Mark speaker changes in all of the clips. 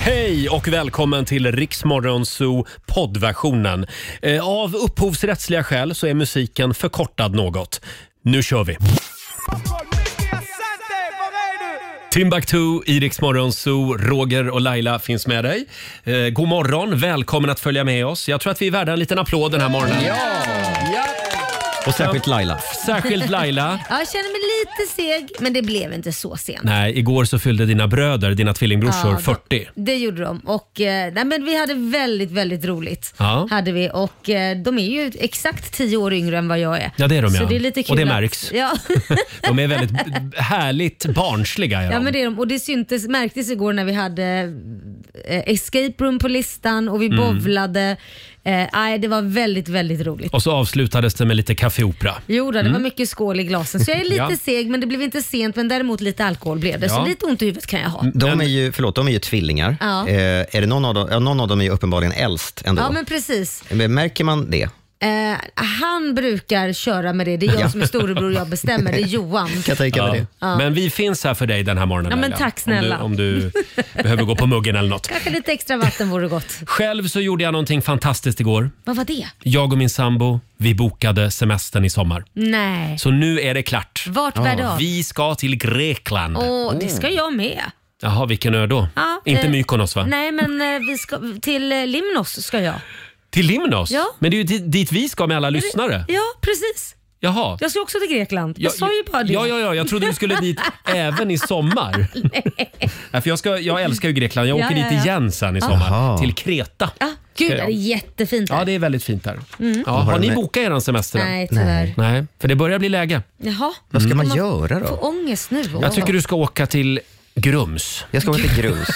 Speaker 1: Hej och välkommen till Riksmorgonzoo poddversionen. Eh, Av upphovsrättsliga skäl så är musiken förkortad något. Nu kör vi! Timbuktu i Riksmorgonzoo, Roger och Laila finns med dig. Eh, god morgon, välkommen att följa med oss. Jag tror att vi är värda en liten applåd den här morgonen.
Speaker 2: Och särskilt Laila.
Speaker 1: Särskilt Laila.
Speaker 3: Ja, jag känner mig lite seg, men det blev inte så sent.
Speaker 1: Nej, igår så fyllde dina bröder, dina tvillingbrorsor,
Speaker 3: Ja, de-
Speaker 1: 40.
Speaker 3: Det gjorde de. Och, eh, nej, men vi hade väldigt, väldigt roligt.
Speaker 1: Ja.
Speaker 3: Hade vi. Och, eh, de är ju exakt tio år yngre än vad jag är.
Speaker 1: Ja, det är de,
Speaker 3: Så
Speaker 1: ja.
Speaker 3: det är lite
Speaker 1: Och
Speaker 3: kul
Speaker 1: det
Speaker 3: att-
Speaker 1: märks.
Speaker 3: Ja.
Speaker 1: De är väldigt härligt barnsliga. Är
Speaker 3: ja,
Speaker 1: de.
Speaker 3: men det är de. Och det syntes, märktes igår när vi hade eh, escape room på listan
Speaker 1: Mm.
Speaker 3: och vi bowlade. Eh, nej, det var väldigt, väldigt roligt.
Speaker 1: Och så avslutades det med lite kaffeopera.
Speaker 3: Jo, då, det
Speaker 1: Mm.
Speaker 3: var mycket skål i glasen. Så jag är lite
Speaker 1: Ja.
Speaker 3: seg, men det blev inte sent. Men däremot lite alkohol blev det.
Speaker 1: Ja.
Speaker 3: Så lite ont i huvudet kan jag ha.
Speaker 2: De är ju, förlåt, de är ju tvillingar.
Speaker 3: Ja.
Speaker 2: Eh, är det någon, av dem, ja, någon av dem är ju uppenbarligen äldst ändå.
Speaker 3: Ja, men precis.
Speaker 2: men... Märker man det?
Speaker 3: Eh, han brukar köra med det. Det är jag som är storebror jag bestämmer. Det är Johan.
Speaker 2: Kan jag tänka
Speaker 1: Ja.
Speaker 2: mig det.
Speaker 1: Men vi finns här för dig den här morgonen
Speaker 3: Ja, men
Speaker 1: Laila.
Speaker 3: tack snälla.
Speaker 1: Om du, om du behöver gå på muggen eller något.
Speaker 3: Kanske lite extra vatten vore gott.
Speaker 1: Själv så gjorde jag någonting fantastiskt igår.
Speaker 3: Vad var det?
Speaker 1: Jag och min sambo, vi bokade semestern i sommar.
Speaker 3: Nej.
Speaker 1: Så nu är det klart.
Speaker 3: Vart
Speaker 2: Ah.
Speaker 3: bär det av?
Speaker 1: Vi ska till Grekland.
Speaker 3: Åh,
Speaker 2: Mm.
Speaker 3: det ska jag med.
Speaker 1: Jaha, vilken ö då?
Speaker 3: Ja,
Speaker 1: Inte
Speaker 3: eh,
Speaker 1: Mykonos va?
Speaker 3: Nej, men eh, vi ska, till eh, Limnos ska jag.
Speaker 1: Till Limnos?
Speaker 3: Ja.
Speaker 1: Men det är ju dit, dit vi ska med alla lyssnare.
Speaker 3: Ja, precis.
Speaker 1: Jaha.
Speaker 3: Jag ska också till Grekland. Jag sa ju bara det.
Speaker 1: Ja, ja, ja, jag trodde du skulle dit även i sommar. Nej, för jag, ska, jag älskar ju Grekland. Jag
Speaker 3: Ja,
Speaker 1: åker
Speaker 3: ja,
Speaker 1: dit
Speaker 3: ja.
Speaker 1: igen sen i sommar.
Speaker 2: Jaha.
Speaker 1: Till Kreta.
Speaker 3: Ah, gud,
Speaker 1: Ska
Speaker 3: det
Speaker 1: jag.
Speaker 3: är jättefint
Speaker 1: Ja,
Speaker 3: där.
Speaker 1: det är väldigt fint
Speaker 2: Mm.
Speaker 1: där. Ja, har
Speaker 2: du
Speaker 1: ni
Speaker 2: med-
Speaker 1: bokat er semester? än?
Speaker 3: Nej, tyvärr.
Speaker 1: Nej, för det börjar bli läge.
Speaker 3: Jaha. Mm.
Speaker 2: Vad ska man göra
Speaker 3: Får
Speaker 2: då?
Speaker 3: ångest nu.
Speaker 1: Jag tycker du ska åka till Grums.
Speaker 2: Jag ska åka till Grus.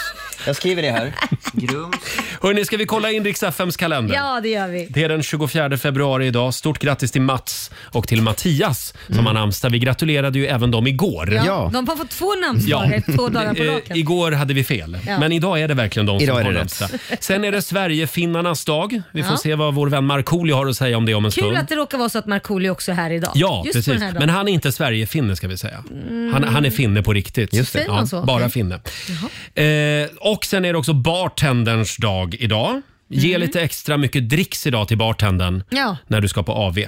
Speaker 2: Jag skriver det här. Grums.
Speaker 1: Hörni, ska vi kolla in Rix FMs kalender?
Speaker 3: Ja, det gör vi.
Speaker 1: Det är den 24 februari idag. Stort grattis till Mats och till Mattias som har namnsdag. Vi gratulerade ju även dem igår.
Speaker 3: Ja,
Speaker 2: Mm. Ja.
Speaker 3: De har fått två namnsdagar två dagar på
Speaker 1: Eh,
Speaker 3: raken.
Speaker 1: igår hade vi fel,
Speaker 3: Ja.
Speaker 1: men idag är det verkligen de
Speaker 2: Idag är
Speaker 1: som
Speaker 2: det
Speaker 1: har
Speaker 2: rätt.
Speaker 1: namnsdag. Sen är det Sverigefinnarnas dag. Vi får
Speaker 3: Ja.
Speaker 1: se vad vår vän Markoolio har att säga om det om en
Speaker 3: Kul
Speaker 1: stund.
Speaker 3: att det råkar vara så att Markoolio också är här idag.
Speaker 1: Ja,
Speaker 3: Just på
Speaker 1: precis.
Speaker 3: den här dagen.
Speaker 1: Men han är inte Sverigefinne ska vi säga. Han, han är finne på riktigt.
Speaker 2: Just det.
Speaker 3: Säger
Speaker 1: Ja,
Speaker 3: man så?
Speaker 1: bara
Speaker 3: Okej.
Speaker 1: finne. Eh, och sen är det också bartenderns dag idag. Ge lite extra mycket dricks idag till bartendern
Speaker 3: Mm. Ja.
Speaker 1: när du ska på AV.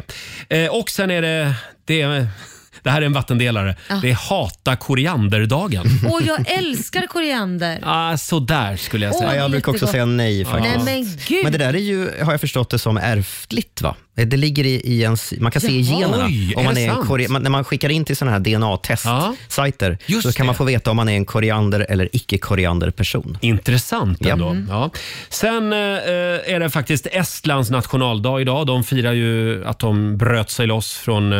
Speaker 1: Eh, och sen är det, det, är- det här är en vattendelare, det är hata korianderdagen.
Speaker 3: Och jag älskar koriander.
Speaker 1: ah, sådär skulle jag säga.
Speaker 2: Ja, jag brukar också
Speaker 3: Jättegott.
Speaker 2: säga nej faktiskt.
Speaker 3: Nej men gud.
Speaker 2: Men det där är ju, har jag förstått det som, ärftligt va? Eh, Det ligger i, i ens, man kan se i
Speaker 3: Jaha.
Speaker 2: generna.
Speaker 1: Oj, är
Speaker 2: om man
Speaker 1: det
Speaker 2: är en
Speaker 1: sant?
Speaker 2: kore, man, när man skickar in till såna här
Speaker 1: Ja.
Speaker 2: DNA-testsajter
Speaker 1: Just
Speaker 2: så kan man
Speaker 1: det.
Speaker 2: få veta om man är en koriander eller icke-koriander person.
Speaker 1: Intressant
Speaker 2: Ja.
Speaker 1: ändå. Ja. Sen eh, är det faktiskt Estlands nationaldag idag. De firar ju att de bröt sig loss från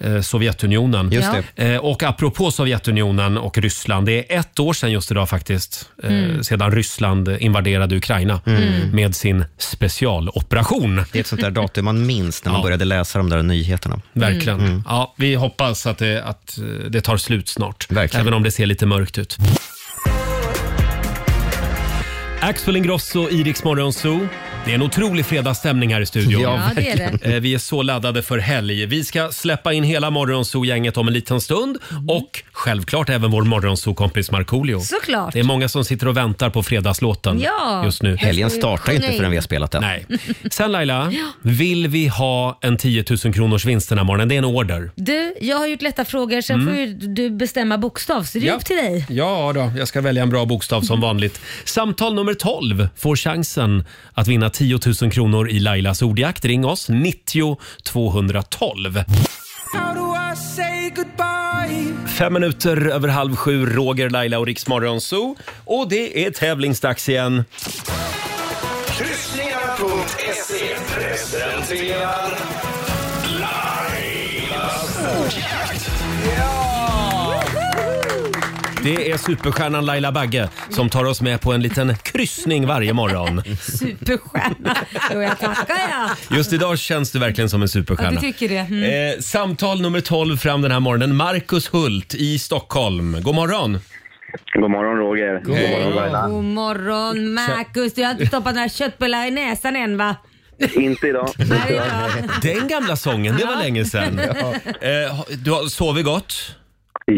Speaker 1: eh, Sovjetunionen.
Speaker 2: Just
Speaker 3: Ja.
Speaker 2: det.
Speaker 1: Eh, och apropå Sovjetunionen och Ryssland, det är ett år sedan just idag faktiskt, eh,
Speaker 2: Mm.
Speaker 1: sedan Ryssland invaderade Ukraina med sin specialoperation.
Speaker 2: Det är ett sånt där datum man minns när man
Speaker 1: Ja.
Speaker 2: började läsa de där nyheterna. Mm.
Speaker 1: Verkligen. Ja, vi hoppas att det, att eh, det tar slut snart,
Speaker 2: Verkligen.
Speaker 1: även om det ser lite mörkt ut. Axel Ingrosso, Iriks Morgonzoo. Det är en otrolig fredagsstämning här i studion.
Speaker 3: Ja, det är det.
Speaker 1: Eh, Vi är så laddade för helg. Vi ska släppa in hela Morgonzoo-gänget om en liten stund och självklart även vår Morgonzoo-kompis Markoolio.
Speaker 3: Mm. Såklart.
Speaker 1: Det är många som sitter och väntar på fredagslåten
Speaker 3: Ja.
Speaker 1: just nu.
Speaker 2: Helgen startar ju inte
Speaker 3: Sjunga in.
Speaker 2: förrän vi har spelat den.
Speaker 1: Nej. Sen Laila, vill vi ha en 10 000 kronors vinst den här morgonen? Det är en order.
Speaker 3: Du, jag har gjort lätta frågor, sen
Speaker 1: Mm.
Speaker 3: får ju du bestämma bokstav, så det är upp till dig.
Speaker 1: Ja då, jag ska välja en bra bokstav som vanligt. Samtal nummer 12 får chansen att vinna 10 000 kronor i Lailas ordjakt. Ring oss, 90 212. Fem minuter över halv sju, Roger, Laila och Riks Morgonzoo. Och det är tävlingsdags igen.
Speaker 4: Kryssningar.se presenterar Lailas ordjakt.
Speaker 1: Det är superstjärnan Laila Bagge som tar oss med på en liten kryssning varje morgon.
Speaker 3: Superstjärna. Jo, jag tackar jag.
Speaker 1: Just idag känns du verkligen som en superstjärna.
Speaker 3: tycker det. Mm.
Speaker 1: Eh, samtal nummer 12 fram den här morgonen. Marcus Hult i Stockholm. God morgon!
Speaker 5: God morgon Roger. God morgon Laila.
Speaker 3: God morgon Marcus, du har inte stoppat några köttbullar i näsan än va?
Speaker 5: Inte idag.
Speaker 3: Nej, ja.
Speaker 1: Den gamla sången, det var länge sedan. Eh, ha- du har sovit gott?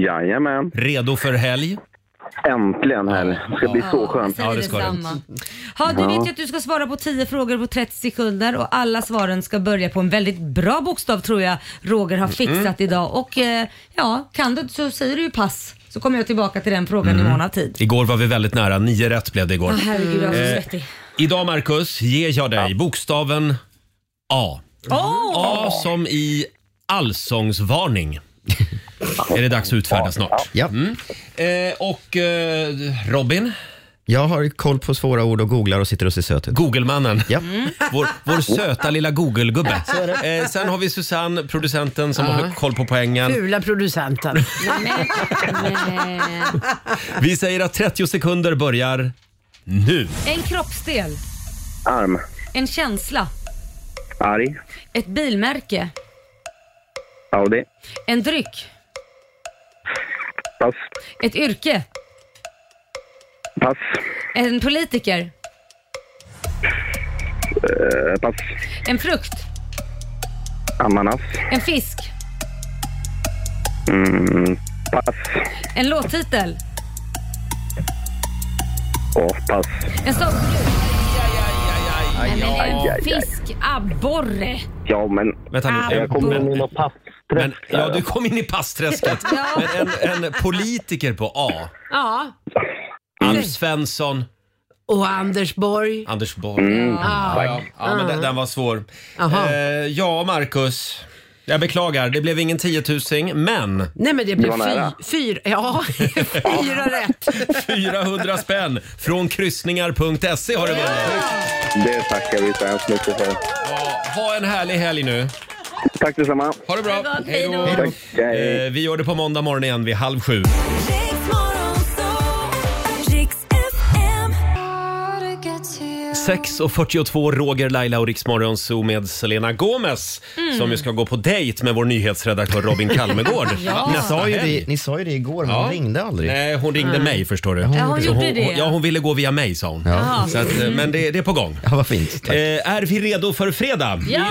Speaker 5: Jajamän.
Speaker 1: Redo för helg?
Speaker 5: Äntligen här. Det ska bli så skönt.
Speaker 1: Ja, det ska det.
Speaker 3: detsamma. Ha, du vet ju att du ska svara på 10 frågor på 30 sekunder och alla svaren ska börja på en väldigt bra bokstav tror jag Roger
Speaker 5: Mm.
Speaker 3: har fixat idag. Och eh, ja, kan du inte så säger du ju pass. Så kommer jag tillbaka till den frågan
Speaker 5: Mm.
Speaker 3: i månad tid.
Speaker 1: Mm. Igår var vi väldigt nära. Nio rätt blev det igår.
Speaker 3: Åh herregud, jag är
Speaker 1: Eh,
Speaker 3: så svettig.
Speaker 1: Idag Marcus ger jag dig bokstaven A.
Speaker 3: Åh!
Speaker 1: A som i allsångsvarning. Är det dags att utfärda snart?
Speaker 2: Ja.
Speaker 1: Eh, och eh, Robin,
Speaker 2: Jag har koll på svåra ord och googlar och sitter och ser söt ut.
Speaker 1: Googlemannen.
Speaker 2: Ja.
Speaker 1: Vår, vår söta lilla Google-gubbe. Eh, sen har vi Susanne, producenten som har koll på poängen.
Speaker 6: Fula producenten.
Speaker 1: Vi säger att 30 sekunder börjar nu.
Speaker 3: En kroppsdel,
Speaker 5: Arm.
Speaker 3: en känsla,
Speaker 5: Arg.
Speaker 3: ett bilmärke,
Speaker 5: Audi.
Speaker 3: en dryck,
Speaker 5: Pass.
Speaker 3: ett yrke,
Speaker 5: Pass.
Speaker 3: en politiker,
Speaker 5: Eh, pass.
Speaker 3: en frukt,
Speaker 5: Ananas.
Speaker 3: en fisk,
Speaker 5: Mm, Pass.
Speaker 3: en låttitel,
Speaker 5: Åh, pass.
Speaker 3: en stavfigur. Nej, men
Speaker 5: aj, aj.
Speaker 3: en fisk, abborre.
Speaker 5: Ja, men
Speaker 1: Vänta nu.
Speaker 5: jag kommer in i något
Speaker 1: Men,
Speaker 5: passträsk.
Speaker 1: ja, du kom in i passträsket.
Speaker 3: Ja.
Speaker 1: Men en, en politiker på A.
Speaker 6: Ja. Mm.
Speaker 1: Alf Svensson,
Speaker 6: Och Anders Borg.
Speaker 1: Anders Borg.
Speaker 5: Mm. Ah.
Speaker 1: Ja, ja. ja men den, den var svår.
Speaker 6: Aha.
Speaker 1: Eh, ja, Marcus. Jag beklagar, det blev ingen tiotusing, men
Speaker 6: Nej men det blev
Speaker 5: var nära.
Speaker 6: fy, fyra, ja, fyra rätt.
Speaker 1: 400 spänn från kryssningar.se E har du vunnit.
Speaker 5: Det tackar vi så hemskt mycket för.
Speaker 1: Ja, ha en härlig helg nu.
Speaker 5: Tack detsamma.
Speaker 1: Ha det bra. Hej då.
Speaker 5: Tack. Hej.
Speaker 1: Eh, vi gör det på måndag morgon igen vid halv sju.
Speaker 7: Riks-FM.
Speaker 1: 6.42, Roger, Laila och Riksmorgon Zoo med Selena Gomez som ju ska gå på dejt med vår nyhetsredaktör Robin Kalmegård
Speaker 2: Ni
Speaker 1: nästa
Speaker 2: sa, ju
Speaker 1: helg.
Speaker 2: det, ni sa ju det igår, men
Speaker 1: Ja.
Speaker 2: hon ringde aldrig. Mm.
Speaker 1: Nej, hon ringde mig förstår du.
Speaker 3: Ja, hon
Speaker 1: Så
Speaker 3: gjorde det.
Speaker 1: ja, hon ville gå via mig sa hon.
Speaker 2: Ja.
Speaker 1: Så att, eh, men det, det är på gång.
Speaker 2: ja, vad fint. Tack.
Speaker 1: Eh, är vi redo för fredag?
Speaker 3: Ja!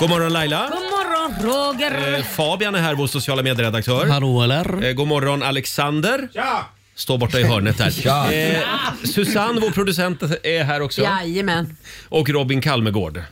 Speaker 1: God morgon Laila.
Speaker 3: God morgon Roger!
Speaker 1: Eh, Fabian är här, vår sociala medieredaktör.
Speaker 8: Hallå eller?
Speaker 1: Eh, god morgon Alexander. Ja. Står borta i hörnet där. Eh, Susanne, vår producent, är här också.
Speaker 6: Jajamän.
Speaker 1: Och Robin Kalmegård.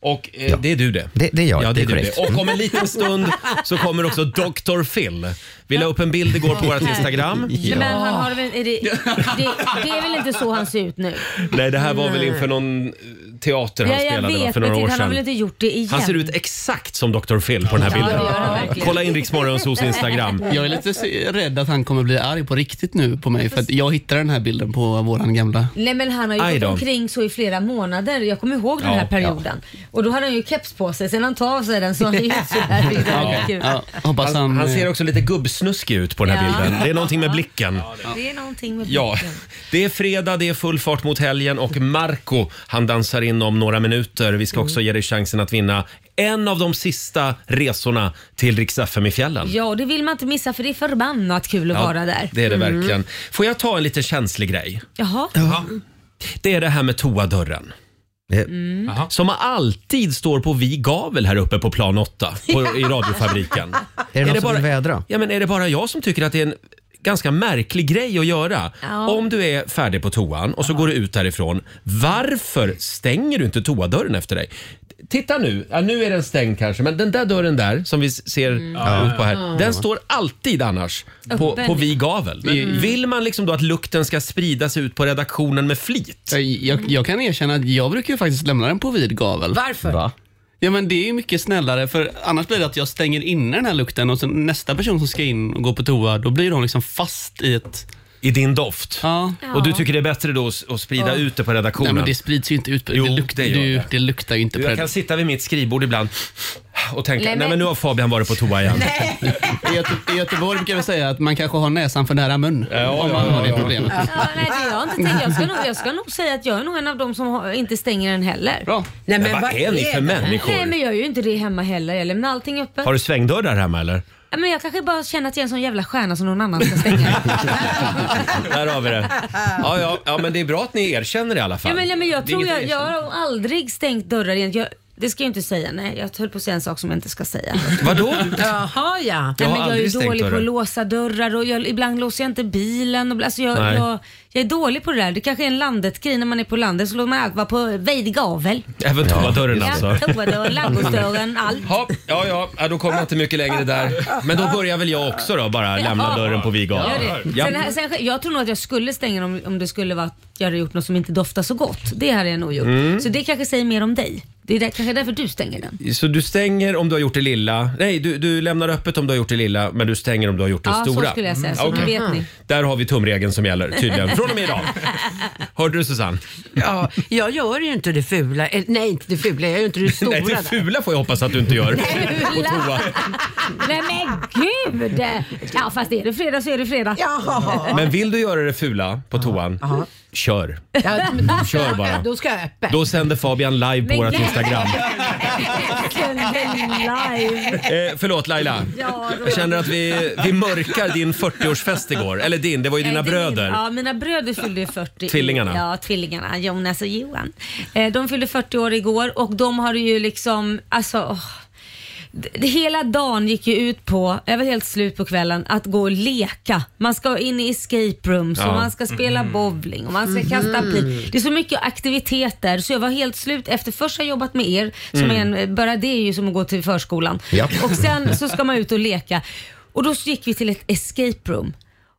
Speaker 1: Och eh, det är du det.
Speaker 2: Det- det är jag,
Speaker 1: Ja,
Speaker 2: det är
Speaker 1: du
Speaker 2: korrekt.
Speaker 1: Och om en liten stund så kommer också Dr. Phil. Vi la upp en bild igår på vårt Instagram.
Speaker 3: Nej, Men han har väl, är det, det, det är väl inte så han ser ut nu?
Speaker 1: Nej, det här var väl inför någon eh, teater han
Speaker 3: Ja, jag
Speaker 1: spelade va,
Speaker 3: vet,
Speaker 1: för
Speaker 3: men
Speaker 1: några år
Speaker 3: titta, han har väl
Speaker 1: sedan.
Speaker 3: inte gjort det igen?
Speaker 1: Han ser ut exakt som Dr. Phil på den här
Speaker 3: Ja, det
Speaker 1: bilden.
Speaker 3: gör han verkligen.
Speaker 1: Kolla in Riksmorgonsos Instagram.
Speaker 8: Jag är lite se- rädd att han kommer bli arg på riktigt nu på mig för att jag hittade den här bilden på våran gamla.
Speaker 3: Nej men han har ju
Speaker 1: Aj
Speaker 3: gått
Speaker 1: då.
Speaker 3: omkring så i flera månader. Jag kommer ihåg den
Speaker 1: Ja,
Speaker 3: här perioden. Och då hade han ju keps på sig. Sen han tar av sig den så har han ju sådär. vilket är väldigt kul.
Speaker 8: Ja, hoppas han... eh,
Speaker 1: Han, han ser också lite gubbsnuskig ut på den här
Speaker 3: Ja.
Speaker 1: bilden. Det är någonting med blicken.
Speaker 3: Det är någonting med
Speaker 1: Ja,
Speaker 3: blicken.
Speaker 1: det är fredag, det är full fart mot helgen och Marco han dansar in om några minuter. Vi
Speaker 8: Mm.
Speaker 1: ska också ge dig chansen att vinna en av de sista resorna till Rix FM i fjällen.
Speaker 3: Ja, och det vill man inte missa för det är förbannat kul att
Speaker 1: Ja,
Speaker 3: vara där. Mm.
Speaker 1: Det är det verkligen. Får jag ta en lite känslig grej?
Speaker 3: Jaha,
Speaker 1: Det är det här med toadörren.
Speaker 2: Eh,
Speaker 3: Mm.
Speaker 1: Som alltid står på vid gavel här uppe på plan 8 på, i radiofabriken.
Speaker 2: Är det någon som vill vädra?
Speaker 1: Ja, men är det bara jag som tycker att det är en ganska märklig grej att göra?
Speaker 3: Ja.
Speaker 1: Om du är färdig på toan och så går du ut därifrån, varför stänger du inte toadörren efter dig? Titta nu, ja, nu är den stängd kanske, men den där dörren där som vi ser
Speaker 3: Mm.
Speaker 1: ut på här, den står alltid annars på,
Speaker 3: Öppen. Mm.
Speaker 1: på vid gavel. Vill man liksom då att lukten ska spridas ut på redaktionen med flit?
Speaker 8: Jag, jag kan erkänna att jag brukar ju faktiskt lämna den på vid gavel.
Speaker 6: Varför?
Speaker 8: Ja men det är ju mycket snällare för annars blir det att jag stänger inne den här lukten och sen nästa person som ska in och gå på toa då blir de liksom fast i ett...
Speaker 1: I din doft?
Speaker 8: Ja.
Speaker 1: Och du tycker det är bättre då att att sprida ut det på redaktionen?
Speaker 8: Nej men det sprids ju inte ut.
Speaker 1: Jo,
Speaker 8: det, luktar,
Speaker 1: det
Speaker 8: det,
Speaker 1: gör
Speaker 8: ju-
Speaker 1: det.
Speaker 8: det luktar ju inte
Speaker 1: Du, Jag kan
Speaker 8: pred.
Speaker 1: sitta vid mitt skrivbord ibland och tänka, nej
Speaker 3: Nej,
Speaker 1: men,
Speaker 3: men-
Speaker 1: nu har Fabian varit på toa igen.
Speaker 8: I, Göte- I Göteborg brukar vi säga att man kanske har näsan för nära mun. om man har det problemet.
Speaker 3: ja, nej, det har jag inte tänkt. Jag ska, nog, jag ska nog säga att jag är nog en av dem som har, inte stänger den heller.
Speaker 8: Bra.
Speaker 6: Nej,
Speaker 1: Men vad är ni för människor?
Speaker 3: Nej men jag gör ju inte det hemma heller. Jag lämnar allting öppet.
Speaker 1: Har du svängdörrar hemma eller?
Speaker 3: Ja, Men jag kanske bara känner att jag är en sån jävla stjärna som någon annan ska stänga.
Speaker 1: Där har vi det. Ja, ja, ja men det är bra att ni erkänner det i alla fall.
Speaker 3: ja, men, ja, men jag
Speaker 1: Det är
Speaker 3: tror
Speaker 1: inget
Speaker 3: jag, jag har aldrig stängt dörrar egentligen. Jag det ska jag inte säga. Nej, jag höll på att säga en sak som jag inte ska säga.
Speaker 1: Vadå?
Speaker 6: Jaha ja.
Speaker 3: Nej,
Speaker 1: har
Speaker 3: men jag är
Speaker 1: aldrig
Speaker 3: ju
Speaker 1: stängt
Speaker 3: dålig på att
Speaker 1: dörren.
Speaker 3: låsa dörrar och jag, ibland låser jag inte bilen. Och, alltså jag,
Speaker 1: Nej.
Speaker 3: jag, jag är dålig på det där. Det kanske är en landet-grej när man är på landet så låter man allt vara på vid gavel.
Speaker 1: Även toadörren alltså.
Speaker 3: Ja, toadörren, ladugårdsdörren, allt.
Speaker 1: Ja, ja, ja, ja, då kommer jag inte mycket längre där. Men då börjar väl jag också då, bara lämna
Speaker 3: Ja.
Speaker 1: dörren på vid
Speaker 3: Gör
Speaker 1: gavel.
Speaker 3: det.
Speaker 1: Ja.
Speaker 3: Sen, här- sen, jag tror nog att jag skulle stänga om, om det skulle vara att jag hade gjort något som inte doftar så gott. Det hade jag nog gjort.
Speaker 1: Mm.
Speaker 3: Så det kanske säger mer om dig. Det är där, kanske därför du stänger den.
Speaker 1: Så du stänger om du har gjort det lilla. Nej, du, du lämnar öppet om du har gjort det lilla, men du stänger om du har gjort det
Speaker 3: Ja, så
Speaker 1: stora. Mm,
Speaker 3: skulle jag säga. Så
Speaker 1: Okej.
Speaker 3: nu vet ni.
Speaker 1: Där har vi tumregeln som gäller tydligen. Från och med idag. Hörde du Susanne?
Speaker 6: ja. Jag gör ju inte det fula. Eller, nej, inte det fula. Jag gör ju inte det stora.
Speaker 1: Nej, det
Speaker 6: där.
Speaker 1: fula får jag hoppas att du inte gör. På toa.
Speaker 3: Nej men gud! Ja fast är det fredag så är det fredag.
Speaker 6: Jaha.
Speaker 1: Men vill du göra det fula på toan, kör.
Speaker 6: Ja, men då,
Speaker 1: Kör
Speaker 6: ska jag,
Speaker 1: bara.
Speaker 6: bara. då ska jag öppet.
Speaker 1: Då sänder Fabian live på
Speaker 3: Men
Speaker 1: vårt
Speaker 3: gud.
Speaker 1: Instagram.
Speaker 3: Sände live.
Speaker 1: Eh, förlåt Laila.
Speaker 3: Ja, då-
Speaker 1: Jag känner att vi, vi mörkar din 40-årsfest igår. Eller din, det var ju dina
Speaker 3: Nej, det är
Speaker 1: bröder.
Speaker 3: min- Ja, mina bröder fyllde ju 40.
Speaker 1: Tvillingarna.
Speaker 3: Ja, tvillingarna. Jonas och Johan. Eh, De fyllde 40 år igår och de har ju liksom, alltså åh. D- det- Hela dagen gick ju ut på, jag var helt slut på kvällen, att gå och leka. Man ska in i escape rooms
Speaker 1: Ja. Mm.
Speaker 3: och man ska spela bowling och man ska kasta pil. Det är så mycket aktiviteter så jag var helt slut efter först ha jobbat med er, som
Speaker 1: Mm.
Speaker 3: är en, bara det är ju som att gå till förskolan.
Speaker 2: Ja.
Speaker 3: Och sen så ska man ut och leka. Och då gick vi till ett escape room.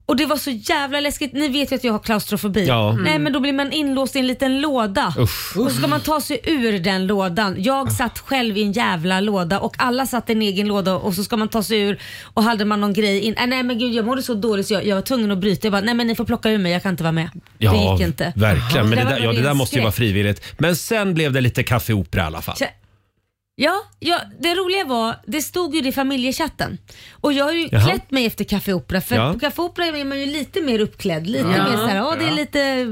Speaker 3: Och det var så jävla läskigt. Ni vet ju att jag har klaustrofobi.
Speaker 1: Ja. Mm.
Speaker 3: Nej men då blir man inlåst i en liten låda.
Speaker 1: Usch. Ah.
Speaker 3: Och så ska man ta sig ur den lådan. Jag satt själv i en jävla låda och alla satt i en egen låda och så ska man ta sig ur och hade man någon grej in. Äh, nej men gud jag mådde så dåligt så jag, jag var tvungen att bryta. Jag bara, nej men ni får plocka ur mig, jag kan inte vara med. det gick inte.
Speaker 1: verkligen. Men det
Speaker 3: Det
Speaker 1: där,
Speaker 3: var
Speaker 1: ja, det där
Speaker 3: min
Speaker 1: måste ju vara
Speaker 3: skräck.
Speaker 1: frivilligt. Men sen blev det lite kaffeopera i alla fall.
Speaker 3: Tja- Ja, ja, det roliga var, det stod ju det i familjechatten. Och jag har ju
Speaker 1: Jaha.
Speaker 3: klätt mig efter Café Opera, för
Speaker 1: Ja.
Speaker 3: på Café Opera är man ju lite mer uppklädd. Lite mer såhär, ja det är lite,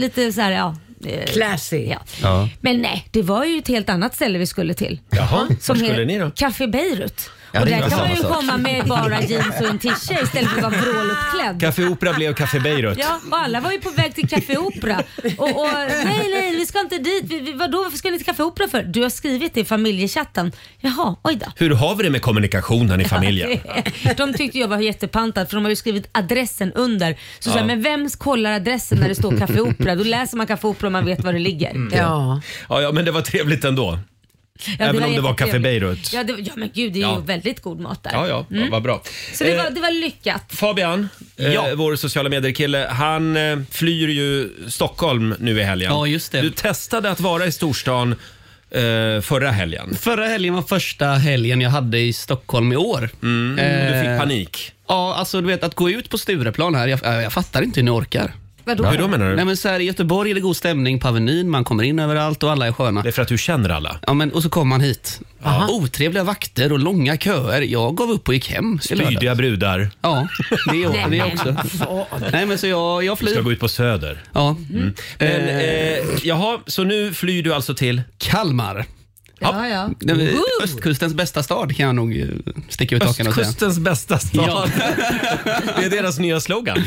Speaker 3: lite såhär, ja. eh,
Speaker 6: Classy.
Speaker 3: ja.
Speaker 2: Ja.
Speaker 3: Men nej, det var ju ett helt annat ställe vi skulle till.
Speaker 1: Jaha,
Speaker 3: Som
Speaker 1: vart skulle
Speaker 3: heter
Speaker 1: ni då?
Speaker 3: Café Beirut.
Speaker 2: Ja,
Speaker 3: och
Speaker 2: det är
Speaker 3: där
Speaker 2: inte
Speaker 3: kan man ju
Speaker 2: samma sak.
Speaker 3: komma med bara jeans och en t-shirt istället för att vara vråluppklädd.
Speaker 1: Kaffeopera blev Café Beirut.
Speaker 3: Ja, och alla var ju på väg till Café Opera. Och, och nej, nej, vi ska inte dit. Vi, vi, vadå, varför ska ni till Café Opera för? Du har skrivit det i familjechatten. Jaha, oj då.
Speaker 1: Hur har vi det med kommunikationen i familjen?
Speaker 3: De tyckte jag var jättepantad för de har ju skrivit adressen under. Så, så här, men vem kollar adressen när det står Café Opera? Då läser man Café Opera om man vet var det ligger.
Speaker 6: Ja.
Speaker 1: Ja, ja, men det var trevligt ändå. Mm. Även om det var
Speaker 3: jättetrevligt.
Speaker 1: Café Beirut.
Speaker 3: Ja, det, ja men gud det är
Speaker 1: Ja.
Speaker 3: ju väldigt god mat där.
Speaker 1: Ja, ja, vad bra.
Speaker 3: Mm. Så det
Speaker 1: Eh,
Speaker 3: var, det var lyckat.
Speaker 1: Fabian, eh, vår sociala medier-kille, han eh, flyr ju Stockholm nu i helgen.
Speaker 8: Ja, just det.
Speaker 1: Du testade att vara i storstan eh, förra helgen.
Speaker 8: Förra helgen var första helgen jag hade i Stockholm i år.
Speaker 1: Mm, Du
Speaker 8: Eh,
Speaker 1: fick panik.
Speaker 8: Ja, alltså du vet att gå ut på Stureplan här, jag, jag fattar inte hur ni orkar.
Speaker 3: Vadå?
Speaker 1: Hur då menar du?
Speaker 8: Nej men så här, i Göteborg är det god stämning på Avenyn, man kommer in överallt och alla är sköna.
Speaker 1: Det är för att du känner alla.
Speaker 8: Ja, men, och så kommer man hit. Otrevliga vakter och långa köer. Jag gav upp och gick hem i lördags.
Speaker 1: Spydiga brudar.
Speaker 8: Ja, det är det är jag också. Nej, men så jag, jag
Speaker 1: Ska
Speaker 8: flyr.
Speaker 1: gå ut på Söder.
Speaker 8: Ja.
Speaker 1: Mm. Men,
Speaker 8: Eh,
Speaker 1: eh, jaha, så nu flyr du alltså till...
Speaker 8: Kalmar.
Speaker 3: Ja, ja.
Speaker 8: Den- Eh, Östkustens bästa stad kan jag nog eh, sticka ut hakan och säga.
Speaker 1: Östkustens bästa stad.
Speaker 8: Ja.
Speaker 1: Det är deras nya slogan.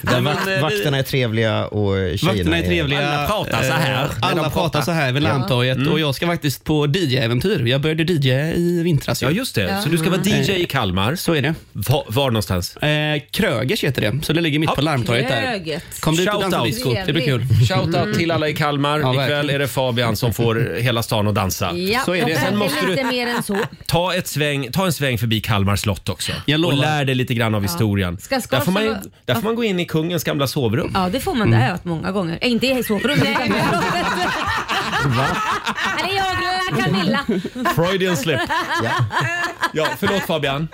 Speaker 8: Nej, men, eh, vi-
Speaker 2: Vakterna är trevliga och tjejerna
Speaker 8: Vakterna är trevliga.
Speaker 1: Alla pratar så här
Speaker 8: Eh,
Speaker 1: när de
Speaker 8: Alla
Speaker 1: pratar. Mm.
Speaker 8: pratar så här vid Lantorget och jag ska faktiskt på DJ-äventyr. Jag började DJ i vintras. ju. Eh.
Speaker 1: Ja, just det. Så du ska vara DJ i Kalmar.
Speaker 8: Alltså, Så är det.
Speaker 1: Var, var någonstans?
Speaker 8: Eh, Krögers heter det, så det ligger mitt
Speaker 1: Ja.
Speaker 8: på Larmtorget där.
Speaker 3: Kröget.
Speaker 8: Kom dit och
Speaker 1: Shout
Speaker 8: dansa
Speaker 1: out.
Speaker 8: disco, det blir kul. Mm.
Speaker 1: Shoutout till alla i Kalmar.
Speaker 8: Ja,
Speaker 1: Ikväll
Speaker 8: verkligen.
Speaker 1: är det Fabian som får hela stan att dansa.
Speaker 3: Ja,
Speaker 8: Så är det.
Speaker 3: och
Speaker 8: Sen
Speaker 3: sen
Speaker 1: måste
Speaker 3: lite
Speaker 1: du-
Speaker 3: mer än så.
Speaker 1: Ta, ett sväng, ta en sväng förbi Kalmar slott också.
Speaker 8: Jag
Speaker 1: och
Speaker 8: lovar.
Speaker 1: lär dig lite grann av historien.
Speaker 3: Ska- ska
Speaker 1: där, får man, ju-
Speaker 3: också-
Speaker 1: där får man gå in i kungens gamla sovrum.
Speaker 3: Ja, det får man. Det har
Speaker 1: Mm.
Speaker 3: jag hört många gånger. Äh, inte i sovrummet. Nej, men... det är jag, lilla Camilla.
Speaker 1: Freudian slip.
Speaker 2: Ja.
Speaker 1: Ja, förlåt Fabian.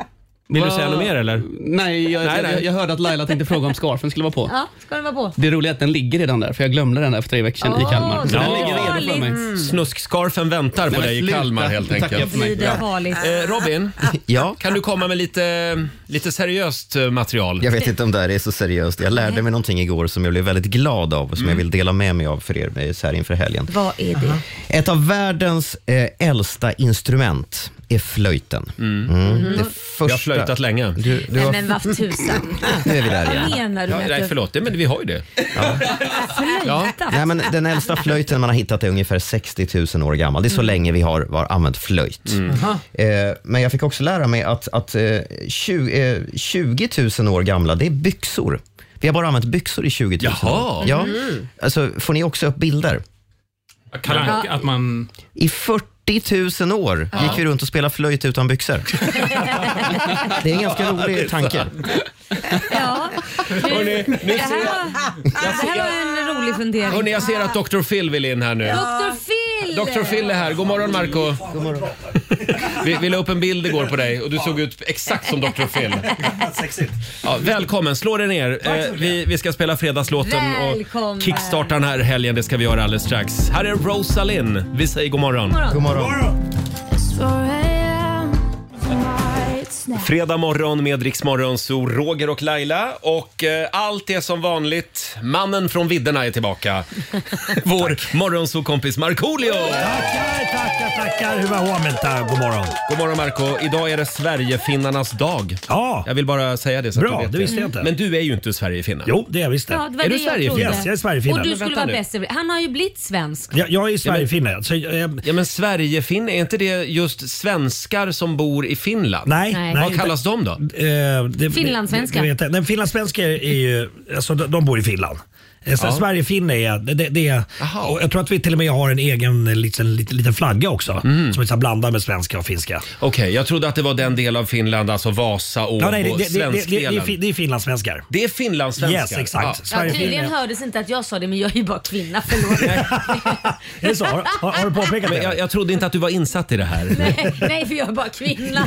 Speaker 1: Vill du
Speaker 8: Vad-
Speaker 1: säga något mer eller?
Speaker 8: Nej, jag,
Speaker 1: Nej, nej.
Speaker 8: Jag, jag hörde att Laila tänkte fråga om scarfen skulle vara på.
Speaker 3: Ja, ska den vara på?
Speaker 8: Det roliga är att den ligger redan där, för jag glömde den där för tre veckor sedan i
Speaker 3: Åh,
Speaker 8: Kalmar. Så
Speaker 3: så
Speaker 8: den ligger redo för
Speaker 3: farligt. Mm.
Speaker 8: mig.
Speaker 1: Snuskskarfen väntar på
Speaker 8: men
Speaker 1: dig i
Speaker 8: sluta.
Speaker 1: Kalmar helt
Speaker 8: Tackar
Speaker 1: enkelt.
Speaker 8: för mig.
Speaker 3: Blir det farligt?
Speaker 1: Eh, Robin,
Speaker 2: ja.
Speaker 1: kan du komma med lite, lite seriöst eh, material?
Speaker 2: Jag vet inte om det här är så seriöst. Jag lärde mig någonting igår som jag blev väldigt glad av och som jag vill dela med mig av för er eh, så här inför helgen.
Speaker 3: Vad är Mm. det?
Speaker 2: Ett av världens eh, äldsta instrument är flöjten. Mm. Det första...
Speaker 1: Jag har flöjtat länge.
Speaker 2: Du, du
Speaker 3: Nej
Speaker 2: har...
Speaker 3: men vad tusan.
Speaker 2: Nu är vi där igen.
Speaker 3: Vad menar du
Speaker 1: Ja,
Speaker 3: med
Speaker 1: nej,
Speaker 3: att du
Speaker 1: förlåt, men vi har ju det.
Speaker 3: flöjtat?
Speaker 2: Nej, men den äldsta flöjten man har hittat är ungefär 60 000 år gammal. Det är så länge vi har, har använt flöjt. Eh, men jag fick också lära mig att, att eh, 20, eh, 20 000 år gamla, det är byxor. Vi har bara använt byxor i 20 000
Speaker 1: Jaha.
Speaker 2: år. Ja. Alltså, får ni också upp bilder?
Speaker 9: Kalle Anka, att man...
Speaker 2: I 40 000 år gick vi runt och spelade flöjt utan byxor. det är en ganska rolig tanke.
Speaker 3: Ja.
Speaker 1: Hörrni, nu
Speaker 3: Det här
Speaker 1: ser,
Speaker 3: var, det här var en rolig fundering.
Speaker 1: hörrni, jag ser att Dr. Phil vill in här nu.
Speaker 3: Dr Phil!
Speaker 1: Dr. Phil är här. God morgon Marco. God morgon. Vi, vi la upp en bild igår på dig och du såg ut exakt som Dr. Phil.
Speaker 10: Sexigt.
Speaker 1: Ja, välkommen, slå dig ner. Eh, vi, vi ska spela fredagslåten
Speaker 3: Välkommen.
Speaker 1: och kickstarta den här helgen. Det ska vi göra alldeles strax. Här är Rosalind. Vi säger god morgon.
Speaker 2: God morgon.
Speaker 1: Fredag morgon med Rix Morgon, så Roger och Laila. Och eh, allt är som vanligt. Mannen från vidderna är tillbaka. Vår morgonsokompis Markoolio!
Speaker 10: Tackar, tackar, tackar. Hur var Hamilton? God morgon.
Speaker 1: God morgon Marco. Idag är det Sverigefinnarnas dag.
Speaker 10: Ja,
Speaker 1: Jag vill bara säga det så
Speaker 10: Bra,
Speaker 1: att du vet
Speaker 10: det visste jag inte.
Speaker 1: Men du är ju inte Sverigefinne.
Speaker 10: jo, det är jag visst
Speaker 3: Ja,
Speaker 10: det.
Speaker 3: det var
Speaker 1: Är
Speaker 3: det
Speaker 1: du
Speaker 3: jag
Speaker 1: Sverigefinne?
Speaker 3: trodde.
Speaker 10: Yes, jag är Sverigefinne.
Speaker 3: Och du skulle
Speaker 1: Vänta
Speaker 3: vara
Speaker 1: nu.
Speaker 3: bäst. Han har ju blivit svensk.
Speaker 10: Jag, jag är Sverigefinne. Så, eh,
Speaker 1: Ja men Sverigefinne, är inte det just svenskar som bor i Finland?
Speaker 10: nej,
Speaker 3: Nej.
Speaker 10: nej.
Speaker 1: Vad kallas de då?
Speaker 10: Eh, det-
Speaker 3: Finlandssvenska.
Speaker 10: det- det vet jag. Nej, finlandssvenska är ju, alltså de de bor i Finland. Eh, Sen
Speaker 1: Ja.
Speaker 10: Sverigefinne är, det, det, det är
Speaker 1: Jaha.
Speaker 10: och jag tror att vi till och med har en egen eh, liten, liten, liten flagga också.
Speaker 1: Mm.
Speaker 10: Som är så här blandad med svenska och finska.
Speaker 1: Okej, jag trodde att det var den del av Finland, alltså Vasa, Åbo,
Speaker 10: Ja, nej, det, det, det, det, det, det, är
Speaker 1: svenskdelen.
Speaker 10: fi- det är finlandssvenskar.
Speaker 1: Det är finlandssvenskar.
Speaker 10: Yes, exakt.
Speaker 1: Ja.
Speaker 3: Ja, tydligen
Speaker 10: Sverigefinne.
Speaker 3: hördes inte att jag sa det, men jag är ju bara kvinna. Förlåt.
Speaker 10: Är det så? Har, har, har du påpekat
Speaker 1: Men
Speaker 10: det?
Speaker 1: jag, jag trodde inte att du var insatt i det här.
Speaker 3: Nej, nej, för jag är bara kvinna.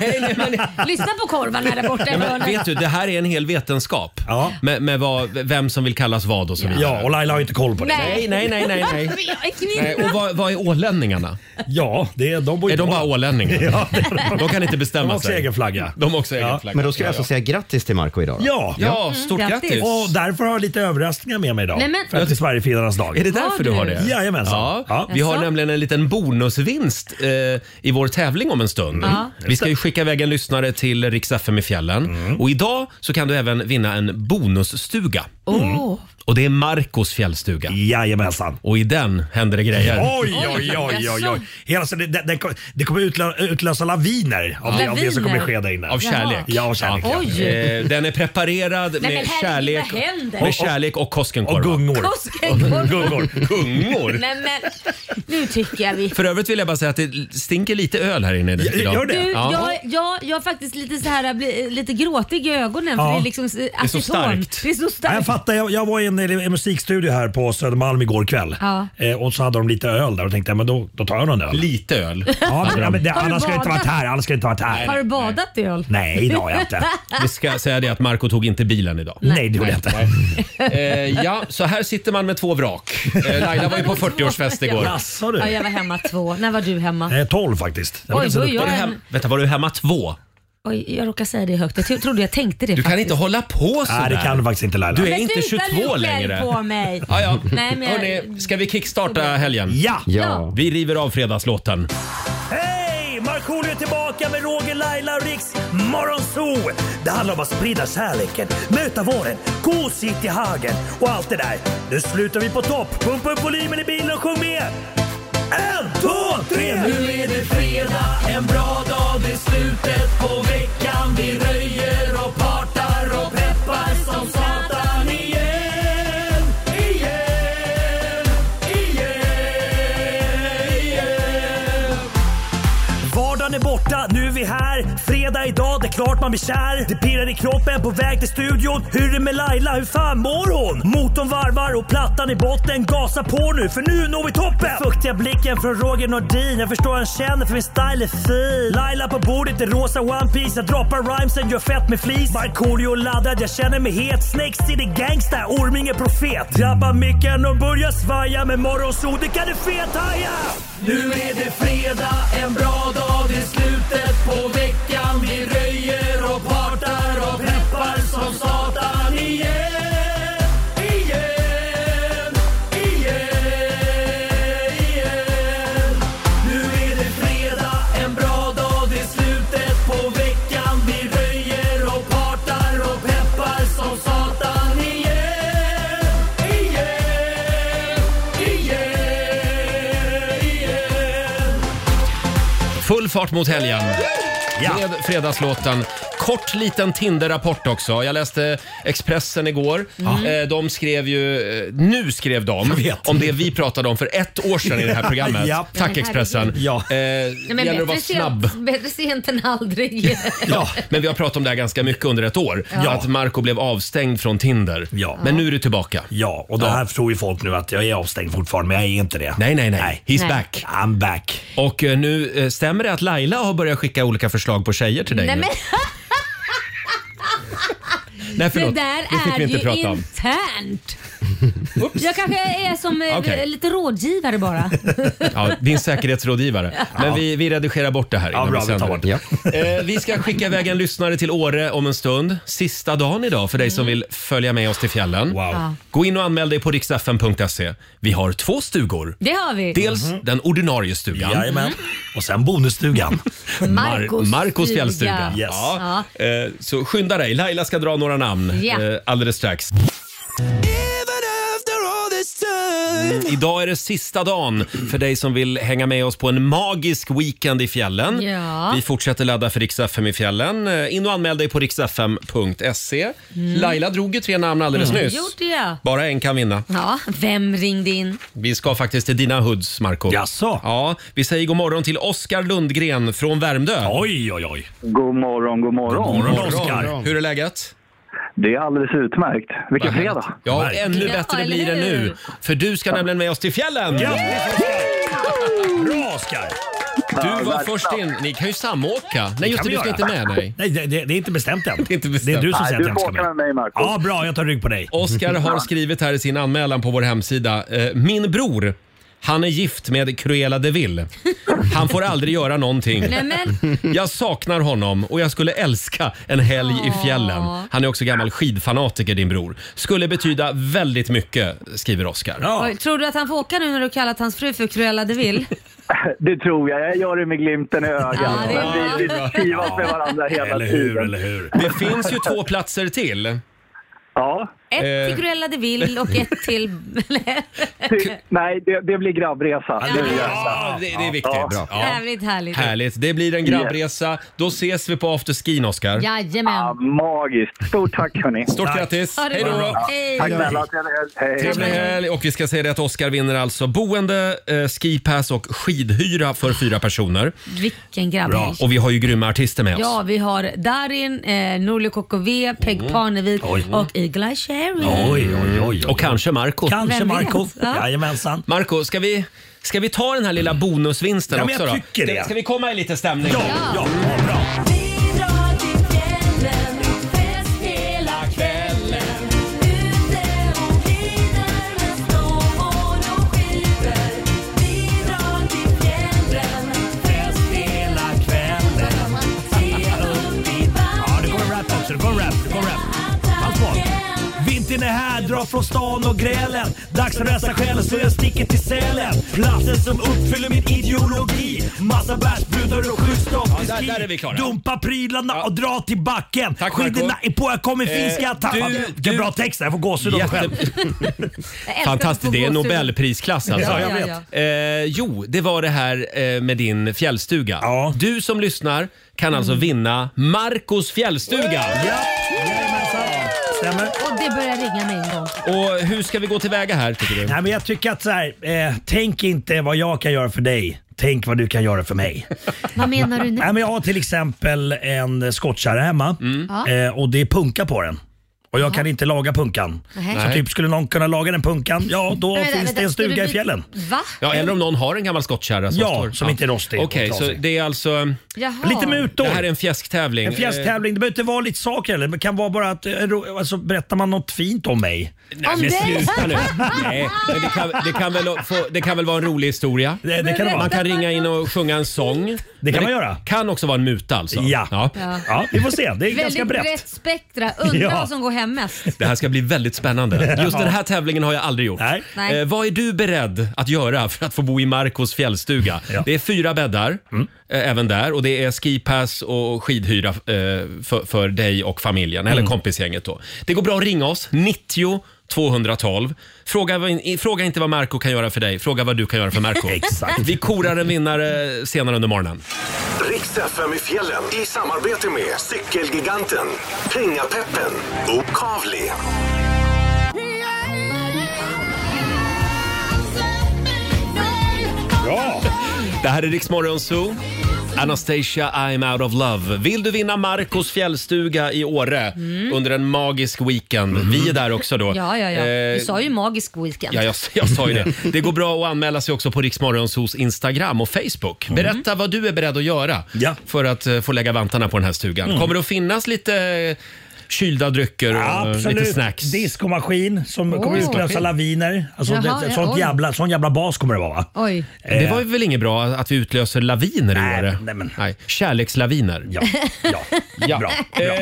Speaker 3: Lyssna på korvan här där borta i
Speaker 1: Men
Speaker 3: hörnet.
Speaker 1: vet du, det här är en hel vetenskap.
Speaker 10: Ja.
Speaker 1: Med, med vad, vem som vill kallas vad och så vidare.
Speaker 10: Ja, och Laila har ju inte koll på det.
Speaker 1: Nej, nej, nej, nej, nej.
Speaker 3: Men Jag är
Speaker 1: Nej,
Speaker 3: kvinna.
Speaker 1: Och vad, vad är ålänningarna?
Speaker 10: Ja, det, de bor ju
Speaker 1: Är de bara ålänningar?
Speaker 10: Ja, det är de.
Speaker 1: De kan inte
Speaker 10: De har
Speaker 1: bestämma
Speaker 10: också
Speaker 1: sig.
Speaker 10: egen flagga.
Speaker 1: De har också egen
Speaker 10: Ja,
Speaker 1: flagga.
Speaker 2: Men då ska jag
Speaker 1: Ja,
Speaker 2: alltså säga grattis till Marco idag. då.
Speaker 10: Ja.
Speaker 1: Ja, Ja, stort
Speaker 3: Mm,
Speaker 1: grattis.
Speaker 3: grattis.
Speaker 10: och därför har jag lite överraskningar med mig idag.
Speaker 3: Nej, men-
Speaker 10: För att det är Sverigefinnarnas
Speaker 1: Är
Speaker 10: dag.
Speaker 1: det därför du har det?
Speaker 10: Jajamensan.
Speaker 1: Ja.
Speaker 10: Ja.
Speaker 1: Vi har
Speaker 3: Jaså?
Speaker 1: nämligen en liten bonusvinst eh, i vår tävling om en stund. Vi ska ju skicka iväg en lyssnare till Rix FM i fjällen.
Speaker 10: Mm.
Speaker 1: Och idag så kan du även vinna en bonusstuga. Mm.
Speaker 3: Åh,
Speaker 1: Och det är Marcos fjällstuga.
Speaker 10: Jajamensan.
Speaker 1: Och i den händer det grejer.
Speaker 10: Oj, oj, oj, oj. oj. Hela, så det, det, det kom- det kommer utlö, utlösa laviner av, det, av det som kommer ske där inne.
Speaker 1: Av kärlek.
Speaker 10: Ja, av kärlek. Ja.
Speaker 3: Oj.
Speaker 1: Eh, den är preparerad
Speaker 3: Nej,
Speaker 1: med
Speaker 3: men herregud,
Speaker 1: kärlek,
Speaker 3: vad händer?
Speaker 1: med kärlek och
Speaker 10: Och
Speaker 1: Koskenkorva.
Speaker 10: gungor.
Speaker 3: Påskäggkorv.
Speaker 10: Gungor.
Speaker 1: Gungor!
Speaker 3: Nej men, nu tycker jag vi...
Speaker 1: För övrigt vill jag bara säga att det stinker lite öl här inne idag.
Speaker 10: Gör
Speaker 3: Du,
Speaker 10: det?
Speaker 1: Ja.
Speaker 3: jag, jag, jag är faktiskt lite så här, jag blir lite gråtig i ögonen för
Speaker 10: Ja.
Speaker 3: det är liksom det är
Speaker 1: starkt.
Speaker 3: Det är så
Speaker 10: Ja, jag
Speaker 3: starkt.
Speaker 10: fattar. Jag, jag var i en, en musikstudio här på Södermalm igår kväll.
Speaker 3: Ja.
Speaker 10: Eh, och så hade de lite öl där och tänkte jag, men då, då tar jag någon öl.
Speaker 1: Lite öl.
Speaker 10: Ja, men, ja, men det,
Speaker 3: Har du
Speaker 10: alla ska ju inte
Speaker 3: badat?
Speaker 10: varit här. Alla ska ju inte varit här.
Speaker 3: Har du badat i öl?
Speaker 10: Nej, det har jag inte.
Speaker 1: Vi ska säga det att Marco tog inte bilen idag.
Speaker 10: Nej, det gjorde jag inte.
Speaker 1: Eh, ja, så här sitter man med två vrak. Eh, Laila var ju på 40-årsfest igår.
Speaker 10: Jaså du?
Speaker 3: Ja, jag var hemma två. När var du hemma?
Speaker 10: Eh, 12 faktiskt. Jag
Speaker 3: Oj,
Speaker 10: var inte så
Speaker 3: oj,
Speaker 10: duktig.
Speaker 1: Var du hem, vänta, var du hemma två?
Speaker 3: Oj, jag råkar säga det högt. Jag t- trodde jag tänkte det
Speaker 1: Du kan
Speaker 3: faktiskt.
Speaker 1: inte hålla på sådär.
Speaker 10: Nej, det kan du faktiskt inte Laila.
Speaker 1: Du är
Speaker 3: Men
Speaker 1: inte
Speaker 3: sluta
Speaker 1: 22
Speaker 3: nu själv
Speaker 1: längre.
Speaker 3: på mig.
Speaker 1: Ja, ja.
Speaker 3: Nej, men jag-
Speaker 1: Hörrni, ska vi kickstarta helgen?
Speaker 10: Ja!
Speaker 2: Ja.
Speaker 1: Vi river av fredagslåten.
Speaker 10: Hej! Markoolio är tillbaka med Roger, Laila och Riks Morgonzoo! Det handlar om att sprida kärleken, möta våren, gosigt i hagen och allt det där. Nu slutar vi på topp! Pumpa upp volymen i bilen och sjung med! Äh! En, två, tre! Nu är det fredag, en bra dag, det är slutet på veckan. Vi röjer och partar och peppar som satan igen, igen, igen, igen. Vardagen är borta, nu är vi här. Fredag idag, det är klart man blir kär. Det pirrar i kroppen på väg till studion. Hur är det med Laila, hur fan mår hon? Motorn varvar och plattan i botten. Gasa på nu, för nu når vi toppen! Den fuktiga blicken från Roger Nordin. Jag förstår han känner, för min style är fin. Laila på bordet i rosa One Piece Jag droppar rhymesen, gör fett med flis. Markoolio laddad, jag känner mig het. Snakes city gangsta, Orming är profet. Drabbar micken och börjar svaja. Med morgonsol, det kan du fethaja! Nu är det fredag, en bra dag, det är slutet på veckan. Vi röjer och partar och peppar som satan igen. Igen, igen, igen. Nu är det fredag, en bra dag, det är slutet
Speaker 1: Full fart mot helgen. Med fredagslåten. Kort liten Tinder-rapport också. Jag läste Expressen igår.
Speaker 11: Ja.
Speaker 1: Eh, De skrev ju, eh, nu skrev de om det vi pratade om för ett år sedan i det här programmet.
Speaker 3: Japp.
Speaker 1: Tack
Speaker 3: Men
Speaker 1: Expressen.
Speaker 3: herregud.
Speaker 1: Ja.
Speaker 3: men
Speaker 1: Gäller att vara
Speaker 3: bättre,
Speaker 1: snabb.
Speaker 3: sent, bättre sent än aldrig.
Speaker 1: Ja. Men vi har pratat om det här ganska mycket under ett år.
Speaker 3: Ja.
Speaker 1: Att Marco blev avstängd från Tinder. Men nu är du tillbaka.
Speaker 10: Ja, och det här tror ju folk nu att jag är avstängd fortfarande, men jag är inte det.
Speaker 1: Nej, nej, nej. He's
Speaker 10: Nej.
Speaker 1: back.
Speaker 10: I'm back.
Speaker 1: Och eh, nu eh, stämmer det att Laila har börjat skicka olika förslag på tjejer till dig
Speaker 3: Nej,
Speaker 1: nu?
Speaker 3: men,
Speaker 1: Nej,
Speaker 3: det
Speaker 1: förlåt.
Speaker 3: där
Speaker 1: det fick
Speaker 3: är
Speaker 1: vi inte
Speaker 3: ju
Speaker 1: prata om.
Speaker 3: internt. Jag kanske är som eh,
Speaker 1: Okej.
Speaker 3: lite rådgivare bara.
Speaker 1: Ja, din säkerhetsrådgivare. Men vi, vi redigerar bort det här. innan
Speaker 10: bra, vi
Speaker 1: sänder
Speaker 10: tar bort
Speaker 1: Eh, vi ska skicka iväg en lyssnare till Åre om en stund. Sista dagen idag för dig som vill följa med oss till fjällen.
Speaker 3: Ja.
Speaker 1: Gå in och anmäl dig på riksfn.se. Vi har två stugor.
Speaker 3: Det har vi.
Speaker 1: Dels den ordinarie stugan.
Speaker 10: Jajamän.
Speaker 1: Mhm. Och sen bonusstugan.
Speaker 3: Marcos
Speaker 1: Marcos
Speaker 3: stuga.
Speaker 1: fjällstuga.
Speaker 3: Yes.
Speaker 1: Ja. Eh, Så skynda dig. Laila ska dra några namn
Speaker 3: Ja.
Speaker 1: eh, alldeles strax. Mm, Idag är det sista dagen för dig som vill hänga med oss på en magisk weekend i fjällen.
Speaker 11: Ja.
Speaker 1: Vi fortsätter ladda för Rix FM i fjällen. Eh, In och anmäl dig på riksfm.se.
Speaker 3: Mm.
Speaker 1: Laila drog ju tre namn alldeles nyss.
Speaker 3: gjorde jag.
Speaker 1: Bara en kan vinna.
Speaker 3: Ja, vem ringde in?
Speaker 1: Vi ska faktiskt till dina hoods, Marco. Jaså? Ja, vi säger god morgon till Oskar Lundgren från Värmdö. Oj, oj, oj.
Speaker 5: God morgon, god morgon.
Speaker 1: God morgon, Oskar. Hur är läget?
Speaker 5: Det är alldeles utmärkt. Vilken
Speaker 1: Vad
Speaker 5: fredag.
Speaker 1: härligt. Ja, ännu bättre blir det nu. För du ska nämligen med oss till fjällen. Bra Oskar! Du var först in. Ni kan ju samåka. Nej, just det, du ska inte med. Nej.
Speaker 10: Nej, det, det, det är inte bestämt än.
Speaker 1: Det är, inte
Speaker 10: Det är
Speaker 1: bestämt.
Speaker 10: du som säger att jag inte ska med. Ja, bra. Jag tar rygg på dig.
Speaker 1: Oskar har skrivit här i sin anmälan på vår hemsida. Eh, min bror, han är gift med Cruella de Vil. Han får aldrig göra någonting.
Speaker 11: Nej,
Speaker 1: Jag saknar honom och jag skulle älska en helg i fjällen. Han är också gammal skidfanatiker din bror. Skulle betyda väldigt mycket, skriver Oskar.
Speaker 3: Oj, tror du att han får åka nu när du kallat hans fru för Cruella de Vil?
Speaker 5: Det tror jag. Jag gör det med glimten i ögat.
Speaker 3: Ja, det är
Speaker 5: Men vi, vi trivas med varandra hela
Speaker 1: Eller hur,
Speaker 5: tiden.
Speaker 1: eller Det finns ju två platser till.
Speaker 5: Ja.
Speaker 3: Ett
Speaker 1: Eh.
Speaker 3: till Cruella de Vil och ett till...
Speaker 5: Ty- Nej, det, det blir grabbresa.
Speaker 1: Ja, det, det är viktigt.
Speaker 5: Ja.
Speaker 3: Jävligt härligt.
Speaker 1: Härligt. Det blir en grabbresa. Då ses vi på afterskin, Oskar.
Speaker 3: Jajamän.
Speaker 5: magiskt. Stort tack hörni.
Speaker 1: Stort grattis.
Speaker 3: Ha det
Speaker 1: Hej då.
Speaker 3: bra. Hej.
Speaker 5: Tack snälla. Trevlig
Speaker 1: Trevlig helg. Och vi ska säga det att Oskar vinner alltså boende, eh, skipass och skidhyra för fyra personer.
Speaker 3: Vilken grabb.
Speaker 1: Och vi har ju grymma artister med oss.
Speaker 3: Ja, vi har Darin, eh, Norli KKV, Peg Parnevik
Speaker 1: Oj.
Speaker 3: och Igla Cherry.
Speaker 1: Och kanske Marco
Speaker 3: Kanske Vem vet? Marco. Ja.
Speaker 1: Jajamensan. Marco ska vi, ska vi ta den här lilla bonusvinsten
Speaker 10: Ja, men
Speaker 1: också
Speaker 10: jag
Speaker 1: då?
Speaker 10: tycker det.
Speaker 1: Ska vi komma i lite stämning? Ja, ja.
Speaker 10: Ja, det kommer rap också. Det kommer rap. Det kommer rap. Allt bort. Vintern är här, dra från stan och grälen. Dags att rensa själen så jag sticker till Sälen. Platsen som uppfyller min ideologi. Massa bärsbrudar och skyddsdropp till ski.
Speaker 1: där är vi klara.
Speaker 10: Dumpa prylarna och dra till backen.
Speaker 1: Marco.
Speaker 10: Skidorna är på, jag kommer finska.
Speaker 1: Eh,
Speaker 10: Jag tappar.
Speaker 1: du-
Speaker 10: Vilken
Speaker 1: du-
Speaker 10: bra text där. Jag får gåshud av mig själv.
Speaker 1: Fantastiskt, det är Nobelprisklass alltså.
Speaker 10: Ja, jag vet.
Speaker 1: Eh, jo, det var det här eh, med din fjällstuga. Du som lyssnar kan alltså
Speaker 3: Mm.
Speaker 1: vinna Marcos fjällstuga.
Speaker 10: Stämmer.
Speaker 3: Och det börjar ringa mig en gång.
Speaker 1: Och hur ska vi gå tillväga här tycker du?
Speaker 10: Nej, men jag tycker att så här, eh, tänk inte vad jag kan göra för dig. Tänk vad du kan göra för mig.
Speaker 3: Vad menar du nu?
Speaker 10: Nej, men jag har till exempel en skottkärra hemma
Speaker 3: Mm.
Speaker 10: eh, och det är punka på den. Och jag kan inte laga punkan.
Speaker 3: Nej.
Speaker 10: Så typ skulle någon kunna laga den punkan, ja då
Speaker 3: Men vänta,
Speaker 10: finns
Speaker 3: vänta,
Speaker 10: det en
Speaker 3: ska du
Speaker 10: stuga i
Speaker 3: bli-
Speaker 10: fjällen.
Speaker 3: Va?
Speaker 1: Ja, eller om någon har en gammal skottkärra som
Speaker 10: Ja,
Speaker 1: står.
Speaker 10: som inte är rostig och
Speaker 1: Okej, så
Speaker 10: trasig.
Speaker 1: det är alltså...
Speaker 3: Jaha. Lite
Speaker 10: mutor.
Speaker 1: Det här är en fjäsktävling. Eh,
Speaker 10: En fjäsktävling, det behöver inte vara lite saker eller. Det kan vara bara att, eh, ro- alltså, berättar man något fint om mig?
Speaker 1: Nej, men sluta nu. Nej, men det, kan, det, kan väl få, det kan väl vara en rolig historia?
Speaker 10: det kan det vara.
Speaker 1: Man kan ringa in och sjunga en sång. Det
Speaker 10: kan man göra.
Speaker 1: kan också vara en muta alltså. Ja.
Speaker 3: Ja.
Speaker 10: vi får se.
Speaker 3: Väldigt brett spektra. Undrar
Speaker 1: Ja.
Speaker 3: vad som går hem mest.
Speaker 1: Det här ska bli väldigt spännande. Just den här tävlingen har jag aldrig gjort.
Speaker 3: Nej.
Speaker 1: Eh, vad är du beredd att göra för att få bo i Marcos fjällstuga? Det är fyra bäddar. eh, även där. Och det är skipass och skidhyra eh, för, för dig och familjen, eller kompisgänget då. Det går bra att ringa oss, 90 212. Fråga, vad in- fråga inte vad Marco kan göra för dig, fråga vad du kan göra för Marco.
Speaker 10: Exakt.
Speaker 1: Vi korar en vinnare senare under morgonen.
Speaker 4: Riks FM i fjällen i samarbete med Cykelgiganten, Pengapeppen och Kavli.
Speaker 1: Det här är Riksmorgon Zoo. Anastasia, I'm out of love. Vill du vinna Marcos fjällstuga i Åre under en magisk weekend?
Speaker 10: Mhm.
Speaker 1: Vi är där också då.
Speaker 3: Mm. Ja, ja, ja.
Speaker 1: Eh,
Speaker 3: Du sa ju magisk weekend.
Speaker 1: Ja, jag, jag sa ju det. Det går bra att anmäla sig också på Riksmorgonsos Instagram och Facebook. Berätta vad du är beredd att göra
Speaker 10: Mm. Ja. Mm.
Speaker 1: för att eh, få lägga vantarna på den här stugan.
Speaker 8: Mm.
Speaker 1: Kommer det att finnas lite kylda drycker och eh,
Speaker 10: Absolut.
Speaker 1: lite snacks?
Speaker 10: Diskomaskin som kommer
Speaker 3: Åh.
Speaker 10: utlösa laviner. Alltså,
Speaker 3: Jaha,
Speaker 10: det,
Speaker 3: ja,
Speaker 10: sånt
Speaker 3: oj.
Speaker 10: jävla, sån jävla bas kommer det vara. Va?
Speaker 3: Oj.
Speaker 1: Det var väl inget bra att vi utlöser laviner i
Speaker 10: Eh. Nej,
Speaker 1: Åre?
Speaker 10: nej, men-
Speaker 1: Kärlekslaviner.
Speaker 10: Ja, ja, bra. bra.
Speaker 1: Eh,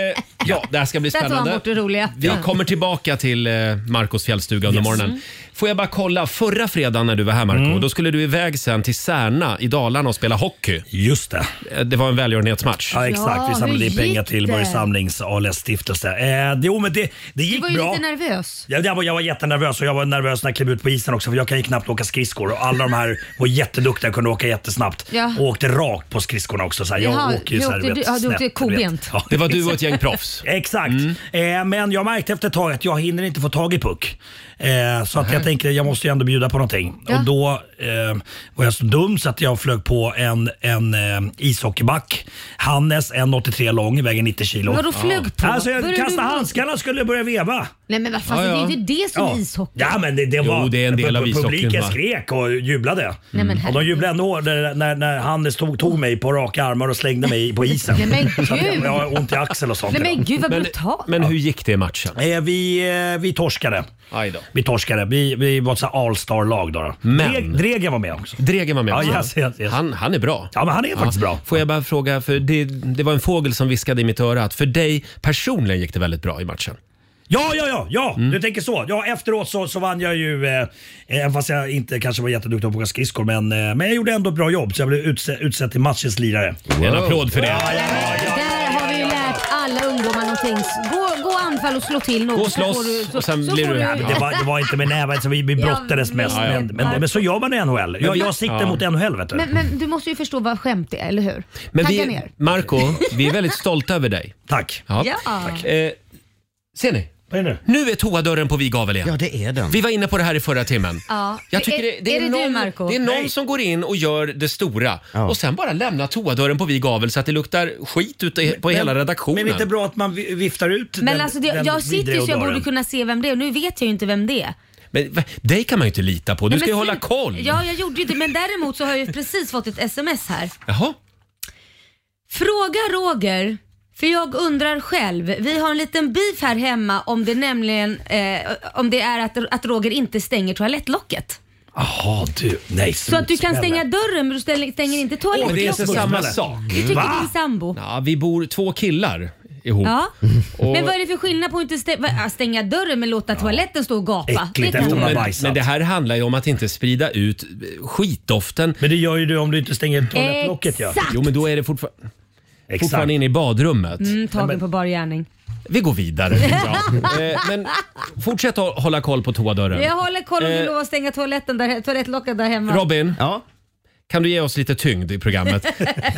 Speaker 1: ja, det här ska bli
Speaker 3: Där tar han
Speaker 1: spännande.
Speaker 3: bort det roliga.
Speaker 1: Vi
Speaker 3: Ja.
Speaker 1: kommer tillbaka till eh, Marcos fjällstuga under
Speaker 10: Mm.
Speaker 1: morgonen. Får jag bara kolla, förra fredagen när du var här Marco, då skulle du iväg sen till Särna i Dalarna och spela hockey.
Speaker 10: Just det.
Speaker 1: Eh, Det var en välgörenhetsmatch.
Speaker 10: Ja, exakt. Vi
Speaker 3: hur
Speaker 10: samlade in
Speaker 3: gick
Speaker 10: pengar till
Speaker 3: det?
Speaker 10: Börje Samlings ALS stiftelse. Eh, det, jo, men det, det
Speaker 3: Du
Speaker 10: gick
Speaker 3: var ju
Speaker 10: bra.
Speaker 3: lite nervös.
Speaker 10: Ja, jag, var, jag var jättenervös och jag var nervös när jag klev ut på isen också för jag kan ju knappt åka skridskor och alla de här var jätteduktiga och kunde åka jättesnabbt.
Speaker 3: Ja.
Speaker 10: Och åkte rakt på skridskorna också. Så här. Jag
Speaker 3: Jaha,
Speaker 10: åker ju
Speaker 3: du
Speaker 10: så här,
Speaker 3: åkte-
Speaker 10: vet,
Speaker 3: ja, du åkte
Speaker 10: snett,
Speaker 3: kobent.
Speaker 10: vet. Ja.
Speaker 1: Det var du och ett gäng proffs. Mm.
Speaker 10: Exakt. Eh, men jag märkte efter ett tag att jag hinner inte få tag i puck. Eh, så att jag tänker jag måste ju ändå bjuda på någonting.
Speaker 3: Ja.
Speaker 10: Och då eh, var jag så dum så att jag flög på en, en eh, ishockeyback. Hannes 1,83 lång, väger 90 kilo.
Speaker 3: Vadå flög på?
Speaker 10: Alltså jag
Speaker 3: Började
Speaker 10: kastade
Speaker 3: du-
Speaker 10: handskarna och skulle börja veva.
Speaker 3: Nej men vad fan,
Speaker 1: Ja, ja.
Speaker 3: det är ju inte det som är ishockey.
Speaker 10: Ja, men det, det var,
Speaker 1: det är en del av
Speaker 10: pu-
Speaker 1: ishockeyn,
Speaker 10: Publiken
Speaker 1: va?
Speaker 10: skrek och jublade.
Speaker 3: Nej, men
Speaker 10: och de
Speaker 3: herregud.
Speaker 10: jublade ännu hårdare när, när Hannes tog, tog mig på raka armar och slängde mig på isen.
Speaker 3: Nej, men
Speaker 10: Så att jag,
Speaker 3: gud.
Speaker 10: jag har ont i axeln och sånt.
Speaker 3: Nej men gud vad
Speaker 1: Men,
Speaker 3: brutalt.
Speaker 1: men hur gick det i matchen?
Speaker 10: Eh, vi, eh, vi torskade.
Speaker 1: Aj då.
Speaker 10: Vi torskade. Vi, vi var ett sånt här all-star-lag då. då.
Speaker 1: Men-
Speaker 10: Dreg- Dregen var med också.
Speaker 1: Dregen var med
Speaker 10: Ja,
Speaker 1: också.
Speaker 10: yes, yes, yes.
Speaker 1: Han, han är bra.
Speaker 10: Ja, men han är faktiskt bra.
Speaker 1: Får jag bara fråga, för det, det var en fågel som viskade i mitt öra att för dig personligen gick det väldigt bra i matchen.
Speaker 10: Ja, ja, ja, ja.
Speaker 1: Mm.
Speaker 10: du tänker så. Ja, efteråt så, så vann jag ju, eh, även fast jag inte kanske var jätteduktig på att åka skridskor, men, eh, men jag gjorde ändå ett bra jobb så jag blev utse, utsedd till matchens lirare.
Speaker 1: En applåd för det.
Speaker 3: Där har vi ju lärt alla ungdomar någonting. Gå, gå anfall och slå till någon.
Speaker 1: Gå och
Speaker 3: så får
Speaker 1: slåss
Speaker 3: du- så-
Speaker 1: och sen
Speaker 3: så
Speaker 1: blir
Speaker 3: får
Speaker 1: du- Ja,
Speaker 10: Men Det var, det var inte med näven, så vi, vi brottades
Speaker 3: Jag
Speaker 10: mest.
Speaker 3: vet.
Speaker 10: Men, men, men så gör man i NHL. Jag,
Speaker 1: vi-
Speaker 10: jag siktar
Speaker 1: Ja.
Speaker 10: mot NHL vet du.
Speaker 11: Men, men du måste ju förstå vad skämt är, eller hur?
Speaker 1: Men
Speaker 11: Tagga
Speaker 1: vi,
Speaker 11: ner.
Speaker 1: Marco, vi är väldigt stolta över dig.
Speaker 10: Tack.
Speaker 3: Ja.
Speaker 1: Eh, ser ni?
Speaker 10: Vad är det nu?
Speaker 1: Nu är toadörren på vid gavel igen.
Speaker 2: Ja, det är den.
Speaker 1: Vi var inne på det här i förra timmen.
Speaker 3: Ja.
Speaker 1: Jag tycker
Speaker 3: Är-
Speaker 1: det,
Speaker 3: är det du,
Speaker 1: någon,
Speaker 3: Marco?
Speaker 1: det är någon
Speaker 10: Nej.
Speaker 1: som går in och gör det stora
Speaker 2: Ja.
Speaker 1: och sen bara lämnar toadörren på vid gavel så att det luktar skit ute i- på hela redaktionen.
Speaker 10: Men är det inte bra att man vi- viftar ut
Speaker 3: Men
Speaker 10: den-
Speaker 3: alltså det,
Speaker 10: den
Speaker 3: jag sitter ju så jag
Speaker 10: videodörren?
Speaker 3: borde kunna se vem det är och nu vet jag ju inte vem det är.
Speaker 1: Men va- dig kan man ju inte lita på. Du
Speaker 3: Nej,
Speaker 1: ska
Speaker 3: men
Speaker 1: ju hålla
Speaker 3: slut-
Speaker 1: koll.
Speaker 3: Ja, jag gjorde ju det. Men däremot så har jag ju precis fått ett sms här.
Speaker 1: Jaha.
Speaker 3: Fråga Roger, för jag undrar själv. Vi har en liten beef här hemma om det nämligen eh, om det är att, att Roger inte stänger toalettlocket.
Speaker 10: Jaha du, nej.
Speaker 3: Så att du kan stänga dörren men du ställer- stänger inte
Speaker 1: Men det är inte
Speaker 3: toalettlocket.
Speaker 1: samma sak.
Speaker 3: Du tycker
Speaker 10: Va?
Speaker 3: din sambo.
Speaker 1: Ja, vi bor två killar ihop.
Speaker 3: Ja.
Speaker 1: Och-
Speaker 3: Men vad är det för skillnad på att inte stä- va- ja, stänga dörren men låta toaletten stå och gapa?
Speaker 10: Äckligt
Speaker 3: kan
Speaker 10: efter
Speaker 3: jag-
Speaker 10: man har
Speaker 1: Men,
Speaker 10: bajsat.
Speaker 1: men det här handlar ju om att inte sprida ut skitdoften.
Speaker 10: Men det gör ju du om du inte stänger toalettlocket. Ja.
Speaker 1: Jo, men då är det fortfar-
Speaker 10: Exakt.
Speaker 1: fortfarande inne i badrummet.
Speaker 3: Mm, tagen på bar gärning.
Speaker 1: Vi går vidare. Ja. Eh, Men fortsätt att hålla koll på toadörren.
Speaker 3: Jag håller koll om
Speaker 1: Eh.
Speaker 3: du lovar att stänga toaletten där, toalettlocket där hemma.
Speaker 1: Robin,
Speaker 2: Ja,
Speaker 1: kan du ge oss lite tyngd i programmet?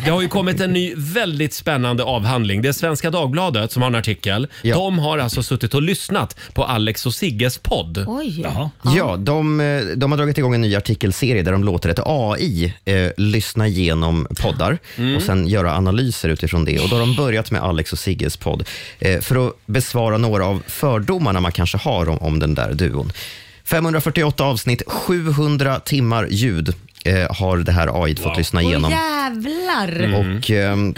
Speaker 1: Det har ju kommit en ny väldigt spännande avhandling. Det är Svenska Dagbladet som har en artikel.
Speaker 2: Ja.
Speaker 1: De har alltså suttit och lyssnat på Alex och Sigges podd.
Speaker 3: Oj.
Speaker 10: Jaha.
Speaker 2: Ja, de, eh, de har dragit igång en ny artikelserie där de låter ett AI eh, lyssna igenom poddar
Speaker 3: Mm.
Speaker 2: och sen göra analyser utifrån det. Och då har de börjat med Alex och Sigges podd eh, för att besvara några av fördomarna man kanske har om, om den där duon. 548 avsnitt, 700 timmar ljud eh, har det här AI fått lyssna
Speaker 3: Åh
Speaker 2: igenom.
Speaker 3: jävlar.
Speaker 2: Och, ehm,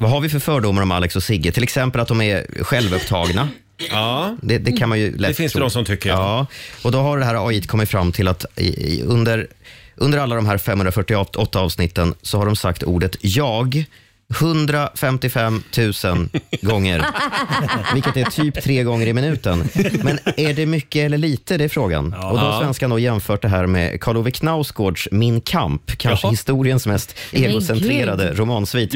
Speaker 2: vad har vi för fördomar om Alex och Sigge? Till exempel att de är självupptagna.
Speaker 1: Ja.
Speaker 2: Det, det kan man ju lätt
Speaker 1: Det finns det
Speaker 2: tro.
Speaker 1: de som tycker.
Speaker 2: Ja, och då har det här AI kommit fram till att i, i, under, under alla de här 548 avsnitten så har de sagt ordet jag 155 000 gånger, vilket är typ tre gånger i minuten. Men är det mycket eller lite? Det är frågan. Och då har svenskan då jämfört det här med Karl Ove Knausgårds Min kamp, kanske
Speaker 12: Ja.
Speaker 2: historiens mest
Speaker 12: Men gud.
Speaker 2: egocentrerade romansvit.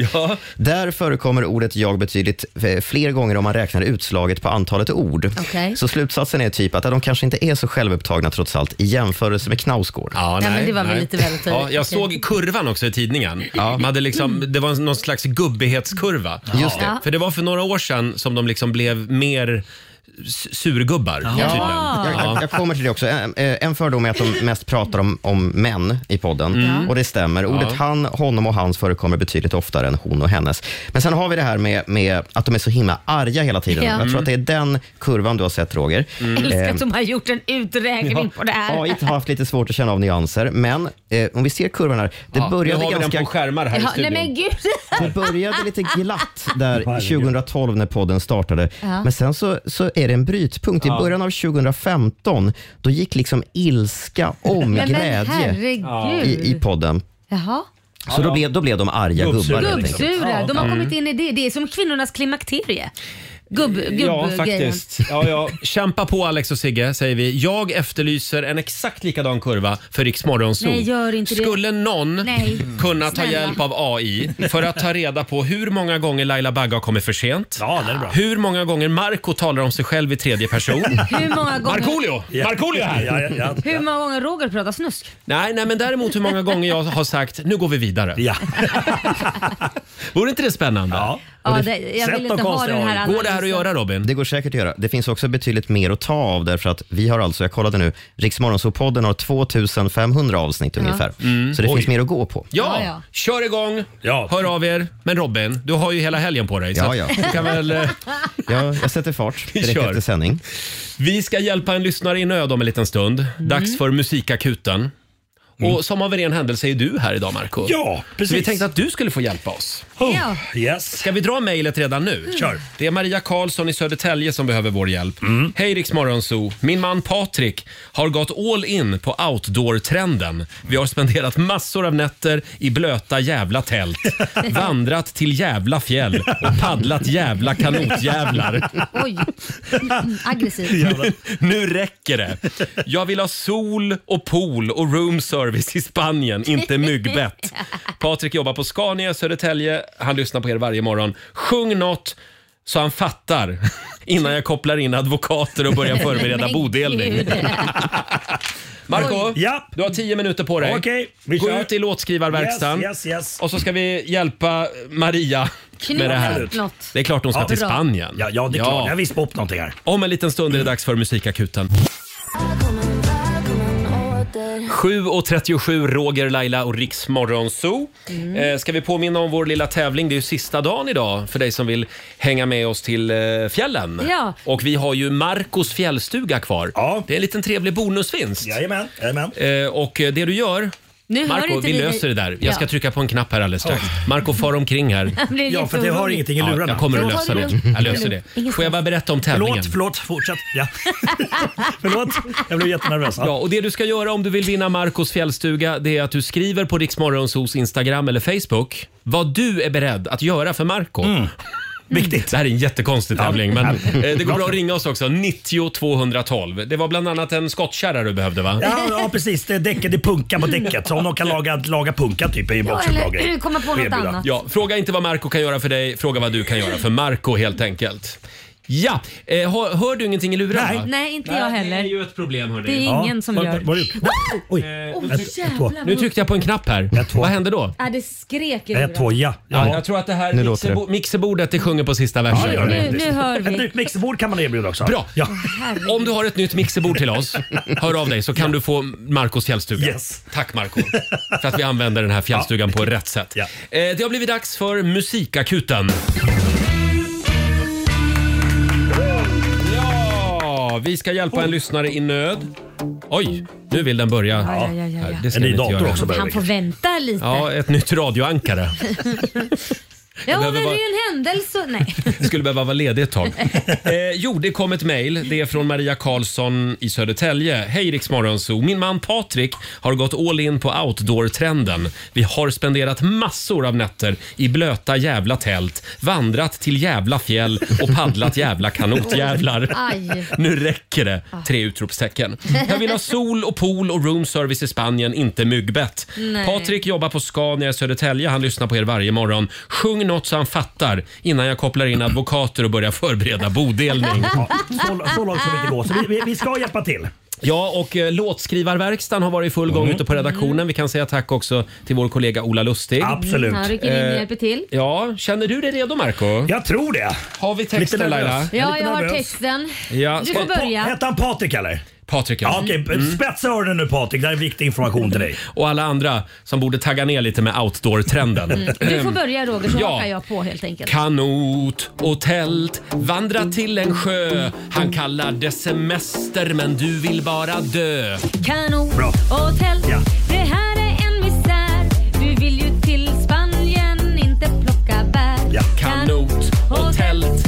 Speaker 2: Där förekommer ordet jag betydligt eh, fler gånger om man räknar utslaget på antalet ord.
Speaker 11: Okej.
Speaker 2: Så slutsatsen är typ att eh, de kanske inte är så självupptagna trots allt i jämförelse med Knausgård.
Speaker 1: Ja,
Speaker 11: Nej, men det var väl lite väl tidigt.
Speaker 1: Ja, jag
Speaker 11: Okej.
Speaker 1: såg kurvan också i tidningen. De hade liksom, det var någon slags gubbighetskurva.
Speaker 2: Just det.
Speaker 1: För det var för några år sedan som de liksom blev mer s- surgubbar. tydligen.
Speaker 2: Jag, jag, jag kommer till det också. En, eh, en fördom är att de mest pratar om, om män i podden
Speaker 12: Mm.
Speaker 2: och det stämmer. Ordet
Speaker 12: Ja.
Speaker 2: han, honom och hans förekommer betydligt oftare än hon och hennes. Men sen har vi det här med, med att de är så himla arga hela tiden.
Speaker 3: Ja. Mm.
Speaker 2: Jag tror att det är den kurvan du har sett Roger.
Speaker 3: Älskar
Speaker 2: Eh,
Speaker 3: att de har gjort en uträkning på det här.
Speaker 2: AI har haft lite svårt att känna av nyanser, men eh, om vi ser kurvan här. Det
Speaker 1: Ja, nu
Speaker 2: började
Speaker 1: har vi den
Speaker 2: ganska...
Speaker 1: på skärmar
Speaker 11: Ja, nej men gud.
Speaker 2: Det började lite glatt där 2012 när podden startade.
Speaker 11: Ja.
Speaker 2: Men sen så, så är det en brytpunkt.
Speaker 11: Ja.
Speaker 2: I början av 2015 då gick liksom ilska om
Speaker 11: Men- men
Speaker 2: glädje
Speaker 11: herregud.
Speaker 2: i, i podden.
Speaker 11: Jaha.
Speaker 2: Så då, blev, då blev de arga gubbar. helt enkelt.
Speaker 1: liksom.
Speaker 11: Gubbsura, de har
Speaker 2: Mm.
Speaker 11: kommit in i det. Det är som kvinnornas klimakterie. Gubb, gubb
Speaker 1: Ja,
Speaker 11: grejen.
Speaker 1: faktiskt. Ja, ja. Kämpa på Alex och Sigge, säger vi. Jag efterlyser en exakt likadan kurva för Rix Morgonzoo.
Speaker 11: Nej, gör inte det.
Speaker 1: Skulle någon
Speaker 11: Nej.
Speaker 1: kunna ta
Speaker 11: Snälla.
Speaker 1: hjälp av AI för att ta reda på hur många gånger Laila Bagge har kommit för sent. Hur många gånger Marco talar om sig själv i tredje person.
Speaker 11: Hur många gånger-
Speaker 1: Markoolio! Markoolio här!
Speaker 10: Ja, ja, ja.
Speaker 11: Hur många gånger Roger pratar snusk?
Speaker 1: Nej, nej, men däremot hur många gånger jag har sagt nu går vi vidare.
Speaker 10: Ja.
Speaker 1: Vore inte det spännande? Ja.
Speaker 11: Ja, det, jag vill inte ha den här
Speaker 1: Går det här att göra Robin?
Speaker 2: Det går säkert att göra. Det finns också betydligt mer att ta av därför att vi har alltså, jag kollade nu, Rix podden har 2500 avsnitt
Speaker 1: Ja.
Speaker 2: ungefär.
Speaker 1: Mm.
Speaker 2: Så det
Speaker 1: Oj.
Speaker 2: finns mer att gå på.
Speaker 1: Ja, kör igång, hör av er. Men Robin, du har ju hela helgen på dig. så
Speaker 2: Ja,
Speaker 1: att
Speaker 2: ja.
Speaker 1: Du kan väl, eh,
Speaker 2: Jag, jag sätter fart direkt
Speaker 1: kör.
Speaker 2: efter sändning.
Speaker 1: vi ska hjälpa en lyssnare i nöd om en liten stund. Dags för musikakuten. Och som av en ren händelse är du här idag Marco.
Speaker 10: Ja,
Speaker 1: Så
Speaker 10: precis.
Speaker 1: vi tänkte att du skulle få hjälpa oss.
Speaker 10: Ja.
Speaker 1: Yes. Ska vi dra mejlet redan nu?
Speaker 10: Mm. Kör.
Speaker 1: Det är Maria Karlsson i Södertälje som behöver vår hjälp. Hej Rix Morgonzoo. Min man Patrik har gått all in på outdoor-trenden. Vi har spenderat massor av nätter i blöta jävla tält, vandrat till jävla fjäll och paddlat jävla kanotjävlar.
Speaker 11: Oj, aggressiv.
Speaker 1: Nu, nu räcker det. Jag vill ha sol och pool och room service i Spanien, inte myggbett. Patrik jobbar på Scania i Södertälje. Han lyssnar på er varje morgon. Sjung något så han fattar innan jag kopplar in advokater och börjar förbereda
Speaker 12: Men
Speaker 1: bodelning.
Speaker 12: gud.
Speaker 1: Marco,
Speaker 12: Oj.
Speaker 1: du har tio minuter på dig.
Speaker 10: Okej, vi
Speaker 1: Gå
Speaker 10: kör.
Speaker 1: ut i låtskrivarverkstaden
Speaker 10: Yes, yes, yes.
Speaker 1: och så ska vi hjälpa Maria
Speaker 10: Knyta
Speaker 1: med det här.
Speaker 10: upp något.
Speaker 1: Det är klart hon ska
Speaker 10: Ja.
Speaker 1: till
Speaker 10: Bra.
Speaker 1: Spanien.
Speaker 10: Ja, ja, det är klart. Jag vispar upp någonting här.
Speaker 1: Om en liten stund är det dags för musikakuten. 7.37, Roger, Laila och Riks Morgonzoo.
Speaker 12: Mm.
Speaker 1: Eh, ska vi påminna om vår lilla tävling? Det är ju sista dagen idag för dig som vill hänga med oss till eh, fjällen.
Speaker 10: Ja.
Speaker 1: Och vi har ju Marcos fjällstuga kvar. Det är en liten trevlig bonusvinst.
Speaker 10: Jajamän, jajamän.
Speaker 1: Eh, och eh, det du gör
Speaker 10: Nu hör
Speaker 1: Marco,
Speaker 10: inte
Speaker 1: vi
Speaker 10: vi dig.
Speaker 1: löser det där. Jag
Speaker 10: Ja.
Speaker 1: ska trycka på en knapp här alldeles strax. Marco far omkring här.
Speaker 10: Jag blir Ja, lite för att jag har orolig. ingenting i
Speaker 1: Ja,
Speaker 10: lurarna.
Speaker 1: jag kommer att
Speaker 10: Då tar
Speaker 1: lösa
Speaker 10: du
Speaker 1: det.
Speaker 10: lugnt.
Speaker 1: Jag löser det.
Speaker 10: Ingen
Speaker 1: Får jag bara berätta om tävlingen?
Speaker 10: Förlåt, förlåt, fortsätt. Ja. förlåt, jag blev jättenervös.
Speaker 1: Ja, och det du ska göra om du vill vinna Marcos fjällstuga det är att du skriver på Riksmorgonsos Instagram eller Facebook vad du är beredd att göra för Marco.
Speaker 10: Mm.
Speaker 1: Viktigt. Det här är en jättekonstig tävling, men eh, det går bra att ringa oss också. 90 212. Det var bland annat en skottkärra du behövde, va?
Speaker 10: Ja, ja precis, det är däcket, det är punkan på däcket. Så om de kan laga, laga punka typ är ju också en bra grej. Och erbjuda.
Speaker 1: Ja, fråga inte vad Marco kan göra för dig, fråga vad du kan göra för Marco helt enkelt. Ja, eh, hör, hör du ingenting i lurarna?
Speaker 11: Nej, inte jag
Speaker 1: Det är
Speaker 11: heller.
Speaker 1: ju ett problem hörni.
Speaker 11: Det är ingen som gör.
Speaker 10: Oj,
Speaker 11: Åh, jävlar.
Speaker 1: Nu tryckte jag på en knapp här. Vad hände då?
Speaker 11: Ja, det skrek i luren.
Speaker 1: Ja, jag tror att det här
Speaker 10: Nu låter
Speaker 1: mixerbo- mixerbordet det sjunger på sista versen.
Speaker 10: Ja, det gör det.
Speaker 11: Nu- nu hör vi.
Speaker 10: Ett nytt mixerbord kan man erbjuda också.
Speaker 1: Bra.
Speaker 10: Ja.
Speaker 1: Om du har ett nytt mixerbord till oss, hör av dig så kan du få Marcos fjällstuga. Tack Marco för att vi använder den här fjällstugan på rätt sätt. Eh, Det har blivit dags för Musikakuten. Ja, vi ska hjälpa en lyssnare i nöd. Oj, nu vill den börja.
Speaker 11: Oh. Ja, ja, ja, ja, ja.
Speaker 1: Det ska
Speaker 11: En ny
Speaker 1: ni inte
Speaker 11: dator
Speaker 1: göra.
Speaker 11: Han får vänta lite.
Speaker 1: Ja, ett nytt radioankare.
Speaker 11: Ja, men
Speaker 1: behöver
Speaker 11: det
Speaker 1: vara-
Speaker 11: är ju en händelse. Nej.
Speaker 1: skulle behöva vara ledig ett tag. Eh, jo, det kom ett mejl. Det är från Maria Karlsson i Södertälje. Hej Rix Morgonzoo. Min man Patrik har gått all in på outdoor-trenden. Vi har spenderat massor av nätter i blöta jävla tält, vandrat till jävla fjäll och paddlat jävla kanotjävlar.
Speaker 11: Aj.
Speaker 1: Nu räcker det! Tre utropstecken. Jag vill ha sol och pool och room service i Spanien, inte myggbett.
Speaker 11: Nej.
Speaker 1: Patrik jobbar på Scania i Södertälje. Han lyssnar på er varje morgon. Sjung något så han fattar innan jag kopplar in advokater och börjar förbereda bodelning.
Speaker 10: Ja, så, så långt som vi inte går. Så vi, vi, vi ska hjälpa till.
Speaker 1: Ja, och eh, låtskrivarverkstan har varit i full gång
Speaker 10: Mm.
Speaker 1: ute på redaktionen. Vi kan säga tack också till vår kollega Ola Lustig. Eh,
Speaker 10: Absolut.
Speaker 11: Han rycker in och Mm, hjälper till.
Speaker 1: Ja, känner du dig redo Marco?
Speaker 10: Jag tror det.
Speaker 1: Har vi texten Laila?
Speaker 11: Ja, jag har texten.
Speaker 1: Ja,
Speaker 11: Du
Speaker 1: ska-
Speaker 11: får börja.
Speaker 10: Hette han Patrik eller?
Speaker 1: Patrik Mm.
Speaker 10: Ja, okej, spetsa öronen nu Patrik. Det här är viktig information till dig.
Speaker 1: Och alla andra som borde tagga ner lite med outdoor-trenden.
Speaker 11: Mm. Du får börja Roger så
Speaker 1: Ehm, Ja.
Speaker 11: hakar jag på helt enkelt.
Speaker 1: Kanot och tält, vandra till en sjö. Han kallar det semester men du vill bara dö.
Speaker 11: Kanot
Speaker 1: Bra.
Speaker 11: och tält.
Speaker 1: Ja.
Speaker 11: Det här är en misär. Du vill ju till Spanien, inte plocka bär.
Speaker 1: Ja. Kanot och tält,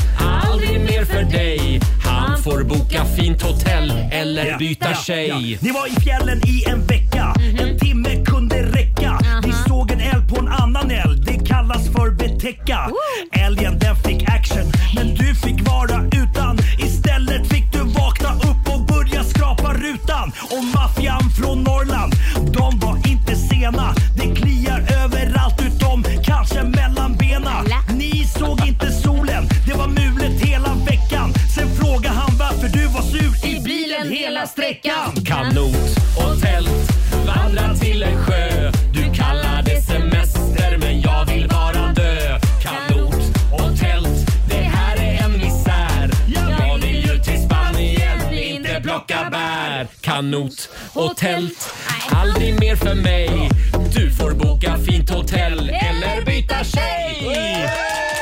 Speaker 1: aldrig mer för dig. Han får boka fint hotell eller
Speaker 10: Ja,
Speaker 1: byta
Speaker 10: ja,
Speaker 1: tjej. Mhm.
Speaker 10: ja. Ni var i fjällen i en vecka. En timme kunde räcka. Ni såg en älg på en annan älg. Det kallas för betäcka. Älgen den fick action, men du fick vara utan. Istället fick du vakna upp och börja skrapa rutan. Och maffian från Norrland, de var inte sena. Det kliar överallt utom kanske mellan bena. Ni såg inte solen, det var mulet hela veckan. Sen frågade han varför du var sur i bilen hela sträckan.
Speaker 1: Kanot och tält, vandra till en sjö. Du kallar det semester men jag vill bara dö. Kanot och tält, det här är en misär. Jag vill ju till Spanien, inte plocka bär. Kanot och tält, aldrig mer för mig. Du får boka fint hotell eller byta tjej.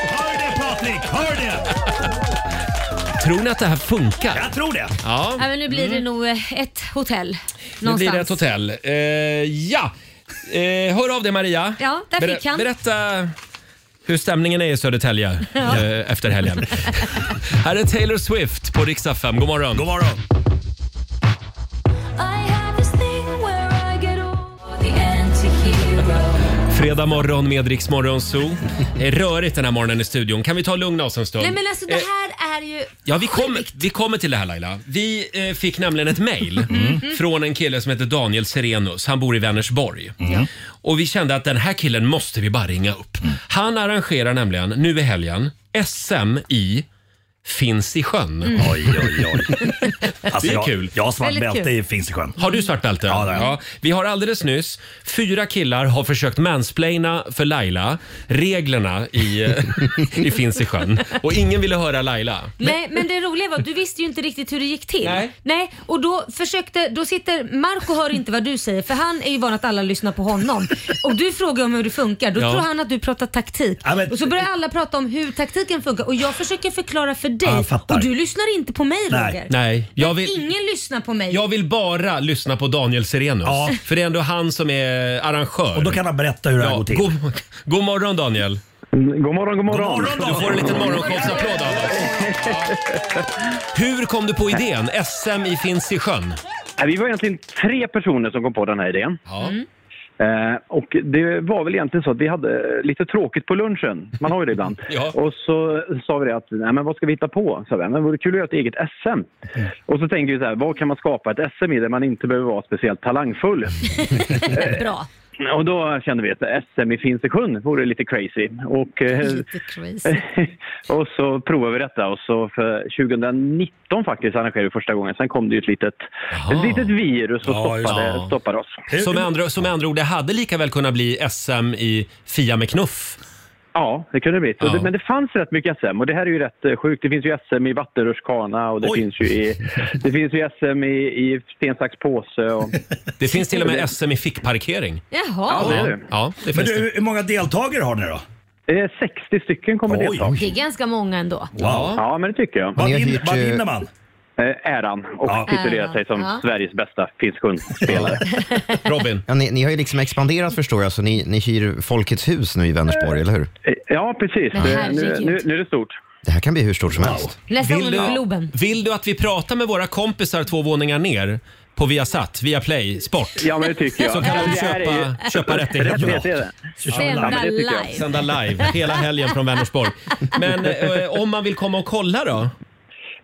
Speaker 10: Hör det Patrik, hör det!
Speaker 1: Tror ni att det här funkar?
Speaker 10: Jag tror det.
Speaker 1: Ja.
Speaker 11: Ja, men nu blir det nog eh, ett hotell.
Speaker 1: Mm. Nu blir
Speaker 11: Någonstans.
Speaker 1: det ett hotell. Eh, ja, eh, hör av dig Maria.
Speaker 11: Ja, där
Speaker 1: Ber-
Speaker 11: fick han.
Speaker 1: Berätta hur stämningen är i Södertälje eh, efter helgen. Här är Taylor Swift på riksdag 5. God morgon. God
Speaker 10: morgon.
Speaker 1: Fredag morgon med Rix Morgon Zoo. Det är rörigt den här morgonen i studion. Kan vi ta och lugna oss en stund?
Speaker 11: Nej men alltså det
Speaker 1: Eh,
Speaker 11: här är ju...
Speaker 1: Ja, vi kommer, vi kommer till det här Laila. Vi eh, fick nämligen ett mejl
Speaker 10: Mm.
Speaker 1: från en kille som heter Daniel Serenius. Han bor i Vänersborg.
Speaker 10: Mm.
Speaker 1: Och vi kände att den här killen måste vi bara ringa upp. Han arrangerar nämligen nu i helgen SM i Finns i sjön.
Speaker 10: Mm. Oj, oj, oj. Alltså,
Speaker 1: det är
Speaker 10: jag-
Speaker 1: kul.
Speaker 10: jag har svart Väldigt bälte kul. i Finns i sjön.
Speaker 1: Har du svart bälte?
Speaker 10: Ja, det har jag.
Speaker 1: Vi har alldeles nyss, fyra killar har försökt mansplaina för Laila reglerna i, i Finns i sjön. Och ingen ville höra Laila.
Speaker 11: Nej, men det roliga var att du visste ju inte riktigt hur det gick till. Nej. och då försökte, då sitter, Marco hör inte vad du säger för han är ju van att alla lyssnar på honom. Och du frågar om hur det funkar, då
Speaker 10: Ja.
Speaker 11: tror han att du pratar taktik.
Speaker 10: Ja, men-
Speaker 11: och så börjar alla prata om hur taktiken funkar och jag försöker förklara för
Speaker 1: Ja,
Speaker 11: dig
Speaker 1: jag fattar.
Speaker 11: och du lyssnar inte på mig Roger.
Speaker 1: Nej. Jag vill,
Speaker 11: Ingen lyssnar på mig.
Speaker 1: Jag vill bara lyssna på Daniel Serenius. För det är ändå han som är arrangör. Och då
Speaker 10: kan han berätta hur det här går till.
Speaker 1: God, god morgon Daniel.
Speaker 5: Mm, God morgon, god morgon.
Speaker 1: Du får en liten morgonshowsapplåd av oss. Hur kom du på idén? SM i Finns i sjön?
Speaker 5: Nej, Vi var egentligen tre personer som kom på den här idén.
Speaker 1: Mm.
Speaker 5: Eh, och det var väl egentligen så att vi hade eh, lite tråkigt på lunchen. Man har ju det ibland. Och så sa vi det att, nej men vad ska vi hitta på? Så vi, men det vore kul att göra ett eget SM. Och så tänker vi så här, vad kan man skapa ett SM i där man inte behöver vara speciellt talangfull?
Speaker 11: Bra.
Speaker 5: Och då kände vi att SM i Finns i sjön vore lite crazy. Och, eh,
Speaker 11: Lite crazy.
Speaker 5: och så provade vi detta och så för 2019 faktiskt arrangerade vi första gången. Sen kom det ju ett litet, ett litet virus och
Speaker 1: Ja, just
Speaker 5: stoppade,
Speaker 1: det.
Speaker 5: stoppade oss.
Speaker 1: Så med, andra, så med andra ord, det hade lika väl kunnat bli SM i Fia med knuff.
Speaker 5: Ja, det kunde det bli. Så
Speaker 1: Ja.
Speaker 5: det, men det fanns rätt mycket SM och det här är ju rätt eh, sjukt. Det finns ju SM i vattenrutschkana och det finns ju, i, det finns ju SM i, i sten, sax, påse. Och...
Speaker 1: Det finns till och med SM i fickparkering.
Speaker 11: Jaha.
Speaker 5: Ja, det är det.
Speaker 1: Ja, det
Speaker 10: Men
Speaker 1: finns
Speaker 10: du, hur många deltagare har ni då?
Speaker 5: det. Eh, 60 stycken kommer delta.
Speaker 11: Det är ganska många ändå.
Speaker 5: Ja, men det tycker jag.
Speaker 10: Vad, vin, vad vinner man?
Speaker 5: eh, äran och
Speaker 2: Ja.
Speaker 5: titulerat sig som
Speaker 2: Ja.
Speaker 5: Sveriges bästa finskundspelare.
Speaker 1: Robin?
Speaker 2: Ja, ni, ni har ju liksom expanderat förstår jag, så ni, ni hyr Folkets hus nu i Vänersborg, eller hur?
Speaker 5: Eh, Ja, precis.
Speaker 2: Men
Speaker 5: Eh, Nu,
Speaker 2: herregud.
Speaker 5: nu, nu är det stort.
Speaker 2: Det här kan bli hur stort som helst.
Speaker 11: Nästa gång med Globen.
Speaker 1: vill du att vi pratar med våra kompisar två våningar ner på Viasat, via Play, Sport?
Speaker 5: Ja, men det tycker jag.
Speaker 1: Så kan
Speaker 5: Ja,
Speaker 1: de
Speaker 5: det här är
Speaker 1: köpa,
Speaker 5: ju-
Speaker 1: köpa rättigheter.
Speaker 5: Rättigheter är det. Sända Ja, men det tycker jag. live.
Speaker 1: Sända live hela helgen från Vänersborg. Men eh, om man vill komma och kolla då?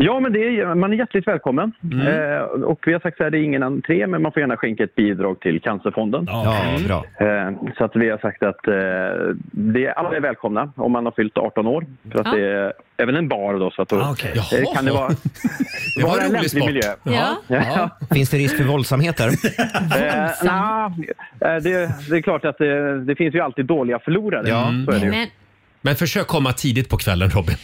Speaker 5: Ja, men det är, man är hjärtligt välkommen.
Speaker 2: Mm.
Speaker 5: Eh, och vi har sagt så här, det är ingen entré, men man får gärna skänka ett bidrag till Cancerfonden.
Speaker 2: Ja, mm. bra.
Speaker 5: Eh, så att vi har sagt att eh, det är, alla är välkomna om man har fyllt 18 år. För att
Speaker 11: Ja.
Speaker 5: det är även en bar då, så att då
Speaker 2: Ah, okej.
Speaker 5: eh,
Speaker 2: Jaha.
Speaker 5: kan det vara,
Speaker 2: Det var
Speaker 5: vara
Speaker 2: rolig
Speaker 5: en lämplig
Speaker 2: sport.
Speaker 5: miljö.
Speaker 11: Ja.
Speaker 2: Ja. Finns det risk för våldsamheter?
Speaker 5: Eh, nja, eh, det, det är klart att det, det finns ju alltid dåliga förlorare. Så är det ju.
Speaker 11: Men,
Speaker 1: Men försök komma tidigt på kvällen Robin.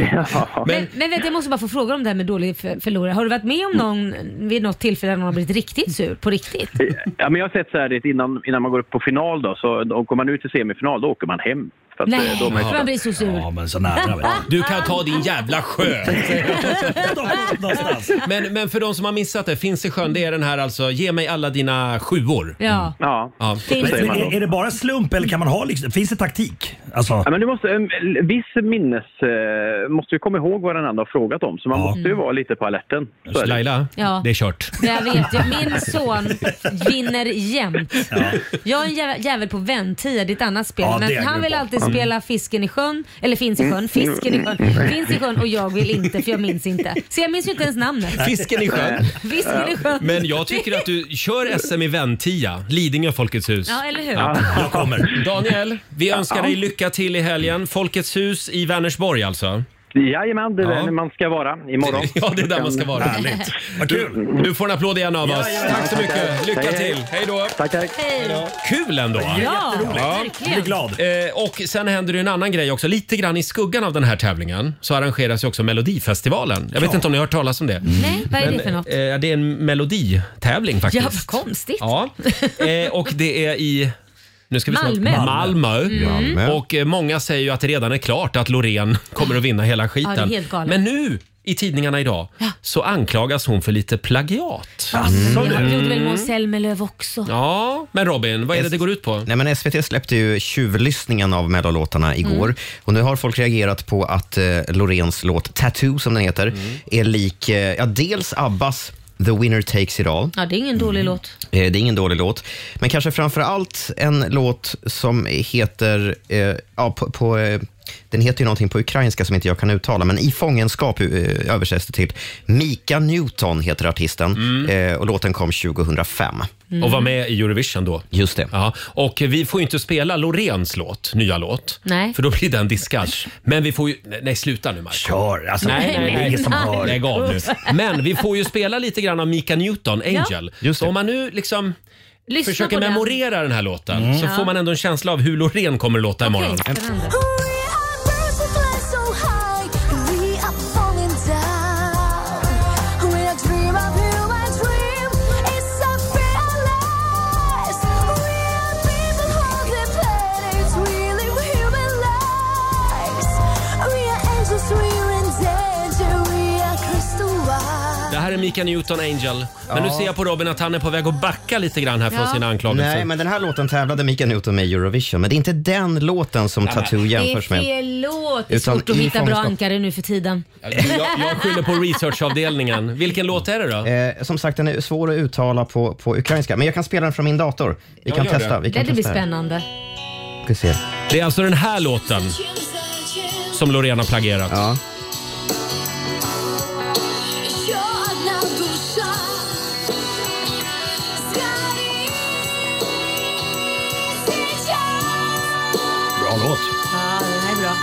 Speaker 11: men, men vet, du, jag måste bara få fråga om det här med dålig för- förlorare. Har du varit med
Speaker 1: Mm.
Speaker 11: om någon vid något tillfälle där någon har blivit riktigt sur på riktigt?
Speaker 2: Mm.
Speaker 5: Ja, men jag har sett så här, det innan, innan man går upp på final då, så då går man ut i semifinal, då åker man hem. För att,
Speaker 11: Nej,
Speaker 5: eh,
Speaker 11: då
Speaker 5: då är man ju-
Speaker 11: man blir så sur. Ja,
Speaker 5: men så nära, vet
Speaker 1: Du kan ta din jävla sjö. men, men för de som har missat det, Finns i sjön, det är den här alltså, ge mig alla dina sjuor.
Speaker 11: Ja.
Speaker 5: Ja.
Speaker 1: ja.
Speaker 10: Men, men, är, är det bara slump eller kan man ha liksom, finns det taktik? Alltså,
Speaker 5: Ja, men du måste, en viss minnes... eh, Måste ju komma ihåg vad den andra har frågat om, så man måste ju vara lite på alerten. Så är det.
Speaker 1: Laila,
Speaker 11: Ja.
Speaker 1: det är kört.
Speaker 11: Jag vet ju, min son vinner jämt. Jag är en jä- jävel på väntia, det är ett annat spel.
Speaker 7: Ja, det är
Speaker 11: men
Speaker 7: jag
Speaker 11: han vill
Speaker 7: på.
Speaker 11: alltid
Speaker 7: Mm.
Speaker 11: spela fisken i sjön, eller finns i
Speaker 1: Mm.
Speaker 11: sjön, fisken i sjön, finns i sjön och jag vill inte för jag minns inte. Så jag minns ju inte ens namnet.
Speaker 1: Fisken i sjön.
Speaker 11: Fisken i sjön.
Speaker 1: Men jag tycker att du kör SM i Ventia, Lidingö Folkets hus.
Speaker 11: Ja, eller hur?
Speaker 1: Jag kommer. Daniel, vi önskar
Speaker 5: Ja.
Speaker 1: dig lycka till i helgen. Folkets hus i Vänersborg alltså.
Speaker 5: Jajamän, det är
Speaker 1: Ja.
Speaker 5: där man ska vara imorgon.
Speaker 1: Ja, det är där man ska vara.
Speaker 5: Härligt.
Speaker 1: Vad kul. Du får en applåd igen av oss.
Speaker 5: Jajamän.
Speaker 1: Tack så mycket.
Speaker 5: Tack.
Speaker 1: Lycka
Speaker 5: Hej, hej.
Speaker 1: till. Hej då.
Speaker 5: Tack, tack.
Speaker 11: Hej då.
Speaker 1: Kul ändå.
Speaker 11: Ja, jätteroligt. verkligen. Jag blir glad.
Speaker 1: Eh, och sen händer det ju en annan grej också. Lite grann i skuggan av den här tävlingen så arrangeras ju också Melodifestivalen. Jag vet inte om ni har hört talas om det?
Speaker 11: Nej, vad är det för något?
Speaker 1: Eh, det är en meloditävling
Speaker 11: Ja,
Speaker 1: faktiskt.
Speaker 11: vad konstigt.
Speaker 1: Ja, eh, och det är i nu ska vi se-
Speaker 11: Malmö.
Speaker 1: Malmö.
Speaker 11: Mm. Malmö.
Speaker 1: Och eh, många säger ju att det redan är klart att Loreen kommer att vinna hela skiten.
Speaker 11: Ja, det är helt galet.
Speaker 1: Men nu i tidningarna idag så anklagas hon för lite plagiat.
Speaker 11: Ja, det gjorde väl
Speaker 1: Mm.
Speaker 11: Måns Zelmerlöw också.
Speaker 1: Ja, men Robin, vad är det det går ut på?
Speaker 2: Nej, men SVT släppte ju tjuvlyssningen av mellolåtarna igår och nu har folk reagerat på att eh, Loreens låt Tattoo, som den heter, är lik eh, ja, dels Abbas The Winner Takes It All.
Speaker 11: Ja, det är ingen dålig
Speaker 1: Mm.
Speaker 11: låt.
Speaker 2: Eh, Det är ingen dålig låt, men kanske framför allt en låt som heter, eh, ja, på, på, eh, den heter ju någonting på ukrainska som inte jag kan uttala, men i fångenskap eh, översätts det till. Mika Newton heter artisten eh, och låten kom 2005.
Speaker 1: Mm. Och var med i Eurovision då.
Speaker 2: Just det.
Speaker 1: Ja, och vi får ju inte spela Loreens låt, nya låt.
Speaker 11: Nej.
Speaker 1: För då blir den diskad. Men vi får ju... Nej, nej sluta nu Marco.
Speaker 10: Kör, alltså, det är ingen som hör.
Speaker 1: Lägg av nu. Men vi får ju spela lite grann av Mika Newton, Angel. Så om man nu liksom
Speaker 11: Lyssna
Speaker 1: försöker
Speaker 11: på den.
Speaker 1: memorera den. här låten
Speaker 11: Mm.
Speaker 1: så
Speaker 11: Ja.
Speaker 1: får man ändå en känsla av hur Loreen kommer att låta imorgon.
Speaker 11: Okej, spännande.
Speaker 1: Det här är Mika Newton, Angel. Men
Speaker 2: Ja.
Speaker 1: nu ser jag på Robin att han är på väg att backa lite grann här från
Speaker 2: Ja.
Speaker 1: sina anklagelser.
Speaker 2: Nej, men den här låten tävlade Mika Newton med i Eurovision, men det är inte den låten som Tattoo
Speaker 11: Det är
Speaker 2: jämförs med.
Speaker 11: fel låt. Det är
Speaker 2: Utan
Speaker 11: svårt att
Speaker 2: i
Speaker 11: hitta bra
Speaker 2: fångenskap.
Speaker 11: ankare nu för tiden.
Speaker 1: Jag, jag skyller på researchavdelningen. Vilken låt är det då?
Speaker 2: Eh, som sagt, den är svår att uttala på, på ukrainska, men jag kan spela den från min dator. Vi
Speaker 1: Ja,
Speaker 2: kan
Speaker 1: gör
Speaker 2: testa.
Speaker 1: det.
Speaker 2: Vi kan
Speaker 11: det blir
Speaker 2: testa här.
Speaker 11: spännande.
Speaker 2: Ska se.
Speaker 1: Det är alltså den här låten som Loreen har plagierat.
Speaker 10: Bra låt.
Speaker 11: Ja, den här är bra.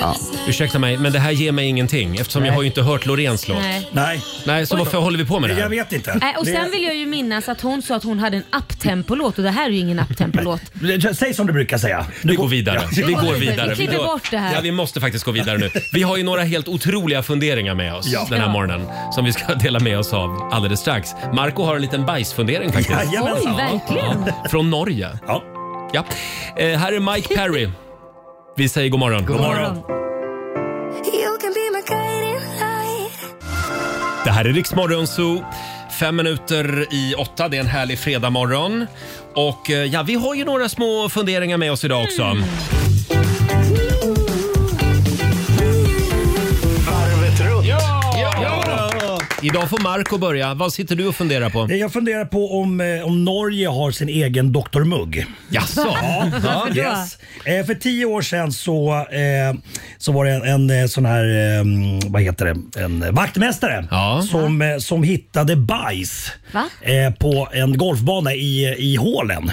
Speaker 1: Ja. Ursäkta mig, men det här ger mig ingenting eftersom jag har ju inte hört Loreens låt.
Speaker 11: Nej.
Speaker 10: Nej.
Speaker 1: Nej, så
Speaker 10: Oj då.
Speaker 1: varför håller vi på med det här?
Speaker 10: Jag vet inte.
Speaker 3: Äh,
Speaker 11: Nej, och sen vill jag ju minnas att hon sa att hon hade en uptempo-låt och det här är ju ingen uptempo-låt.
Speaker 10: Säg som du brukar säga.
Speaker 1: Vi går vidare.
Speaker 10: Ja.
Speaker 1: Vi går vidare.
Speaker 11: Vi klipper
Speaker 1: går-
Speaker 11: bort det här.
Speaker 1: Ja, vi måste faktiskt gå vidare nu. Vi har ju några helt otroliga funderingar med oss
Speaker 10: Ja.
Speaker 1: den här
Speaker 10: Ja.
Speaker 1: morgonen som vi ska dela med oss av alldeles strax. Marco har en liten bajsfundering faktiskt.
Speaker 10: Jajamensan. Oj,
Speaker 11: verkligen.
Speaker 1: Ja, Från Norge.
Speaker 10: Ja.
Speaker 1: ja. Eh, här är Mike Perry. Vi säger god morgon.
Speaker 10: God morgon.
Speaker 1: Det här är Riksmorgon Zoo. Fem minuter i åtta, det är en härlig fredagmorgon. Och eh, ja, vi har ju några små funderingar med oss idag också.
Speaker 10: Mm.
Speaker 8: Varvet runt.
Speaker 1: Idag får Marco börja. Vad sitter du och funderar på?
Speaker 10: Eh, Jag funderar på om, eh, om Norge har sin egen Dr. Mugg.
Speaker 1: Jaså?
Speaker 10: Ja,
Speaker 1: Varför då?
Speaker 10: yes. Eh, För tio år sedan så, eh, så var det en, en eh, sån här, eh, vad heter det, en eh, vaktmästare som, eh, som hittade bajs
Speaker 3: Va?
Speaker 10: eh, på en golfbana i, i hålen.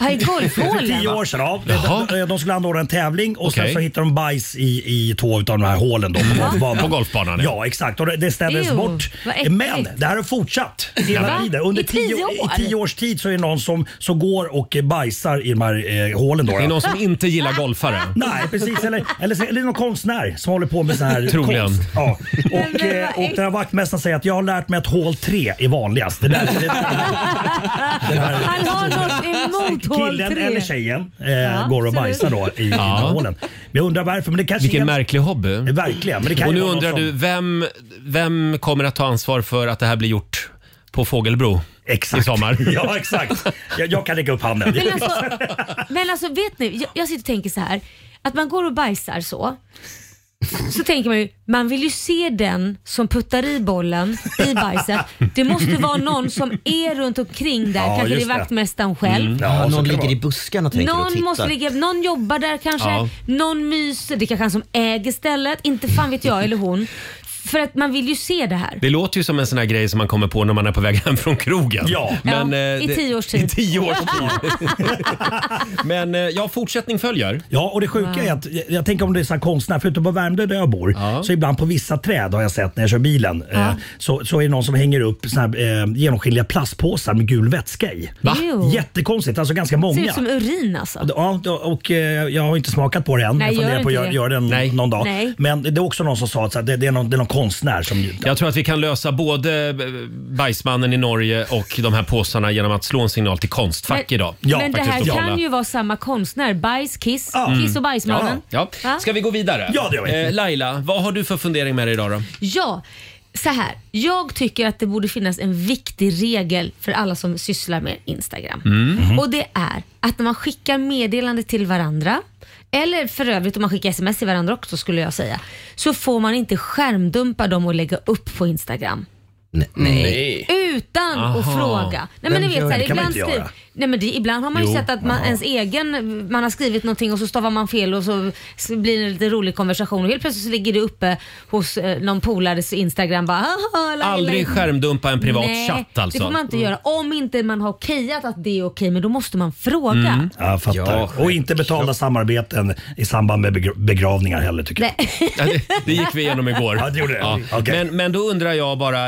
Speaker 3: Här i
Speaker 10: För
Speaker 3: golfhålen?
Speaker 10: tio år sedan. Ja. De, de skulle anordna en tävling och
Speaker 1: Okej.
Speaker 10: sen så hittade de bajs i, i två av de här hålen då, på golfbanan.
Speaker 1: På golfbanan,
Speaker 10: ja.
Speaker 1: ja.
Speaker 10: exakt. Och det, det ställdes
Speaker 3: Ew,
Speaker 10: bort.
Speaker 3: vad äckligt.
Speaker 10: Men det här har fortsatt hela
Speaker 3: Va?
Speaker 10: tiden. Under
Speaker 3: I tio år?
Speaker 10: I tio års tid så är det någon som så går och eh, bajsar i de här eh, hålen. Då,
Speaker 1: Det är någon som inte gillar golfare.
Speaker 10: Nej, precis. Eller, eller, så- eller någon konstnär som håller på med sån här
Speaker 1: Troligen.
Speaker 10: konst. Ja. Och, eh, och den här vaktmästaren säger att jag har lärt mig att hål 3 är vanligast. Det där, det,
Speaker 3: Ah, Han har något emot hål
Speaker 10: killen eller
Speaker 3: 3.
Speaker 10: tjejen eh,
Speaker 3: Ja,
Speaker 10: går och
Speaker 3: absolut.
Speaker 10: bajsar då i, i de här
Speaker 1: Ja.
Speaker 10: hålen. Men jag undrar varför. Men det kanske
Speaker 1: Vilken
Speaker 10: är-
Speaker 1: märklig hobby.
Speaker 10: Verkligen. Men det kan
Speaker 1: Och
Speaker 10: ju
Speaker 1: nu
Speaker 10: vara någon
Speaker 1: undrar
Speaker 10: som-
Speaker 1: du, vem, vem kommer att ta ansvar för att det här blir gjort på Fågelbro
Speaker 10: exakt.
Speaker 1: i sommar?
Speaker 10: Ja, exakt. Jag, jag kan lägga upp handen.
Speaker 3: Men alltså, men alltså vet ni, jag, jag sitter och tänker så här. Att man går och bajsar så. Så tänker man ju, man vill ju se den som puttar i bollen i bajset. Det måste vara någon som är runt omkring där.
Speaker 2: Ja,
Speaker 3: kanske det är
Speaker 2: just det. Mm.
Speaker 3: vaktmästaren själv.
Speaker 1: Mm.
Speaker 2: Ja, någon ligger i buskarna tänker du, och
Speaker 3: Någon,
Speaker 2: tittar.
Speaker 3: måste ligga, någon jobbar där kanske,
Speaker 2: Ja.
Speaker 3: någon myser. Det är kanske han som äger stället. Inte fan vet jag eller hon. För att man vill ju se det här.
Speaker 1: Det låter ju som en sån här grej som man kommer på när man är på väg hem från krogen.
Speaker 10: Ja.
Speaker 1: Men,
Speaker 3: ja,
Speaker 1: eh,
Speaker 3: I
Speaker 1: det-
Speaker 3: tio års tid.
Speaker 1: I tio års tid. Men eh, ja, fortsättning följer.
Speaker 10: Ja, och det sjuka är att jag, jag tänker om det är så här konstnär, förutom på Värmdö där jag bor, så ibland på vissa träd har jag sett när jag kör bilen, eh, så, så är det någon som hänger upp såna här, eh, genomskinliga plastpåsar med gul vätska i.
Speaker 3: Va? Ew.
Speaker 10: Jättekonstigt, alltså ganska
Speaker 3: Ser
Speaker 10: många.
Speaker 3: ut som urin alltså.
Speaker 10: Ja, och, och eh, jag har inte smakat på det än.
Speaker 3: Nej,
Speaker 10: jag
Speaker 3: gör
Speaker 10: på att
Speaker 3: inte
Speaker 10: göra
Speaker 3: det.
Speaker 10: gör den någon dag.
Speaker 3: Nej.
Speaker 10: Men det är också någon som sa att så här, det, det, är någon, det är någon konstnär som...
Speaker 1: Jag tror att vi kan lösa både eh, bajsmannen i Norge och de här påsarna genom att slå en signal till Konstfack
Speaker 3: Men-
Speaker 1: idag.
Speaker 3: men det här
Speaker 1: Faktiskt,
Speaker 3: kan
Speaker 1: lokala.
Speaker 3: ju vara samma konstnär. Bajs, kiss. Kiss och bajsmannen.
Speaker 1: Mm. Ja. Ja.
Speaker 3: Va?
Speaker 1: Ska vi gå vidare?
Speaker 10: Ja, det gör vi.
Speaker 1: Eh, Laila, vad har du för fundering med dig idag då?
Speaker 3: Ja, så här. Jag tycker att det borde finnas en viktig regel för alla som sysslar med Instagram.
Speaker 11: Mm.
Speaker 2: Mm-hmm.
Speaker 11: Mhm.
Speaker 3: Och det är att när man skickar meddelande till varandra, eller för övrigt om man skickar sms till varandra också skulle jag säga, så får man inte skärmdumpa dem och lägga upp på Instagram.
Speaker 2: Nej.
Speaker 3: Utan att
Speaker 2: Aha.
Speaker 3: fråga. Nej, men
Speaker 2: Men
Speaker 3: ni vet,
Speaker 2: gör-
Speaker 3: så här,
Speaker 2: det kan man
Speaker 3: ibland,
Speaker 2: inte
Speaker 3: skriv,
Speaker 2: göra.
Speaker 3: nej, men det, ibland har man ju
Speaker 2: Jo.
Speaker 3: sett att man,
Speaker 2: Ja.
Speaker 3: ens egen, man har skrivit någonting och så stavar man fel och så s- blir det lite rolig konversation och helt plötsligt så ligger det uppe hos eh, någon polares Instagram. Bara, "Haha, Laila."
Speaker 1: Aldrig skärmdumpa en privat
Speaker 3: nej,
Speaker 1: chatt alltså.
Speaker 3: det får man inte göra. Om inte man har okejat att det är okej, men då måste man fråga.
Speaker 1: Mm.
Speaker 10: Ja, jag fattar. och inte betala samarbeten i samband med begra- begravningar heller tycker jag.
Speaker 3: Nej.
Speaker 1: Ja, det, det gick vi igenom igår.
Speaker 10: Ja, det gjorde det.
Speaker 1: men, men då undrar jag bara,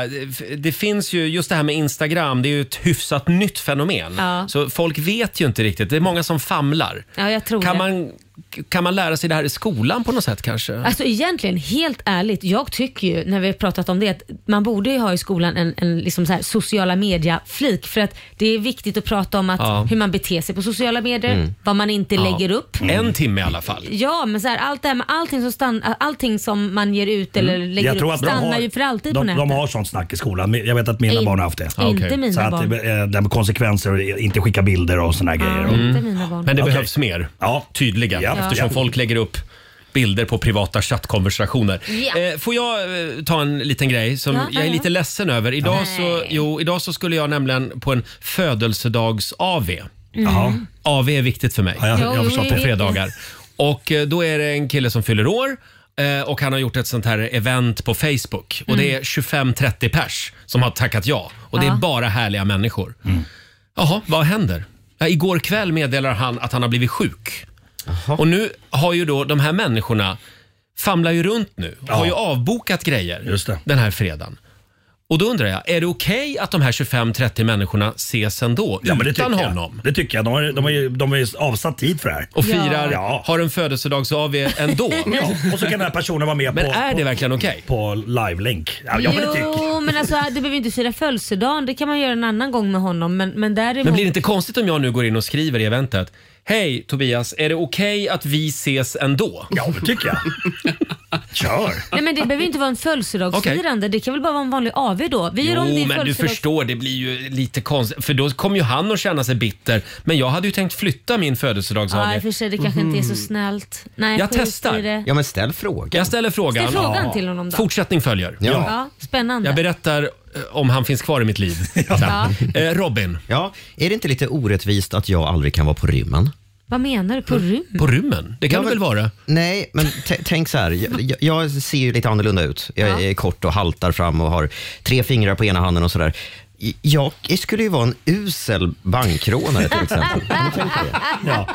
Speaker 1: det finns ju just det här med Instagram, det är ju ett hyfsat nytt fenomen.
Speaker 3: Ja.
Speaker 1: Så folk vet ju inte riktigt, det är många som famlar.
Speaker 3: Ja, jag tror
Speaker 1: Kan
Speaker 3: det.
Speaker 1: man, kan man lära sig det här i skolan på något sätt kanske?
Speaker 3: Alltså egentligen, helt ärligt, jag tycker ju när vi har pratat om det att man borde ju ha i skolan en, en liksom så här sociala media-flik för att det är viktigt att prata om att
Speaker 1: Ja.
Speaker 3: hur man beter sig på sociala medier,
Speaker 1: Mm.
Speaker 3: vad man inte
Speaker 1: Ja.
Speaker 3: lägger upp.
Speaker 1: En timme i alla fall.
Speaker 3: Ja, men så här, allt det här med allting som, stann, allting som man ger ut eller lägger
Speaker 10: Mm. Jag tror
Speaker 3: upp
Speaker 10: att de
Speaker 3: stannar
Speaker 10: har-
Speaker 3: ju för alltid på
Speaker 10: de,
Speaker 3: nätet.
Speaker 10: de har sånt snack i skolan. Jag vet att mina
Speaker 3: In-
Speaker 10: barn har haft det.
Speaker 3: Ja, okej. inte mina
Speaker 10: så att,
Speaker 3: barn. Ah,
Speaker 10: eh, Det där med konsekvenser och inte skicka bilder och såna här grejer.
Speaker 3: Inte mina barn.
Speaker 1: Mm. Men det
Speaker 10: Okej.
Speaker 1: behövs mer, tydliga,
Speaker 10: Ja.
Speaker 1: eftersom
Speaker 10: Ja.
Speaker 1: folk lägger upp bilder på privata chattkonversationer.
Speaker 3: Ja.
Speaker 1: Eh, får jag eh, ta en liten grej som
Speaker 3: Ja,
Speaker 1: jag är
Speaker 3: ja.
Speaker 1: lite ledsen över. Idag, så, jo, idag så skulle jag nämligen på en födelsedags-AV.
Speaker 3: Mm. Jaha.
Speaker 1: AV är viktigt för mig.
Speaker 3: Ja, jag- jag Jo, förstår jo, det.
Speaker 1: På fredagar. Och eh, då är det en kille som fyller år. eh, Och han har gjort ett sånt här event på Facebook. Och
Speaker 3: Mm.
Speaker 1: det är 25-30 pers som har tackat ja. Och det är
Speaker 13: Ja.
Speaker 1: bara härliga människor. Jaha, vad händer? Ja, igår kväll meddelar han att han har blivit sjuk. Och nu har ju då de här människorna famlar ju runt nu. och Har ju avbokat grejer den här fredagen. Och då undrar jag, är det okej att de här 25-30 människorna ses ändå?
Speaker 10: Ja, men det
Speaker 1: utan
Speaker 10: tycker jag.
Speaker 1: honom?
Speaker 10: Det tycker jag. De har, de har, ju- de har ju avsatt tid för det här.
Speaker 1: Och firar,
Speaker 10: Ja.
Speaker 1: har en födelsedags-AV ändå.
Speaker 10: ja. Och så kan den här personen vara med
Speaker 1: Men
Speaker 10: på...
Speaker 1: är det verkligen okej?
Speaker 10: På live-länk. Ja, ja, men det tycker jag.
Speaker 3: Jo, men alltså du behöver inte fira födelsedagen. Det kan man göra en annan gång med honom. Men, men däremot...
Speaker 1: Men blir det inte konstigt om jag nu går in och skriver i eventet Hej Tobias, är det okej att vi ses ändå?
Speaker 10: Ja, det tycker jag.
Speaker 1: Kör!
Speaker 11: Nej men det behöver ju inte vara en födelsedagsfirande. Det kan väl bara vara en vanlig AV då? Vi gör om det i
Speaker 1: Jo, men du
Speaker 11: födelsedags-
Speaker 1: förstår, det blir ju lite konstigt. För då kommer ju han att känna sig bitter. Men jag hade ju tänkt flytta min
Speaker 11: Ja, i
Speaker 1: födelsedags-AW.
Speaker 11: och för sig, det kanske inte är så snällt. Nej,
Speaker 1: Mhm. Jag
Speaker 11: skit i
Speaker 1: testar.
Speaker 11: Det.
Speaker 1: men ställ frågan. Jag ställer frågan.
Speaker 11: Ställ frågan till honom då.
Speaker 1: Fortsättning följer.
Speaker 11: Ja. spännande.
Speaker 1: Jag berättar eh, om han finns kvar i mitt liv.
Speaker 11: Ja.
Speaker 1: Eh, Robin.
Speaker 2: Ja, är det inte lite orättvist att jag aldrig kan vara på rymmen?
Speaker 11: Vad menar du? På rymmen?
Speaker 1: Mm. På rymmen? Det kan du väl vara?
Speaker 2: Nej, men t- tänk så här. Jag, jag- jag ser ju lite annorlunda ut. Jag
Speaker 11: Ja.
Speaker 2: är kort och haltar fram och har tre fingrar på ena handen och sådär. Jag skulle ju vara en usel bankrånare till exempel. Har ni tänkt på det?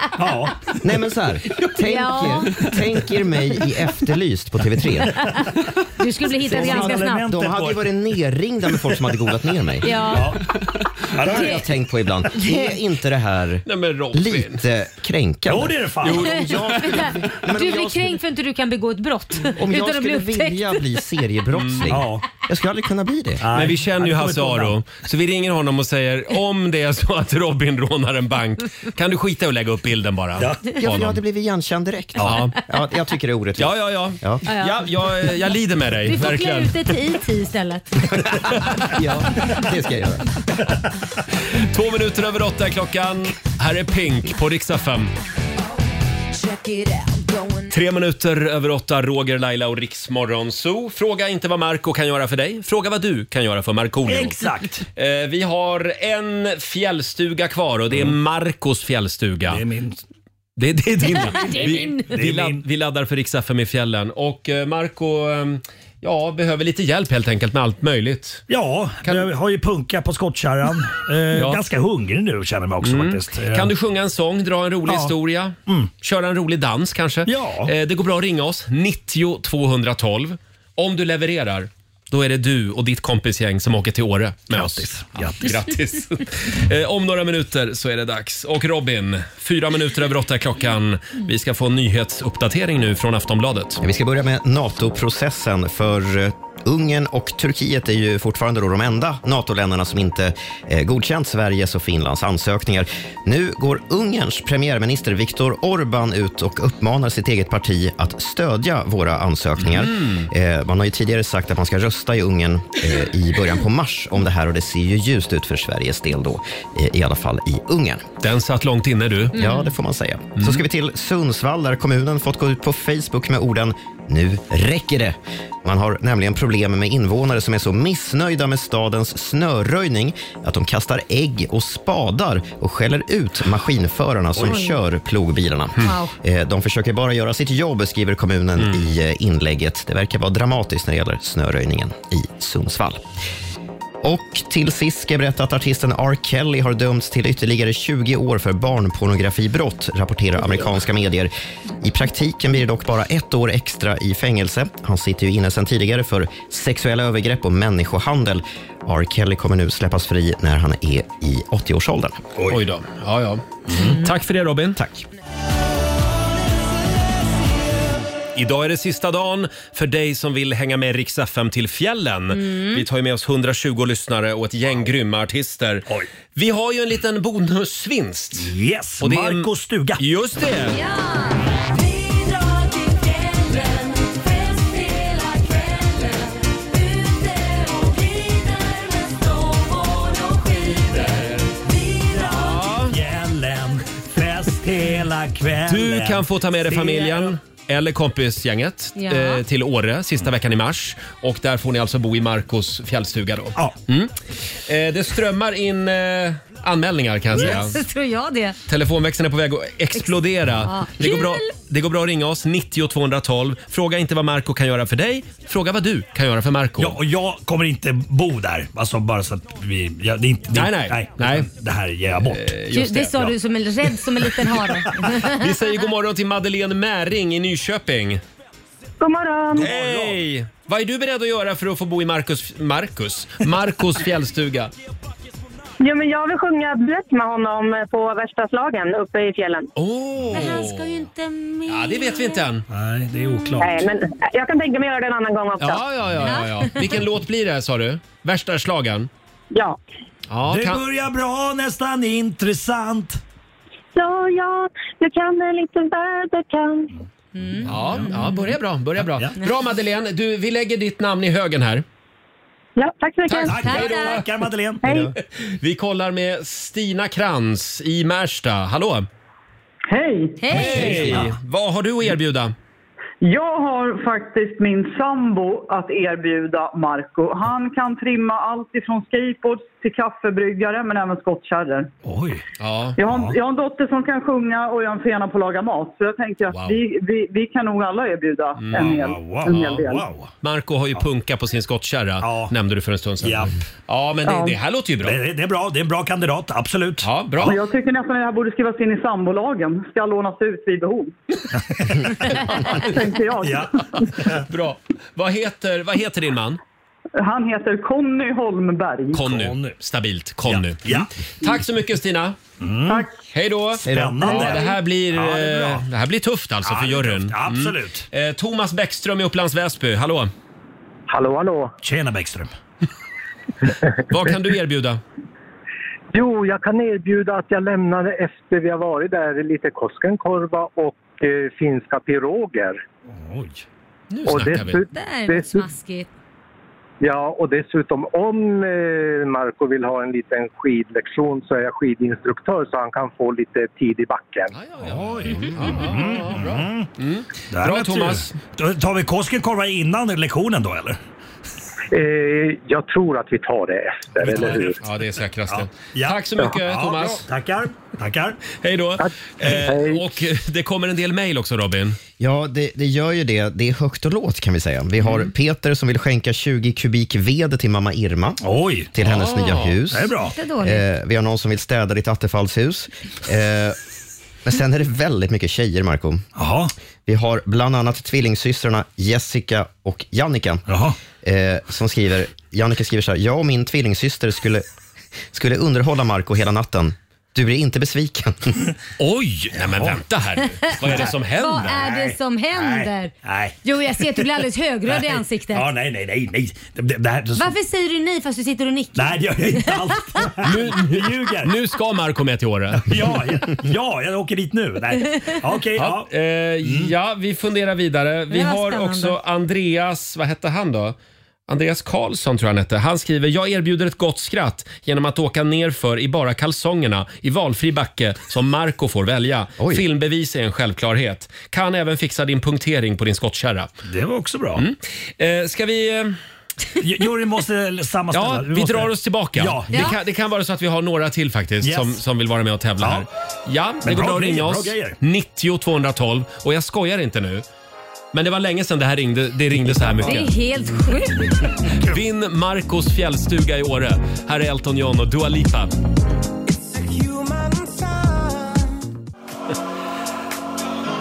Speaker 2: Nej men så här. Tänk,
Speaker 11: Ja.
Speaker 2: er, tänk er mig i Efterlyst på TV3.
Speaker 11: Du skulle bli hittad
Speaker 2: De
Speaker 11: ganska
Speaker 2: hade,
Speaker 11: snabbt.
Speaker 2: de hade ju varit nerringda med folk som hade googlat ner mig.
Speaker 11: Ja.
Speaker 2: Ja, det har jag tänkt på ibland. Är inte det här lite kränkande?
Speaker 10: Jo, det är det fan. Jo,
Speaker 2: om jag
Speaker 11: Vänta, Du blir kränkt för att inte du kan begå ett brott.
Speaker 2: Om
Speaker 11: utan
Speaker 2: jag
Speaker 11: att bli
Speaker 2: skulle
Speaker 11: upptäckt.
Speaker 2: vilja bli
Speaker 10: Mm.
Speaker 2: seriebrottsling, jag skulle aldrig kunna bli det.
Speaker 1: Men vi känner ju Hasse Aro, så vi ringer honom och säger om det är så att Robin rånar en bank, kan du skita i att lägga upp bilden bara?
Speaker 2: Ja. Jag, jag
Speaker 1: Honom.
Speaker 2: hade blivit igenkänd direkt.
Speaker 1: Ja.
Speaker 2: Ja, jag tycker det är orättvist.
Speaker 1: Ja, ja, ja.
Speaker 2: Ja.
Speaker 1: ja jag, jag lider med dig,
Speaker 11: Du får klä
Speaker 1: verkligen.
Speaker 11: ut dig till IT istället.
Speaker 2: Det ska jag göra.
Speaker 1: Två minuter över åtta är klockan. Här är Pink på riksdag 5. Tre minuter över åtta, Roger, Laila och Riksmorgon Zoo. Fråga inte vad Marco kan göra för dig, fråga vad du kan göra för Markoolio.
Speaker 10: Exakt.
Speaker 1: Eh, vi har en fjällstuga kvar och det är Marcos fjällstuga. Det är min. Det, det är din.
Speaker 10: Det är min.
Speaker 1: Vi,
Speaker 10: Det
Speaker 1: vi,
Speaker 10: är
Speaker 1: ladd, vi laddar för riks FM i fjällen och eh, Marco eh, ja, behöver lite hjälp helt enkelt med allt möjligt.
Speaker 10: Ja, jag har ju punka på skottkärran. Eh,
Speaker 1: Ja. Mm.
Speaker 10: Ganska hungrig nu känner jag mig också faktiskt. Eh,
Speaker 1: Kan du sjunga en sång, dra en rolig
Speaker 10: Ja. Mm.
Speaker 1: historia, köra en rolig dans kanske?
Speaker 10: Ja.
Speaker 1: Eh, det går bra att ringa oss, 90 212. Om du levererar, då är det du och ditt kompisgäng som åker till Åre med oss.
Speaker 10: Grattis.
Speaker 1: Grattis. Eh, Om några minuter så är det dags. Och Robin, fyra minuter över åtta är klockan. Vi ska få en nyhetsuppdatering nu från Aftonbladet.
Speaker 2: Vi ska börja med NATO-processen för eh, Ungern och Turkiet är ju fortfarande då de enda NATO-länderna som inte eh, godkänt Sveriges och Finlands ansökningar. Nu går Ungerns premiärminister Viktor Orbán ut och uppmanar sitt eget parti att stödja våra ansökningar. Eh, man har ju tidigare sagt att man ska rösta i Ungern eh, i början på mars om det här och det ser ju ljust ut för Sveriges del då, eh, i alla fall i Ungern.
Speaker 1: Den satt långt inne du.
Speaker 2: Ja, det får man säga. Så ska vi till Sundsvall där kommunen fått gå ut på Facebook med orden “Nu räcker det”. Man har nämligen problem med invånare som är så missnöjda med stadens snöröjning att de kastar ägg och spadar och skäller ut maskinförarna som
Speaker 11: Oj.
Speaker 2: kör plogbilarna. Eh, De försöker bara göra sitt jobb, skriver kommunen i eh, inlägget. Det verkar vara dramatiskt när det gäller snöröjningen i Sundsvall. Och till sist ska jag berätta att artisten R. Kelly har dömts till ytterligare 20 år för barnpornografibrott, rapporterar amerikanska medier. I praktiken blir det dock bara ett år extra i fängelse. Han sitter ju inne sedan tidigare för sexuella övergrepp och människohandel. R. Kelly kommer nu släppas fri när han är i 80-årsåldern.
Speaker 1: Oj, då. Ja, ja. Tack för det Robin.
Speaker 2: Tack.
Speaker 1: Idag är det sista dagen för dig som vill hänga med Rix FM till fjällen. Vi tar ju med oss 120 lyssnare och ett gäng grymma artister. Vi har ju en liten bonusvinst.
Speaker 10: Yes,
Speaker 1: Och det är-
Speaker 10: Marcos stuga.
Speaker 1: Just det!
Speaker 10: Fjällen, fest hela kvällen.
Speaker 1: Du kan få ta med dig familjen eller kompisgänget
Speaker 11: Ja.
Speaker 1: eh, till Åre sista veckan i mars. Och där får ni alltså bo i Marcos fjällstuga då.
Speaker 10: Ja.
Speaker 1: Mm. Eh, det strömmar in eh, anmälningar kan jag säga.
Speaker 11: Så tror jag det.
Speaker 1: Telefonväxeln är på väg att explodera.
Speaker 11: Ja.
Speaker 1: Det, går
Speaker 11: Kul!
Speaker 1: bra, det går bra att ringa oss, 90 212. Fråga inte vad Marco kan göra för dig, fråga vad du kan göra för Marco.
Speaker 10: Ja, och jag kommer inte bo där. Alltså bara så att vi... Ja, det är inte, det,
Speaker 1: Nej, nej. Nej. Eh,
Speaker 10: Det här ger jag bort.
Speaker 11: Du, det sa
Speaker 10: Ja.
Speaker 11: du som en rädd som en liten hare.
Speaker 1: Vi säger god morgon till Madeleine Märing i Nyköping.
Speaker 12: God morgon!
Speaker 1: Hej! Vad är du beredd att göra för att få bo i Marcus, Marcus, Marcos fjällstuga?
Speaker 12: Jo, men jag vill sjunga duett med honom på värsta slagen uppe i fjällen.
Speaker 1: Oh.
Speaker 11: Men han ska ju inte med.
Speaker 1: Ja, det vet vi inte än.
Speaker 10: Nej, det är oklart.
Speaker 12: Nej, men jag kan tänka mig att göra det en annan gång också.
Speaker 1: Ja, ja, ja. ja, ja. Vilken låt blir det sa du? Värsta slagen?
Speaker 12: Ja.
Speaker 1: Ja,
Speaker 10: Det
Speaker 1: kan...
Speaker 10: börjar bra, nästan intressant.
Speaker 12: Så ja, du kan en liten väderkant.
Speaker 11: Mm.
Speaker 1: Ja, ja börja bra. Börja bra. Bra Madeleine, du, vi lägger ditt namn i högen här.
Speaker 12: Ja, tack så mycket.
Speaker 1: Tack, Tack, hej då. tack.
Speaker 10: Tackar Madeleine.
Speaker 12: Hej.
Speaker 1: Vi kollar med Stina Krantz i Märsta. Hallå!
Speaker 14: Hej!
Speaker 1: Hej! Vad har du att erbjuda?
Speaker 14: Jag har faktiskt min sambo att erbjuda Marco. Han kan trimma allt ifrån skateboards till kaffebryggare men även skottkärror.
Speaker 10: Oj!
Speaker 1: Ja.
Speaker 14: Jag har, en, jag har en dotter som kan sjunga och jag har en fena på att laga mat. Så jag tänker att
Speaker 1: Wow. Mm.
Speaker 14: vi, vi, vi kan nog alla erbjuda en, hel,
Speaker 10: Ah,
Speaker 14: en hel del.
Speaker 1: Marco har ju punka på sin skottkärra, nämnde du för en stund sedan. Ja, men det,
Speaker 14: Ja.
Speaker 1: det här låter ju bra.
Speaker 10: Det, det är bra. Det är en bra kandidat, absolut.
Speaker 1: Ja, bra.
Speaker 14: Men jag tycker nästan att det här borde skrivas in i sambolagen. Ska lånas ut vid behov. Tänkte jag.
Speaker 1: Bra. Vad heter, vad heter din man?
Speaker 14: Han heter Conny Holmberg.
Speaker 1: Conny. Stabilt. Conny.
Speaker 10: Ja.
Speaker 1: Tack så mycket Stina.
Speaker 14: Mm. Tack.
Speaker 1: Hej då.
Speaker 10: Spännande.
Speaker 1: Ja, det, här blir,
Speaker 10: Ja, det är bra.
Speaker 1: eh, det här blir tufft alltså
Speaker 10: Ja,
Speaker 1: för
Speaker 10: det är
Speaker 1: juryn.
Speaker 10: tufft. Absolut.
Speaker 1: Mm. Eh, Thomas Bäckström i Upplands Väsby. Hallå.
Speaker 5: Hallå, hallå.
Speaker 10: Tjena Bäckström.
Speaker 1: Vad kan du erbjuda?
Speaker 5: Jo, jag kan erbjuda att jag lämnade efter vi har varit där lite Koskenkorva och eh, finska piroger.
Speaker 10: Oj.
Speaker 1: Nu
Speaker 5: Och
Speaker 1: snackar vi.
Speaker 5: dessut-
Speaker 11: Det är något
Speaker 5: dessut-
Speaker 11: smaskigt.
Speaker 5: Ja, och dessutom om eh, Marco vill ha en liten skidlektion så är jag skidinstruktör så han kan få lite tid i backen.
Speaker 1: Oj. Bra. Mm.
Speaker 10: Där
Speaker 1: Bra
Speaker 10: vet du.
Speaker 1: Thomas.
Speaker 10: Då tar vi Koskenkorva innan lektionen då eller?
Speaker 5: Eh, jag tror att vi tar det efter,
Speaker 10: Vi tar
Speaker 5: eller
Speaker 10: det
Speaker 5: hur?
Speaker 1: Ja, det är säkrast det.
Speaker 10: Ja.
Speaker 1: Tack så mycket
Speaker 10: Ja,
Speaker 1: Thomas.
Speaker 10: bra. Tackar. Tackar.
Speaker 1: Hej då. Eh, och eh, det kommer en del mejl också Robin.
Speaker 2: Ja, det, det gör ju det. Det är högt och lågt kan vi säga. Vi
Speaker 1: Mm.
Speaker 2: har Peter som vill skänka 20 kubik ved till mamma Irma.
Speaker 10: Oj!
Speaker 2: Till hennes
Speaker 1: Ah,
Speaker 2: nya hus.
Speaker 1: det är bra. Inte dåligt.
Speaker 2: Eh, vi har någon som vill städa ditt attefallshus. Eh, men sen är det väldigt mycket tjejer, Marco.
Speaker 10: Jaha.
Speaker 2: Vi har bland annat tvillingsystrarna Jessica och Jannica. Eh, som skriver, Jannica skriver så här, jag och min tvillingsyster skulle, skulle underhålla Marco hela natten. Du blir inte besviken.
Speaker 1: Oj! Nej men vänta här nu. Vad är det som
Speaker 11: Vad
Speaker 1: händer?
Speaker 11: är det som händer?
Speaker 10: Nej.
Speaker 11: Jo, jag ser att du blir alldeles högröd i ansiktet.
Speaker 10: Ja, nej, nej, nej. nej. Det, det, det här,
Speaker 11: Varför säger du nej fast du sitter och nickar?
Speaker 10: Nej, det gör jag inte alls.
Speaker 1: Nu,
Speaker 10: Du ljuger.
Speaker 1: nu ska Marco med till Åre.
Speaker 10: Ja, ja, ja, jag åker dit nu. Nej. Ja, Okej, ja. Mm.
Speaker 1: Ja, eh, ja, vi funderar vidare. Vi
Speaker 10: Det var
Speaker 1: har
Speaker 10: spännande.
Speaker 1: också Andreas, vad hette han då? Andreas Karlsson tror jag han hette. Han skriver, jag erbjuder ett gott skratt genom att åka nerför i bara kalsongerna i valfri backe som Marco får välja. Filmbevis är en självklarhet. Kan även fixa din punktering på din skottkärra.
Speaker 10: Det var också bra.
Speaker 1: Mm. Eh, ska vi... eh,
Speaker 10: Juryn måste sammanställa.
Speaker 1: Ja, vi
Speaker 10: måste...
Speaker 1: drar oss tillbaka.
Speaker 10: Ja.
Speaker 1: Det, kan, det kan vara så att vi har några till faktiskt
Speaker 10: Yes.
Speaker 1: som, som vill vara med och tävla här. Ja, det
Speaker 10: Men
Speaker 1: går
Speaker 10: bra
Speaker 1: bra att ringa
Speaker 10: grejer, bra
Speaker 1: oss.
Speaker 10: grejer.
Speaker 1: 90 212. Och jag skojar inte nu. Men det var länge sedan det här ringde, det ringde så här
Speaker 11: Det är
Speaker 1: mycket.
Speaker 11: helt sjukt.
Speaker 1: Vinn Marcos fjällstuga i Åre. Här är Elton John och Dua Lipa.
Speaker 7: It's a human sign.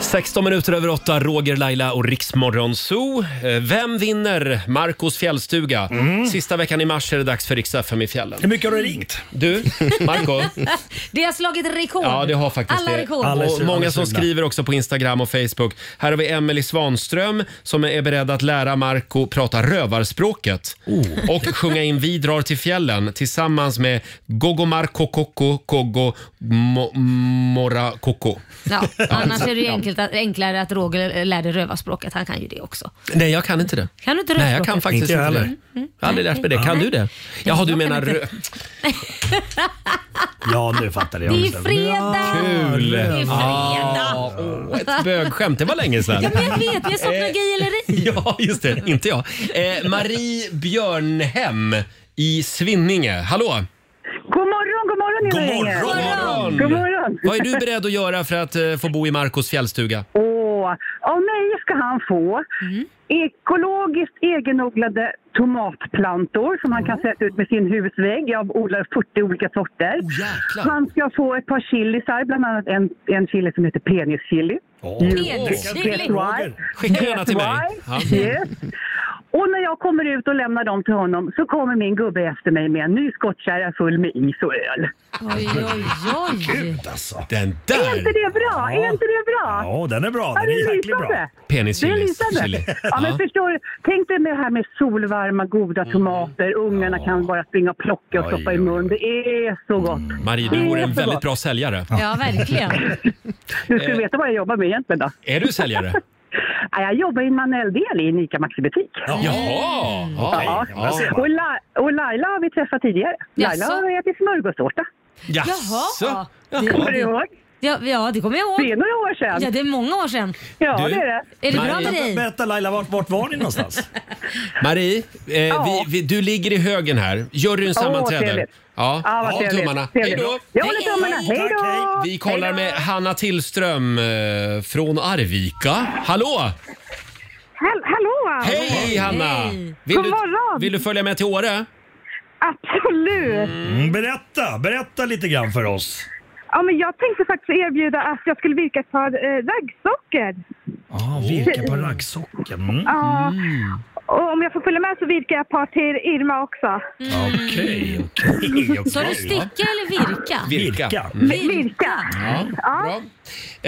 Speaker 1: 16 minuter över 8, Roger, Laila och Riksmorgon Zoo. Eh, Vem vinner Marcos fjällstuga? Sista veckan i mars är det dags för Rix FM i fjällen.
Speaker 10: Mm. Hur mycket har du ringt?
Speaker 1: Du, Marco
Speaker 11: Det har slagit rekord.
Speaker 1: Ja, det har faktiskt
Speaker 11: Alla
Speaker 1: det.
Speaker 11: rekord.
Speaker 1: Och många som
Speaker 10: sugna.
Speaker 1: skriver också på Instagram och Facebook. Här har vi Emelie Svanström som är beredd att lära Marco prata rövarspråket och sjunga in Vi drar till fjällen tillsammans med Gogo Marco Coco Gogo Mo- Mora Coco.
Speaker 11: Ja, annars är det ju enkelt att, enklare att Roger lärde rövarspråket. Han kan ju det också.
Speaker 1: Nej, jag kan inte det.
Speaker 11: Kan du inte
Speaker 1: Nej, jag
Speaker 11: rövarspråket?
Speaker 1: kan faktiskt inte,
Speaker 10: jag
Speaker 1: det.
Speaker 10: heller.
Speaker 11: Mm,
Speaker 1: Jag har aldrig lärt mig det. Kan du det? Jaha, du menar rö...
Speaker 10: Ja, nu fattar
Speaker 11: Det är ju fredag!
Speaker 1: Kul!
Speaker 11: Det är fredag!
Speaker 1: Ah, åh, ett bögskämt. Det var länge sedan.
Speaker 11: Ja, men jag vet, men jag
Speaker 1: Eh.
Speaker 11: saknar gayelleri.
Speaker 1: Ja, just det. Inte jag. Eh, Marie Björnhem i Svinninge. Hallå!
Speaker 12: God morgon, god morgon
Speaker 10: God
Speaker 12: hela gänget.
Speaker 10: morgon.
Speaker 12: God morgon.
Speaker 1: Vad är du beredd att göra för att eh, få bo i Marcos fjällstuga?
Speaker 12: Åh, av mig ska han få
Speaker 1: Mm.
Speaker 12: ekologiskt egenodlade tomatplantor som han kan sätta ut med sin husvägg. Jag odlar 40 olika sorter.
Speaker 10: Oh,
Speaker 1: jäklar.
Speaker 12: han ska få ett par chilisar, bland annat en, en chili som heter penischili.
Speaker 10: Åh.
Speaker 12: That's why.
Speaker 1: Skicka gärna till mig. Ja.
Speaker 12: That's why. Yes. Och när jag kommer ut och lämnar dem till honom så kommer min gubbe efter mig med en ny skottkärra full med is och öl.
Speaker 11: Oj, oj, oj.
Speaker 10: Gud, alltså.
Speaker 1: Den
Speaker 12: Är inte
Speaker 1: där!
Speaker 12: det bra? Är inte det bra?
Speaker 10: Ja, den är bra.
Speaker 12: Ja,
Speaker 10: Den
Speaker 12: det
Speaker 10: är
Speaker 12: är
Speaker 10: jäkligt bra.
Speaker 12: lysande.
Speaker 1: Penis
Speaker 12: Det är
Speaker 1: chili.
Speaker 12: lysande.
Speaker 1: chili.
Speaker 12: Ja, men förstår du? Tänk dig med det här med solvarma, goda tomater. Ungarna kan bara springa och plocka och
Speaker 10: Mm. Oj,
Speaker 12: stoppa i
Speaker 10: oj, Mm.
Speaker 12: mun. Det är så gott.
Speaker 1: Marie, du vore en väldigt bra Eh. säljare.
Speaker 11: Ja, verkligen.
Speaker 12: Du skulle veta vad jag jobbar med egentligen då.
Speaker 1: Är du säljare?
Speaker 12: Ja, Jag jobbar i en manuell del i en ICA Maxi-butik.
Speaker 7: Jaha! Okej.
Speaker 12: Ja.
Speaker 7: Ja, där ser man.
Speaker 12: Och, La- och Laila har vi träffat tidigare. Laila
Speaker 7: Jaså?
Speaker 12: har ätit smörgåstårta.
Speaker 11: Jaha.
Speaker 12: Kommer du ihåg?
Speaker 11: Ja, ja, det kommer jag ihåg.
Speaker 12: Det är några år sedan.
Speaker 11: Ja, det är många år sedan.
Speaker 12: Ja,
Speaker 1: Du? det är det.
Speaker 11: Är det bra
Speaker 1: Nej.
Speaker 11: med dig?
Speaker 10: Berätta Laila, vart, vart var ni någonstans?
Speaker 1: Marie, eh, vi, vi, du ligger i högen här. Juryn
Speaker 10: Åh,
Speaker 1: sammanträder.
Speaker 10: trevligt.
Speaker 1: Ja,
Speaker 10: Ja, vad
Speaker 1: håll
Speaker 10: trevligt.
Speaker 1: tummarna. Hej
Speaker 10: Trevligt.
Speaker 1: då!
Speaker 10: Jag håller tummarna. Hej då! Tack, hej.
Speaker 1: Vi kollar med Hanna Tillström eh, från Arvika. Hallå!
Speaker 15: Hall- hallå!
Speaker 1: Hej Hanna! Vill
Speaker 15: God
Speaker 1: du,
Speaker 15: morgon!
Speaker 1: vill du följa med till Åre?
Speaker 15: Absolut!
Speaker 10: Mm, berätta, berätta lite grann för oss.
Speaker 15: Ja, men jag tänkte faktiskt erbjuda att jag skulle virka ett par eh, raggsockor.
Speaker 10: Ah, virka på raggsocken. Mm.
Speaker 15: Ja. Och om jag får följa med så virkar jag ett par till Irma också.
Speaker 10: Okej, okej, okej.
Speaker 11: Sa du sticka eller virka?
Speaker 1: Virka. Mm.
Speaker 15: Virka!
Speaker 1: Ja, bra.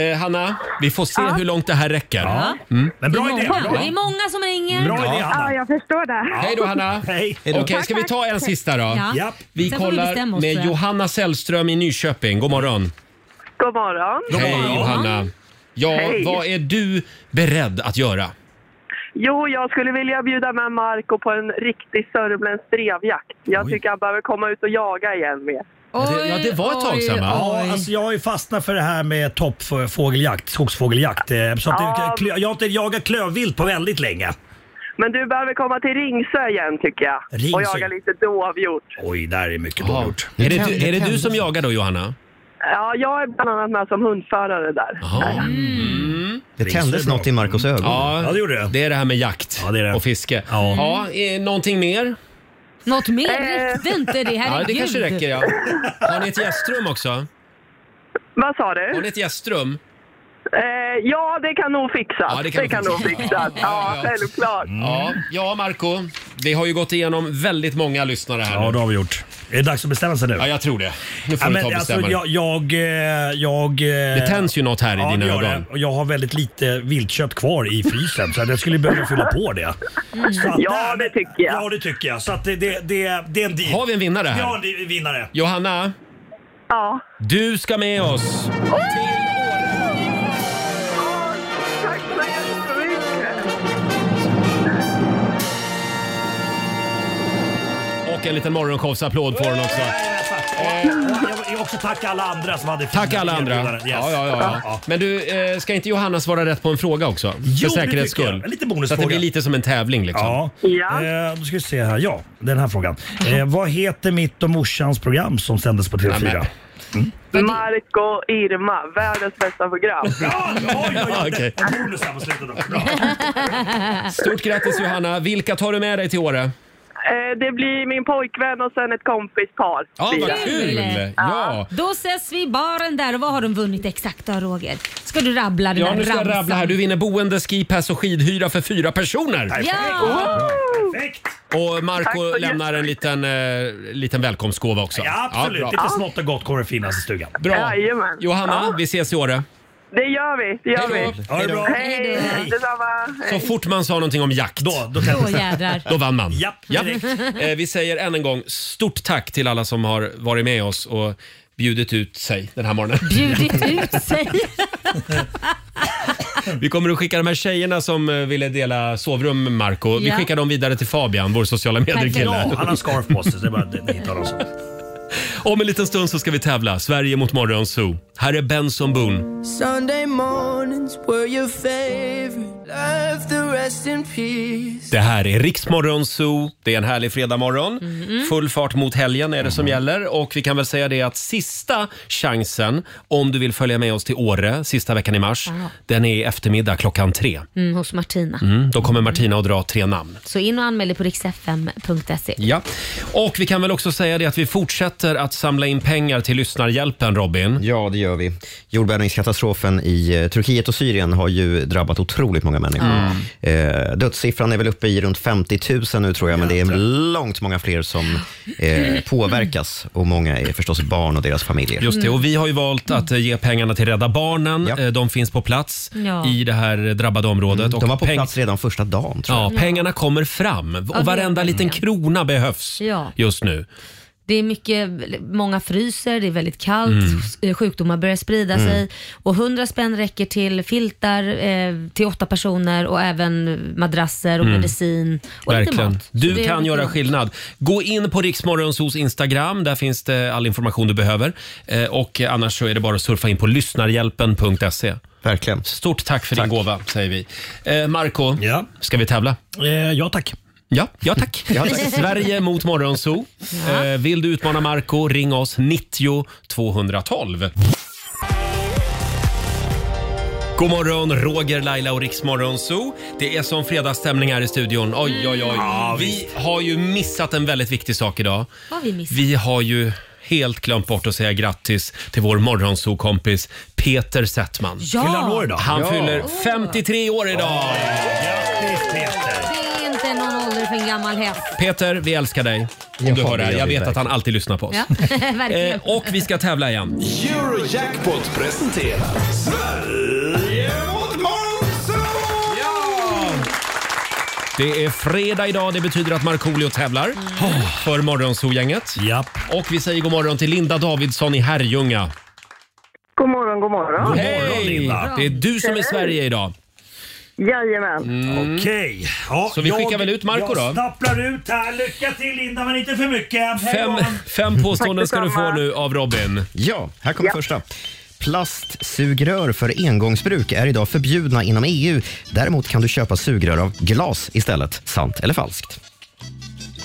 Speaker 1: Eh, Hanna, vi får se hur långt det här räcker.
Speaker 11: Ja.
Speaker 1: Mm. Men
Speaker 11: det, är många. det är många som ringer.
Speaker 1: Bra idé,
Speaker 15: Ja,
Speaker 1: Hanna.
Speaker 15: jag förstår det.
Speaker 1: Hej då Hanna! Hej.
Speaker 15: Hej då.
Speaker 1: Okej, ska vi ta en sista då?
Speaker 15: Ja. Japp.
Speaker 1: Vi
Speaker 15: Sen får vi
Speaker 1: kollar
Speaker 15: bestämma oss, tror
Speaker 1: med
Speaker 15: jag.
Speaker 1: Johanna Sällström i Nyköping. God morgon!
Speaker 16: God morgon.
Speaker 1: Hej Johanna! Ja,
Speaker 16: Hej.
Speaker 1: vad är du beredd att göra?
Speaker 16: Jo, jag skulle vilja bjuda med Marco på en riktig sörmländsk drevjakt. Jag tycker han behöver komma ut och jaga igen med.
Speaker 10: Ja, det- ja, det var ett tag sedan, va? Ja, alltså jag har ju fastnat för det här med toppfågeljakt, skogsfågeljakt. eh, Så att
Speaker 16: Ja.
Speaker 10: det, jag har inte jagat klövvilt på väldigt länge.
Speaker 16: Men du behöver komma till Ringsö igen tycker jag.
Speaker 10: Ringsö.
Speaker 16: Och jaga lite dovhjort.
Speaker 10: Oj, där är mycket dåligt gjort.
Speaker 1: Är det, du- är det du som jagar då Johanna?
Speaker 16: Ja, jag är bland annat med som hundförare där.
Speaker 10: Mm.
Speaker 2: Det tändes något i Marcos ögon.
Speaker 1: Mm. Ja,
Speaker 2: det
Speaker 1: gjorde det. Det är det här med jakt och fiske. Ja. eh, någonting mer?
Speaker 11: Något mer räckte inte det. Herregud.
Speaker 1: Ja, det kanske räcker ja. Har ni ett gästrum också?
Speaker 16: Vad sa du?
Speaker 1: Har ni ett gästrum?
Speaker 16: Eh, ja, det kan nog fixas.
Speaker 1: Ja, det kan nog
Speaker 16: nog
Speaker 1: fixas.
Speaker 16: fixas. Ja, självklart.
Speaker 1: Ja, ja Marco. Vi har ju gått igenom väldigt många lyssnare här
Speaker 10: Ja,
Speaker 1: nu.
Speaker 10: det har vi gjort. Är det dags att bestämma sig nu?
Speaker 1: Ja, jag tror det. Nu får
Speaker 10: Ja,
Speaker 1: du
Speaker 10: men
Speaker 1: ta och
Speaker 10: alltså,
Speaker 1: bestämma dig.
Speaker 10: jag, jag, eh, jag, Det
Speaker 1: tänds ju något här i
Speaker 10: ja,
Speaker 1: dina
Speaker 10: det gör
Speaker 1: ögon.
Speaker 10: det. Och jag har väldigt lite viltkött kvar i frysen så att jag skulle behöva fylla på det.
Speaker 1: Mm.
Speaker 10: ja, det tycker jag. Ja, det tycker jag. Så att det, det, det, det är en deal.
Speaker 1: Har vi en vinnare här?
Speaker 10: Ja, det är en vinnare.
Speaker 1: Johanna?
Speaker 16: Ja.
Speaker 1: Du ska med oss.
Speaker 16: Tack så jättemycket.
Speaker 1: Och en liten morgonshowsapplåd får hon också.
Speaker 10: Jag vill också tacka alla andra som hade
Speaker 1: Tack
Speaker 10: fina
Speaker 1: alla andra. Ja,
Speaker 10: erbjudanden. Yes.
Speaker 1: ja, ja, ja. Men du, eh, ska inte Johanna svara rätt på en fråga också? För
Speaker 10: Jo, det
Speaker 1: säkerhets
Speaker 10: tycker jag.
Speaker 1: skull.
Speaker 10: En liten
Speaker 1: Så att det
Speaker 10: bonusfråga.
Speaker 1: blir lite som en tävling liksom.
Speaker 10: Ja. Eh, då ska vi se här. Ja, den här frågan. Eh, vad heter mitt och morsans program som sändes på TV4?
Speaker 16: Marco Irma, världens bästa program.
Speaker 1: Okej.
Speaker 10: Bonus här på slutet då.
Speaker 1: Stort grattis Johanna. Vilka tar du med dig till Åre?
Speaker 16: Eh, Det blir min pojkvän och sen ett kompispar.
Speaker 1: Ja,
Speaker 16: blir
Speaker 1: vad
Speaker 16: det.
Speaker 1: kul! Ja.
Speaker 11: Då ses vi i baren där. Och vad har de vunnit exakt då Roger? Ska du rabbla den
Speaker 1: Ja,
Speaker 11: där
Speaker 1: nu ska jag
Speaker 11: ramsan?
Speaker 1: rabbla här. Du vinner boende, skipass och skidhyra för fyra personer.
Speaker 11: Ja!
Speaker 10: Perfekt!
Speaker 1: Och
Speaker 10: Tack så
Speaker 1: Marco
Speaker 10: jättemycket.
Speaker 1: lämnar en liten, eh, liten välkomstgåva också.
Speaker 10: Ja, absolut.
Speaker 1: bra.
Speaker 10: Lite smått och gott kommer det finnas i stugan.
Speaker 1: Bra.
Speaker 16: Jajamän.
Speaker 1: Johanna,
Speaker 16: Ja.
Speaker 1: vi ses i Åre.
Speaker 16: Det gör vi. Det gör
Speaker 1: Hej då.
Speaker 16: vi.
Speaker 1: Ha det bra.
Speaker 16: Hej, detsamma.
Speaker 1: Så fort man sa någonting om jakt, då,
Speaker 10: då,
Speaker 16: tändes det. Då jädrar.
Speaker 1: då vann man.
Speaker 10: Japp,
Speaker 1: Ja.
Speaker 10: direkt.
Speaker 1: Eh, Vi säger än en gång stort tack till alla som har varit med oss och bjudit ut sig den här morgonen.
Speaker 11: Bjudit ut sig.
Speaker 1: Vi kommer att skicka de här tjejerna som eh, ville dela sovrum med Marco. Vi
Speaker 11: Ja.
Speaker 1: skickar dem vidare till Fabian, vår sociala medier-kille.
Speaker 10: Ja, han har scarf på sig. Så det är bara det, det hittar de så.
Speaker 1: Om en liten stund så ska vi tävla. Sverige mot Morgonzoo. Här är Benson Boone.
Speaker 7: Sunday mornings were your favorite. Love the rest in peace.
Speaker 1: Det här är Riksmorgon Zoo. Det är en härlig fredagmorgon.
Speaker 11: Mhm.
Speaker 1: Full fart mot helgen är det
Speaker 10: Mhm.
Speaker 1: som gäller. Och vi kan väl säga det att sista chansen om du vill följa med oss till Åre sista veckan i mars,
Speaker 11: Ja.
Speaker 1: den är i eftermiddag klockan tre.
Speaker 11: Mm, hos Martina.
Speaker 1: Mm, då kommer Martina att dra tre namn.
Speaker 11: Så in och anmäl dig på riksfm.se.
Speaker 1: Ja, och vi kan väl också säga det att vi fortsätter att samla in pengar till lyssnarhjälpen, Robin.
Speaker 2: Ja, det gör vi. Jordbävningskatastrofen i eh, Turkiet och Syrien har ju drabbat otroligt många människor. Eh, dödssiffran är väl uppe i runt 50 000 nu tror jag, men det är långt många fler som eh, påverkas och många är förstås barn och deras familjer.
Speaker 1: Just det, och vi har ju valt att eh, ge pengarna till Rädda Barnen. Eh, De finns på plats
Speaker 2: Ja.
Speaker 1: i det här eh, drabbade området. och
Speaker 2: Mm. De var på
Speaker 1: peng-
Speaker 2: plats redan första dagen tror jag.
Speaker 1: Ja, pengarna kommer fram
Speaker 11: Ja, det
Speaker 1: och varenda
Speaker 11: gör de,
Speaker 1: liten
Speaker 11: ja.
Speaker 1: krona behövs
Speaker 11: Ja.
Speaker 1: just nu.
Speaker 11: Det är mycket, många fryser, det är väldigt kallt,
Speaker 1: Mm.
Speaker 11: s- eh, sjukdomar börjar sprida
Speaker 1: Mm.
Speaker 11: sig och 100 spänn räcker till filtar eh, till åtta personer och även madrasser och
Speaker 1: Mm.
Speaker 11: medicin och lite
Speaker 1: Verkligen.
Speaker 11: mat. Så
Speaker 1: Du
Speaker 11: det är
Speaker 1: kan
Speaker 11: lite
Speaker 1: göra
Speaker 11: mat.
Speaker 1: skillnad. Gå in på Riksmorgonsos Instagram. Där finns det all information du behöver. Eh, Och annars så är det bara att surfa in på lyssnarhjälpen.se.
Speaker 2: Verkligen.
Speaker 1: Stort tack för din gåva, säger vi. Eh, Marco, ska vi tävla?
Speaker 10: Eh, ja, tack.
Speaker 1: Ja, ja tack.
Speaker 10: Ja, tack.
Speaker 1: Sverige mot Morgonzoo. Eh, vill du utmana Marco, ring oss 90 212. God morgon, Roger, Laila och Riksmorgon Zoo. Det är som fredagsstämning här i studion. Oj, oj,
Speaker 11: Mm.
Speaker 1: oj. Vi har ju missat en väldigt viktig sak idag.
Speaker 11: Vad har vi missat?
Speaker 1: Vi har ju helt glömt bort att säga grattis till vår morgonsokompis Peter Settman.
Speaker 11: Ja. Fyller han år idag?
Speaker 1: Han
Speaker 11: Ja.
Speaker 1: fyller 53 år idag.
Speaker 11: Det är inte någon ålder för en gammal häst.
Speaker 1: Peter, vi älskar dig. Om
Speaker 2: Ja,
Speaker 1: du hör
Speaker 2: det
Speaker 1: det här.
Speaker 2: gör
Speaker 1: Jag
Speaker 2: vi
Speaker 1: vet att han
Speaker 2: verkligen.
Speaker 1: alltid lyssnar på oss.
Speaker 11: Ja, verkligen.
Speaker 1: Eh, och vi ska tävla igen.
Speaker 4: Eurojackpot presenterar Sverige mot Morgonzoo!
Speaker 1: Det är fredag idag. Det betyder att Markoolio tävlar för Morgonzoo-gänget. Och vi säger god morgon till Linda Davidsson i Herrljunga.
Speaker 16: God morgon, god morgon.
Speaker 1: Hej! Det är du som är Sverige idag.
Speaker 16: Jajamän.
Speaker 1: Mm.
Speaker 10: Okej.
Speaker 1: Så vi skickar väl ut Marco
Speaker 10: Jag
Speaker 1: då.
Speaker 10: stapplar ut här. Lycka till Linda, men inte för mycket. Hej
Speaker 1: Fem,
Speaker 10: då.
Speaker 1: fem påståenden
Speaker 10: Tack
Speaker 1: ska du få
Speaker 10: detsamma.
Speaker 1: nu av Robin.
Speaker 2: Ja, här kommer första. Plastsugrör för engångsbruk är idag förbjudna inom EU. Däremot kan du köpa sugrör av glas istället. Sant eller falskt?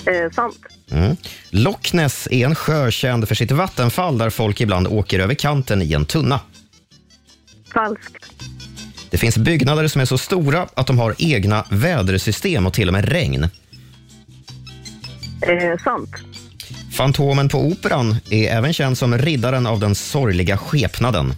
Speaker 16: Eh, sant.
Speaker 2: Mm. Loch Ness är en sjö känd för sitt vattenfall där folk ibland åker över kanten i en tunna.
Speaker 16: Falskt.
Speaker 2: Det finns byggnader som är så stora att de har egna vädersystem och till och med regn.
Speaker 16: Eh, sant.
Speaker 2: Fantomen på Operan är även känd som riddaren av den sorgliga skepnaden.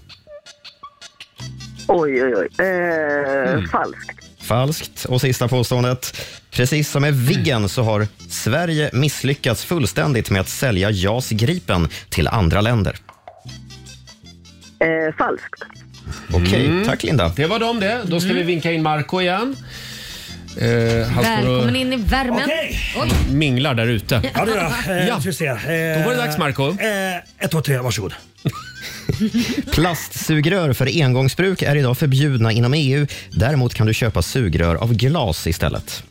Speaker 16: Oj, oj, oj. Eh,
Speaker 10: Mm.
Speaker 16: Falskt.
Speaker 2: Falskt. Och sista påståendet. Precis som med Viggen så har Sverige misslyckats fullständigt med att sälja JAS Gripen till andra länder.
Speaker 16: Eh, falskt.
Speaker 2: Okej,
Speaker 1: Mm.
Speaker 2: tack Linda.
Speaker 1: Det var de det. Då ska vi vinka in Marco igen. Eh, han står och
Speaker 11: Välkommen in i värmen. Oj.
Speaker 1: minglar där ute.
Speaker 10: Ja, det gör jag. Eh,
Speaker 1: Ja.
Speaker 10: Ska vi se. Eh,
Speaker 1: Då var det dags Marco.
Speaker 10: Eh, ett, två, tre. Varsågod.
Speaker 2: Plastsugrör för engångsbruk är idag förbjudna inom EU. Däremot kan du köpa sugrör av glas istället.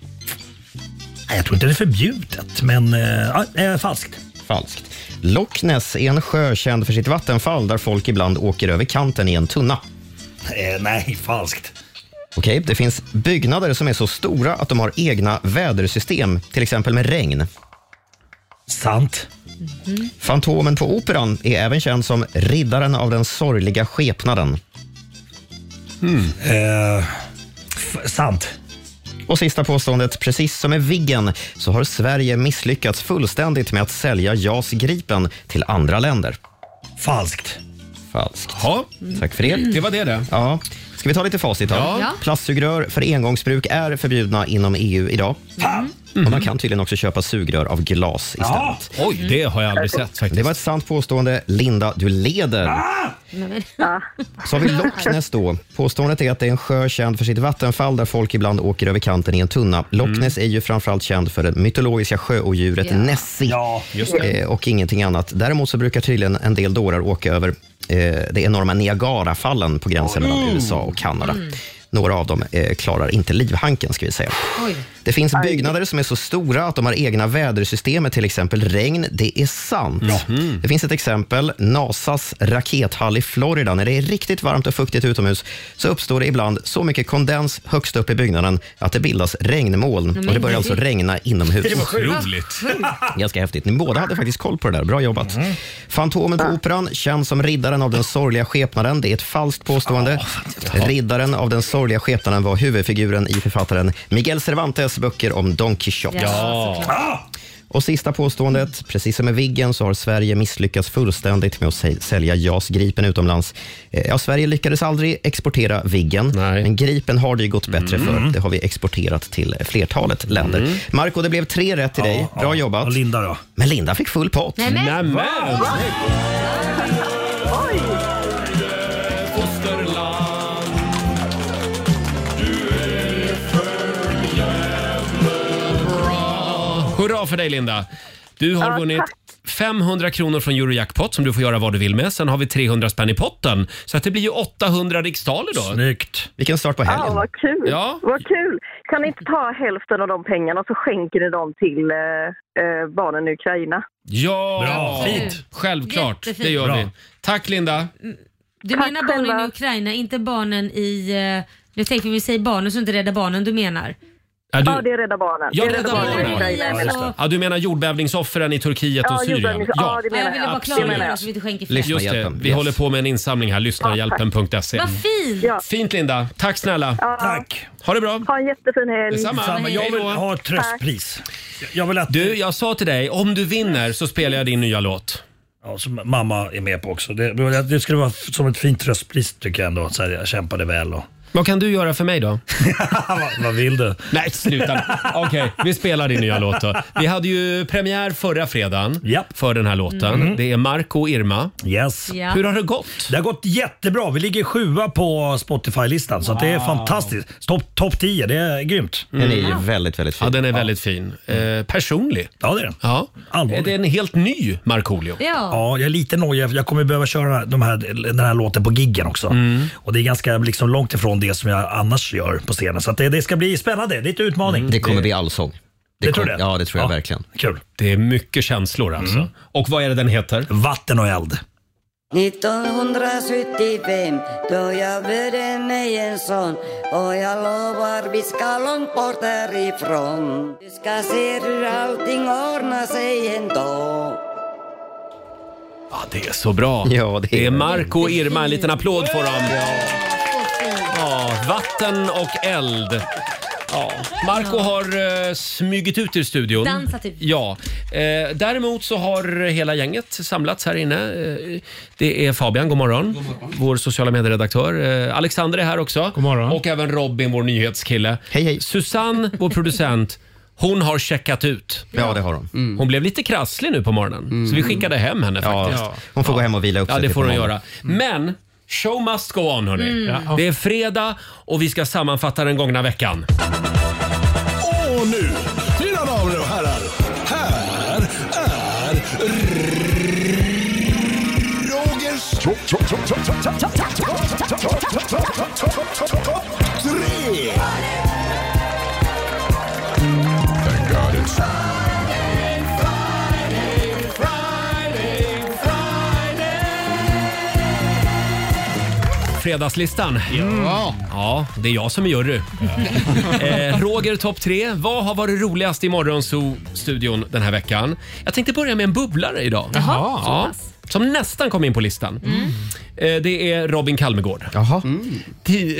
Speaker 10: Nej, Jag tror inte det är förbjudet, men eh, ah, eh, falskt.
Speaker 2: Falskt. Loch Ness är en sjö känd för sitt vattenfall där folk ibland åker över kanten i en tunna.
Speaker 10: Eh, nej, falskt.
Speaker 2: Okej, det finns byggnader som är så stora att de har egna vädersystem, till exempel med regn.
Speaker 10: Sant.
Speaker 2: Fantomen på Operan är även känd som riddaren av den sorgliga skepnaden.
Speaker 1: Hmm.
Speaker 10: Eh, f- sant.
Speaker 2: Och sista påståendet, precis som med Viggen så har Sverige misslyckats fullständigt med att sälja JAS Gripen till andra länder.
Speaker 10: Falskt.
Speaker 2: Falskt.
Speaker 1: Ja.
Speaker 2: Tack för det.
Speaker 1: Det var det det.
Speaker 2: Ja. Ska vi ta lite facit då?
Speaker 1: Ja. Ja.
Speaker 2: Plastsugrör för engångsbruk är förbjudna inom EU idag.
Speaker 1: Mm.
Speaker 10: Mm.
Speaker 2: Och
Speaker 1: Mhm.
Speaker 2: man kan tydligen också köpa sugrör av glas istället.
Speaker 1: Oj, det har jag aldrig sett faktiskt.
Speaker 2: Det var ett sant påstående. Linda, du leder. Så har vi Loch Ness då. Påståendet är att det är en sjö känd för sitt vattenfall där folk ibland åker över kanten i en tunna. Loch Ness är ju framförallt känd för det mytologiska sjöodjuret
Speaker 10: Ja.
Speaker 2: Nessie
Speaker 10: Ja, just det.
Speaker 2: Eh, och ingenting annat. Däremot så brukar tydligen en del dårar åka över eh, det enorma Niagarafallen på gränsen mellan USA och Kanada. Några av dem eh, klarar inte livhanken ska vi säga.
Speaker 11: Oj.
Speaker 2: Det finns byggnader som är så stora att de har egna vädersystem med till exempel regn. Det är sant. Det finns ett exempel. Nasas rakethall i Florida. När det är riktigt varmt och fuktigt utomhus så uppstår det ibland så mycket kondens högst upp i byggnaden att det bildas regnmoln.
Speaker 10: Men
Speaker 2: och det börjar alltså
Speaker 10: gud.
Speaker 2: regna inomhus.
Speaker 10: Sjukt.
Speaker 2: Ganska häftigt. Ni båda hade faktiskt koll på det där. Bra jobbat.
Speaker 1: Mhm.
Speaker 2: Fantomen på Operan känns som riddaren av den sorgliga skepnaden. Det är ett falskt påstående. Riddaren av den sorgliga skepnaden var huvudfiguren i författaren Miguel Cervantes böcker om Don Quijote.
Speaker 1: Ja, såklart.
Speaker 2: Och sista påståendet. Precis som med Viggen så har Sverige misslyckats fullständigt med att sä- sälja JAS Gripen utomlands. Eh, Ja, Sverige lyckades aldrig exportera Viggen, men Gripen har det ju gått bättre
Speaker 10: Mm.
Speaker 2: för. Det har vi exporterat till flertalet länder.
Speaker 10: Mm.
Speaker 2: Marco, det blev tre rätt till dig. Bra jobbat. Och
Speaker 10: Linda då?
Speaker 2: Men Linda fick full pott.
Speaker 1: Nämen. Nämen. Va? Va? Hurra för dig Linda! Du har
Speaker 16: Ja,
Speaker 1: vunnit
Speaker 16: tack.
Speaker 1: 500 kronor från Eurojackpot som du får göra vad du vill med. Sen har vi 300 spänn i potten. Så att det blir ju 800 riksdaler då.
Speaker 2: Snyggt! Vilken start på
Speaker 16: Ja,
Speaker 1: helgen.
Speaker 16: vad kul.
Speaker 1: Ja.
Speaker 16: vad kul! Kan ni inte ta hälften av de pengarna så skänker ni dem till eh, eh, barnen i Ukraina?
Speaker 1: Ja!
Speaker 16: Bra. Fint.
Speaker 1: Självklart,
Speaker 11: Jättefint.
Speaker 1: det gör
Speaker 11: Bra.
Speaker 1: vi. Tack Linda!
Speaker 11: Du menar barnen i Ukraina, inte barnen i... eh, Nu tänker vi, vi säger barnen så inte Rädda Barnen du menar.
Speaker 1: Ja, du- Ja,
Speaker 16: det är Rädda Barnen.
Speaker 1: Ja, Rädda Barnen.
Speaker 11: Barnen. Ja, just det.
Speaker 1: Ja, du menar jordbävningsoffren i Turkiet
Speaker 11: Ja,
Speaker 1: och Syrien?
Speaker 11: jordbävnings- ja, det menar jag. Jag ville bara
Speaker 1: absolut.
Speaker 11: klargöra så vi inte skänker fel.
Speaker 1: Just det,
Speaker 11: Lyssnarhjälpen,
Speaker 1: vi
Speaker 11: yes.
Speaker 1: håller på med en insamling här, lyssnarhjälpen.se.
Speaker 11: Vad fint!
Speaker 1: Fint Linda, tack snälla.
Speaker 16: Tack.
Speaker 1: Ha det bra.
Speaker 16: Ha en jättefin helg.
Speaker 1: Detsamma.
Speaker 10: Jag vill ha ett
Speaker 16: Tack.
Speaker 10: tröstpris. Jag vill att...
Speaker 1: Du, jag sa till dig, om du vinner så spelar jag din nya låt.
Speaker 10: Ja, som mamma är med på också. Det, det skulle vara som ett fint tröstpris tycker jag ändå. Så här, jag kämpade väl och...
Speaker 1: Vad kan du göra för mig då?
Speaker 10: vad, vad vill du?
Speaker 1: Nej, sluta. Okej, vi spelar din nya låt då. Vi hade ju premiär förra fredagen för den här låten.
Speaker 10: Mm.
Speaker 1: Det är Marco och Irma.
Speaker 10: Yes.
Speaker 11: Ja.
Speaker 1: Hur har det gått?
Speaker 10: Det har gått jättebra. Vi ligger sjua på Spotify-listan så att det är
Speaker 1: Wow.
Speaker 10: fantastiskt. Topp top 10, det är grymt.
Speaker 2: Mm.
Speaker 1: Den är ju Ja.
Speaker 2: väldigt, väldigt fin.
Speaker 1: Mm. Ja, den är väldigt fin. Eh, personlig.
Speaker 10: Ja, det är den.
Speaker 1: Ja.
Speaker 10: Allvarlig.
Speaker 1: Det är en helt ny Markoolio.
Speaker 11: Ja.
Speaker 10: jag är lite nojig. Jag kommer behöva köra de här, den här låten på giggen också.
Speaker 1: Mm.
Speaker 10: Och Det är ganska liksom långt ifrån det som jag annars gör på scenen. Så att det, det ska bli spännande. Det är lite utmaning.
Speaker 2: Mm. Det kommer bli allsång.
Speaker 10: Det, tror du?
Speaker 2: kommer- Ja, det tror jag verkligen.
Speaker 10: Kul. Mm.
Speaker 1: Det är mycket känslor alltså. Och vad är det den heter?
Speaker 10: Vatten och eld.
Speaker 17: 1975 då jag bjöd mig en son och jag lovar vi ska långt bort härifrån. Du ska se hur allting ordnar sig ändå.
Speaker 1: Ja, det är så bra. Ja, det, är Marco och Irma. En liten applåd för dem. Ja, vatten och eld. Ja. Marco har eh, smugit ut ur studion.
Speaker 11: Dansat ut.
Speaker 1: Ja. Eh, däremot så har hela gänget samlats här inne. Eh, det är Fabian, god morgon. Vår sociala medieredaktör. Eh, Alexander är här också. God morgon. Och även Robin, vår nyhetskille. Hej, hej. Susanne, vår producent. Hon har checkat ut.
Speaker 2: Ja, det har hon. Mm.
Speaker 1: Hon blev lite krasslig nu på morgonen, så vi skickade hem henne faktiskt.
Speaker 2: Ja, hon får gå hem och vila upp
Speaker 1: Ja,
Speaker 2: sig
Speaker 1: det
Speaker 2: till
Speaker 1: får hon
Speaker 2: imorgon.
Speaker 1: göra. Mm. Men show must go on, hörni.
Speaker 2: Mm.
Speaker 1: Ja. Det är fredag och vi ska sammanfatta den gångna veckan.
Speaker 4: Och nu, mina damer och herrar, här är Rogers... Tre! Thank God it's...
Speaker 1: Fredagslistan. Ja. ja, det är jag som är jury. eh, Roger, topp tre. Vad har varit roligast i Morgonzoo-studion den här veckan? Jag tänkte börja med en bubblare idag.
Speaker 11: Jaha, så
Speaker 1: ja, som nästan kom in på listan.
Speaker 2: Mm.
Speaker 1: Eh, det är Robin Kalmegård. Jaha.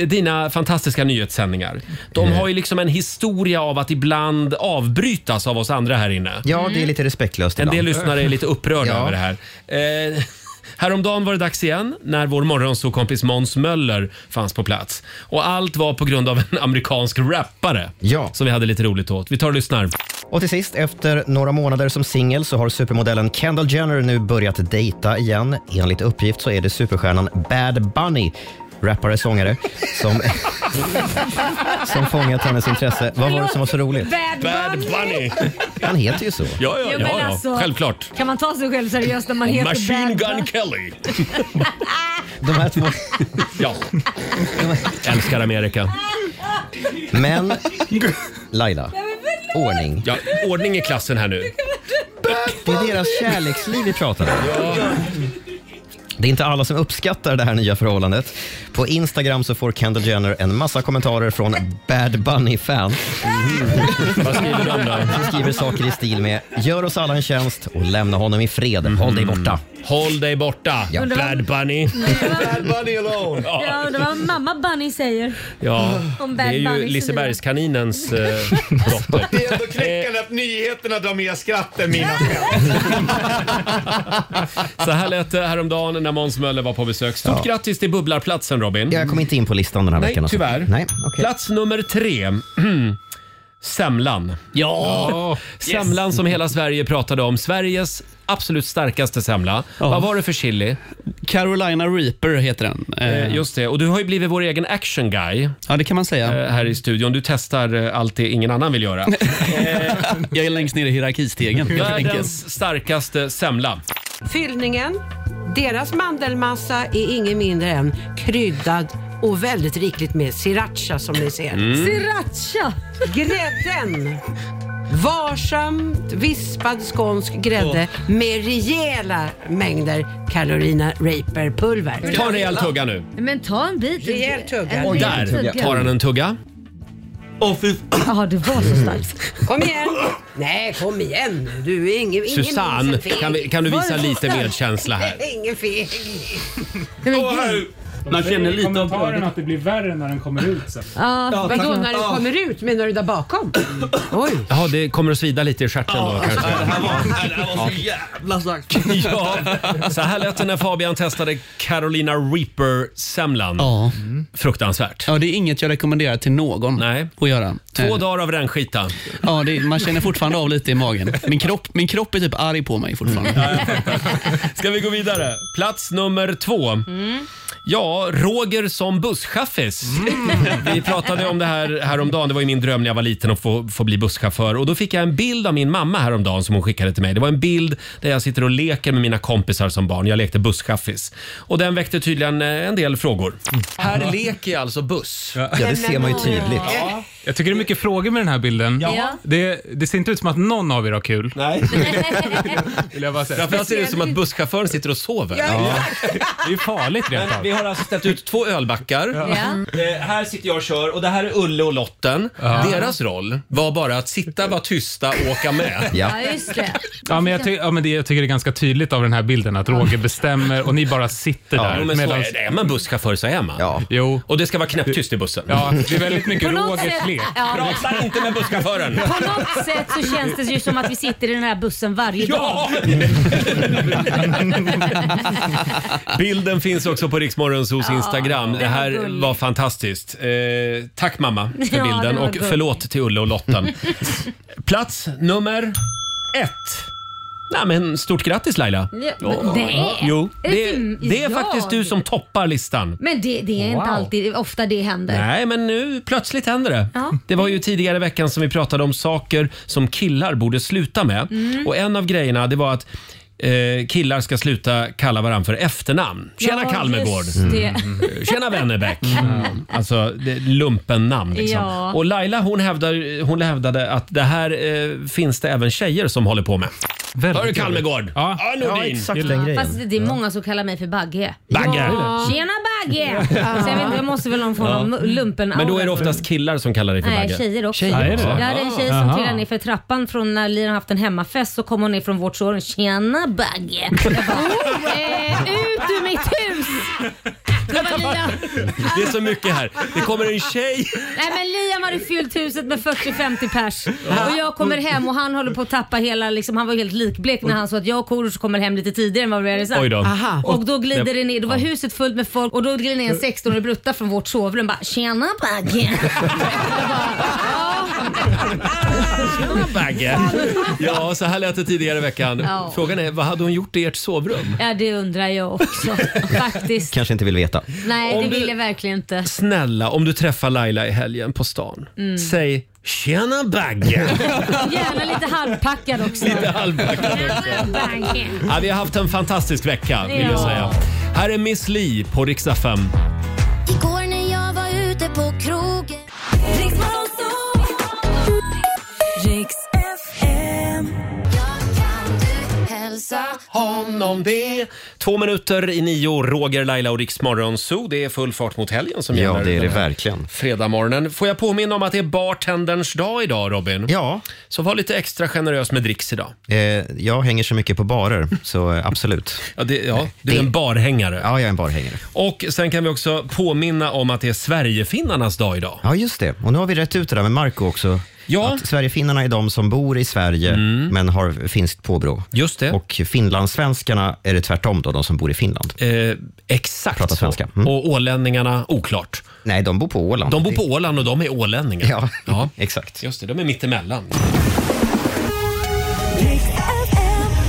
Speaker 1: Dina fantastiska nyhetssändningar. De
Speaker 2: Mm.
Speaker 1: har ju liksom en historia av att ibland avbrytas av oss andra här inne.
Speaker 2: Ja, det är lite respektlöst
Speaker 1: En
Speaker 2: ibland.
Speaker 1: del lyssnare är lite upprörda
Speaker 2: Ja.
Speaker 1: över det här. Eh, häromdagen var det dags igen när vår morgonsåkompis Måns Möller fanns på plats. Och allt var på grund av en amerikansk rappare ja. som vi hade lite roligt åt. Vi tar och lyssnar.
Speaker 2: Och till sist, efter några månader som singel så har supermodellen Kendall Jenner nu börjat dejta igen. Enligt uppgift så är det superstjärnan Bad Bunny, rappare, sångare, som, som fångat hennes intresse. Vad var det som var så roligt?
Speaker 11: Bad Bad Bunny.
Speaker 2: Han heter ju så.
Speaker 1: Ja,
Speaker 11: Jo, men alltså, Kan man ta sig själv seriöst när man
Speaker 2: Och
Speaker 11: heter
Speaker 2: Machine
Speaker 11: Bad
Speaker 1: Gun
Speaker 11: Bunny?
Speaker 1: Kelly.
Speaker 2: De här två...
Speaker 1: Ja. Älskar Amerika.
Speaker 2: Men, Laila, ordning.
Speaker 1: Ja, ordning i klassen här nu.
Speaker 2: Det är deras kärleksliv vi pratar om. Det är inte alla som uppskattar det här nya förhållandet. På Instagram så får Kendall Jenner en massa kommentarer från Bad Bunny-fans.
Speaker 1: Vad skriver de då?
Speaker 2: Som skriver saker i stil med “Gör oss alla en tjänst och lämna honom i fred. Håll dig borta.”
Speaker 1: Mm. Håll dig borta,
Speaker 2: ja.
Speaker 11: Undrar vad-
Speaker 1: Bad Bunny.
Speaker 11: Bad
Speaker 1: Bunny alone.
Speaker 11: Ja, undrar vad mamma Bunny säger.
Speaker 1: Ja,
Speaker 11: Om
Speaker 1: det
Speaker 11: Bad
Speaker 1: är ju
Speaker 11: Bunny
Speaker 1: Lisebergskaninens eh, dotter.
Speaker 18: Det är ändå knäckande att nyheterna drar mer skratt än mina.
Speaker 1: Så här lät det häromdagen när Måns Möller var på besök. Stort
Speaker 2: Ja.
Speaker 1: grattis till bubblarplatsen Robin.
Speaker 2: Jag kom inte in på listan den här
Speaker 1: Nej,
Speaker 2: veckan. alltså.
Speaker 1: tyvärr.
Speaker 2: Nej, okej.
Speaker 1: Plats nummer tre. Semlan.
Speaker 8: Ja!
Speaker 1: Semlan som hela Sverige pratade om. Sveriges absolut starkaste semla. Vad var det för chili?
Speaker 8: Carolina Reaper heter den.
Speaker 1: Eh, just det. Och du har ju blivit vår egen action guy. Ja, det kan man säga. Eh, Här i studion. Du testar eh, allt det ingen annan vill göra.
Speaker 8: Eh, Jag är längst ner i hierarkistegen. helt enkelt.
Speaker 1: Världens starkaste semla.
Speaker 6: Fyllningen, deras mandelmassa är inget mindre än kryddad och väldigt rikligt med sriracha som ni ser.
Speaker 1: Mm.
Speaker 6: Sriracha! Grädden. Varsamt vispad skånsk grädde med rejäla mängder Carolina Reaper-pulver.
Speaker 1: Ta en rejäl tugga nu.
Speaker 19: Men ta en bit. Rejäl tugga.
Speaker 1: Och där tar han en tugga. Åh, fy...
Speaker 19: Ja, det var så starkt.
Speaker 6: Kom igen! Nej, kom igen nu. Du är ingen, ingen
Speaker 1: Susanne,
Speaker 6: liten feg.
Speaker 1: kan, vi, kan du visa
Speaker 6: Var-
Speaker 1: lite medkänsla här?
Speaker 6: Ingen feg.
Speaker 1: Eh.
Speaker 5: Man
Speaker 6: känner lite av
Speaker 5: kommentaren
Speaker 6: brödet.
Speaker 5: att det blir värre när den kommer ut sen.
Speaker 6: Ja, Vadå, när
Speaker 5: Ja.
Speaker 6: du kommer ut? Menar du där bakom? Oj.
Speaker 1: Jaha, det kommer att svida lite i stjärten då kanske.
Speaker 6: jävla sagt.
Speaker 1: Ja, så här lät det när Fabian testade Carolina Reaper-semlan. Fruktansvärt.
Speaker 8: Ja, det är inget jag rekommenderar till någon
Speaker 1: Nej.
Speaker 8: att göra.
Speaker 1: Två
Speaker 8: Eh,
Speaker 1: dagar av rännskita.
Speaker 8: Ja, det, man känner fortfarande av lite i magen. Min kropp, min kropp är typ arg på mig fortfarande.
Speaker 1: Ska vi gå vidare? Plats nummer två.
Speaker 8: Mm.
Speaker 1: Ja, Roger som busschaffis.
Speaker 11: Mm.
Speaker 1: Vi pratade om det här häromdagen. Det var ju min dröm när jag var liten att få, få bli busschaufför. Och då fick jag en bild av min mamma häromdagen som hon skickade till mig. Det var en bild där jag sitter och leker med mina kompisar som barn. Jag lekte busschaffis. Och den väckte tydligen eh, en del frågor. Här leker jag alltså buss. Ja,
Speaker 5: det ser man ju tydligt. Ja. Jag tycker det är mycket frågor med den här bilden.
Speaker 1: Ja.
Speaker 5: Det, det ser inte ut som att någon av er har kul.
Speaker 1: Nej.
Speaker 5: Vill jag bara säga.
Speaker 1: Framförallt ser det ut som att busschauffören sitter och sover.
Speaker 5: Ja. Det är ju farligt rent
Speaker 1: Men
Speaker 5: av.
Speaker 1: vi har alltså ställt ut två ölbackar.
Speaker 5: Ja.
Speaker 1: Eh, här sitter jag och kör och det här är Ulle och Lotten. Deras roll var bara att sitta, vara tysta och åka med.
Speaker 3: Ja, just det.
Speaker 5: Ja, men jag, ty- ja, men det, jag tycker det är ganska tydligt av den här bilden att Roger bestämmer och ni bara sitter där.
Speaker 1: Jo, men så
Speaker 5: medans-
Speaker 1: är, det. är man busschaufför så är man.
Speaker 5: Jo.
Speaker 1: Och det ska vara knäpptyst i bussen.
Speaker 5: Ja, det är väldigt mycket
Speaker 3: På något sätt- ja.
Speaker 1: Prata inte med busschauffören!
Speaker 3: På något sätt så känns det ju som att vi sitter i den här bussen varje
Speaker 1: Ja!
Speaker 3: dag.
Speaker 1: Bilden finns också på Riksmorgonsos Instagram. Det här var fantastiskt. Eh, tack mamma för
Speaker 3: Ja,
Speaker 1: bilden
Speaker 3: den var
Speaker 1: och
Speaker 3: gullig.
Speaker 1: förlåt till Ulle och Lotten. Plats nummer ett. Nej, men stort grattis Laila!
Speaker 3: Ja, men nej.
Speaker 1: Jo,
Speaker 3: Är det
Speaker 1: det,
Speaker 3: till
Speaker 1: det är
Speaker 3: jag?
Speaker 1: faktiskt du som toppar listan.
Speaker 3: Men det, det är inte
Speaker 1: Wow.
Speaker 3: alltid ofta det händer.
Speaker 1: Nej, men nu plötsligt händer det.
Speaker 3: Ja.
Speaker 1: Det var ju tidigare i veckan som vi pratade om saker som killar borde sluta med.
Speaker 3: Mm.
Speaker 1: Och en av grejerna det var att eh, killar ska sluta kalla varandra för efternamn. Tjena
Speaker 3: Ja,
Speaker 1: Kalmegård!
Speaker 3: just det. Mm.
Speaker 1: Tjena Wennerbäck! Alltså det är lumpen-namn liksom.
Speaker 3: Ja.
Speaker 1: Och Laila hon, hävdar, hon hävdade att det här eh, finns det även tjejer som håller på med. Hörru Kalmegård! Ja, Nordin!
Speaker 3: Fast det är många som kallar mig för Bagge.
Speaker 1: Bagge.
Speaker 3: Ja. Tjena Bagge! Så jag, vet, inte, jag måste väl ha någon form av
Speaker 1: Ja.
Speaker 3: lumpen
Speaker 1: Men då är det oftast killar som kallar dig för
Speaker 3: Nej,
Speaker 1: bagge.
Speaker 3: tjejer också.
Speaker 1: Tjejer också.
Speaker 3: Jag hade en tjej som
Speaker 1: Aha.
Speaker 3: trillade ner för trappan från när Liran haft en hemmafest så kom hon ner från vårt sovrum. Tjena Bagge! Jag bara, eh, ut ur mitt hus! Det var Lian.
Speaker 1: Det är så mycket här. Det kommer en tjej.
Speaker 3: Nej men Liam hade fyllt huset med 40-50 pers och jag kommer hem och han håller på att tappa hela, liksom, han var helt likblek när han sa att jag och Korosh kommer hem lite tidigare än vad vi hade sagt.
Speaker 1: Oj då. Aha.
Speaker 3: Och då glider det ner, då var
Speaker 1: Ja.
Speaker 3: huset fullt med folk och då glider ner en 16-årig brutta från vårt sovrum bara “Tjena Bagge!”
Speaker 1: Bagge. Ja, så här lät det tidigare i veckan.
Speaker 3: Ja.
Speaker 1: Frågan är, vad hade hon gjort i ert sovrum?
Speaker 3: Ja det undrar jag också faktiskt.
Speaker 1: Kanske inte vill veta.
Speaker 3: Nej
Speaker 1: Om
Speaker 3: det
Speaker 1: du-
Speaker 3: vill jag verkligen inte.
Speaker 1: Snälla, om du träffar Laila i helgen på stan,
Speaker 3: Mm.
Speaker 1: säg “Tjena Bagge!”
Speaker 3: Gärna lite halvpackad också.
Speaker 1: Lite halvpackad
Speaker 3: Tjena Bagge!
Speaker 1: ja, Vi har haft en fantastisk vecka, vill jag
Speaker 3: Ja.
Speaker 1: säga. Här är Miss Li på riksdag 5.
Speaker 11: Igår när jag var ute på krogen
Speaker 20: Riks FM.
Speaker 11: Hälsa
Speaker 1: Honom det. Två minuter i nio, Roger, Laila och Riksmorgon Zoo. Det är full fart mot helgen som gäller.
Speaker 2: Ja, det är det
Speaker 1: den här
Speaker 2: verkligen.
Speaker 1: Fredagmorgonen. Får jag påminna om att det är bartenderns dag idag, Robin?
Speaker 2: Ja.
Speaker 1: Så var lite extra generös med dricks idag.
Speaker 2: Eh, jag hänger så mycket på barer, så eh, absolut.
Speaker 1: Ja, det, ja, du är en barhängare.
Speaker 2: Ja, jag är en barhängare.
Speaker 1: Och sen kan vi också påminna om att det är Sverigefinnarnas dag idag.
Speaker 2: Ja, just det. Och nu har vi rätt ut det där med Marco också.
Speaker 1: Ja. Mm.
Speaker 2: Att Sverigefinnarna är de som bor i Sverige men har finskt påbrå.
Speaker 1: Just det.
Speaker 2: Och finlandssvenskarna är det tvärtom då, de som bor i Finland.
Speaker 1: Eh, exakt
Speaker 2: Pratar
Speaker 1: så.
Speaker 2: svenska. Mm.
Speaker 1: Och ålänningarna, oklart.
Speaker 2: Nej, de bor på Åland.
Speaker 1: De bor på Åland och de är ålänningar. Ja,
Speaker 2: exakt.
Speaker 1: Just det, de är mittemellan.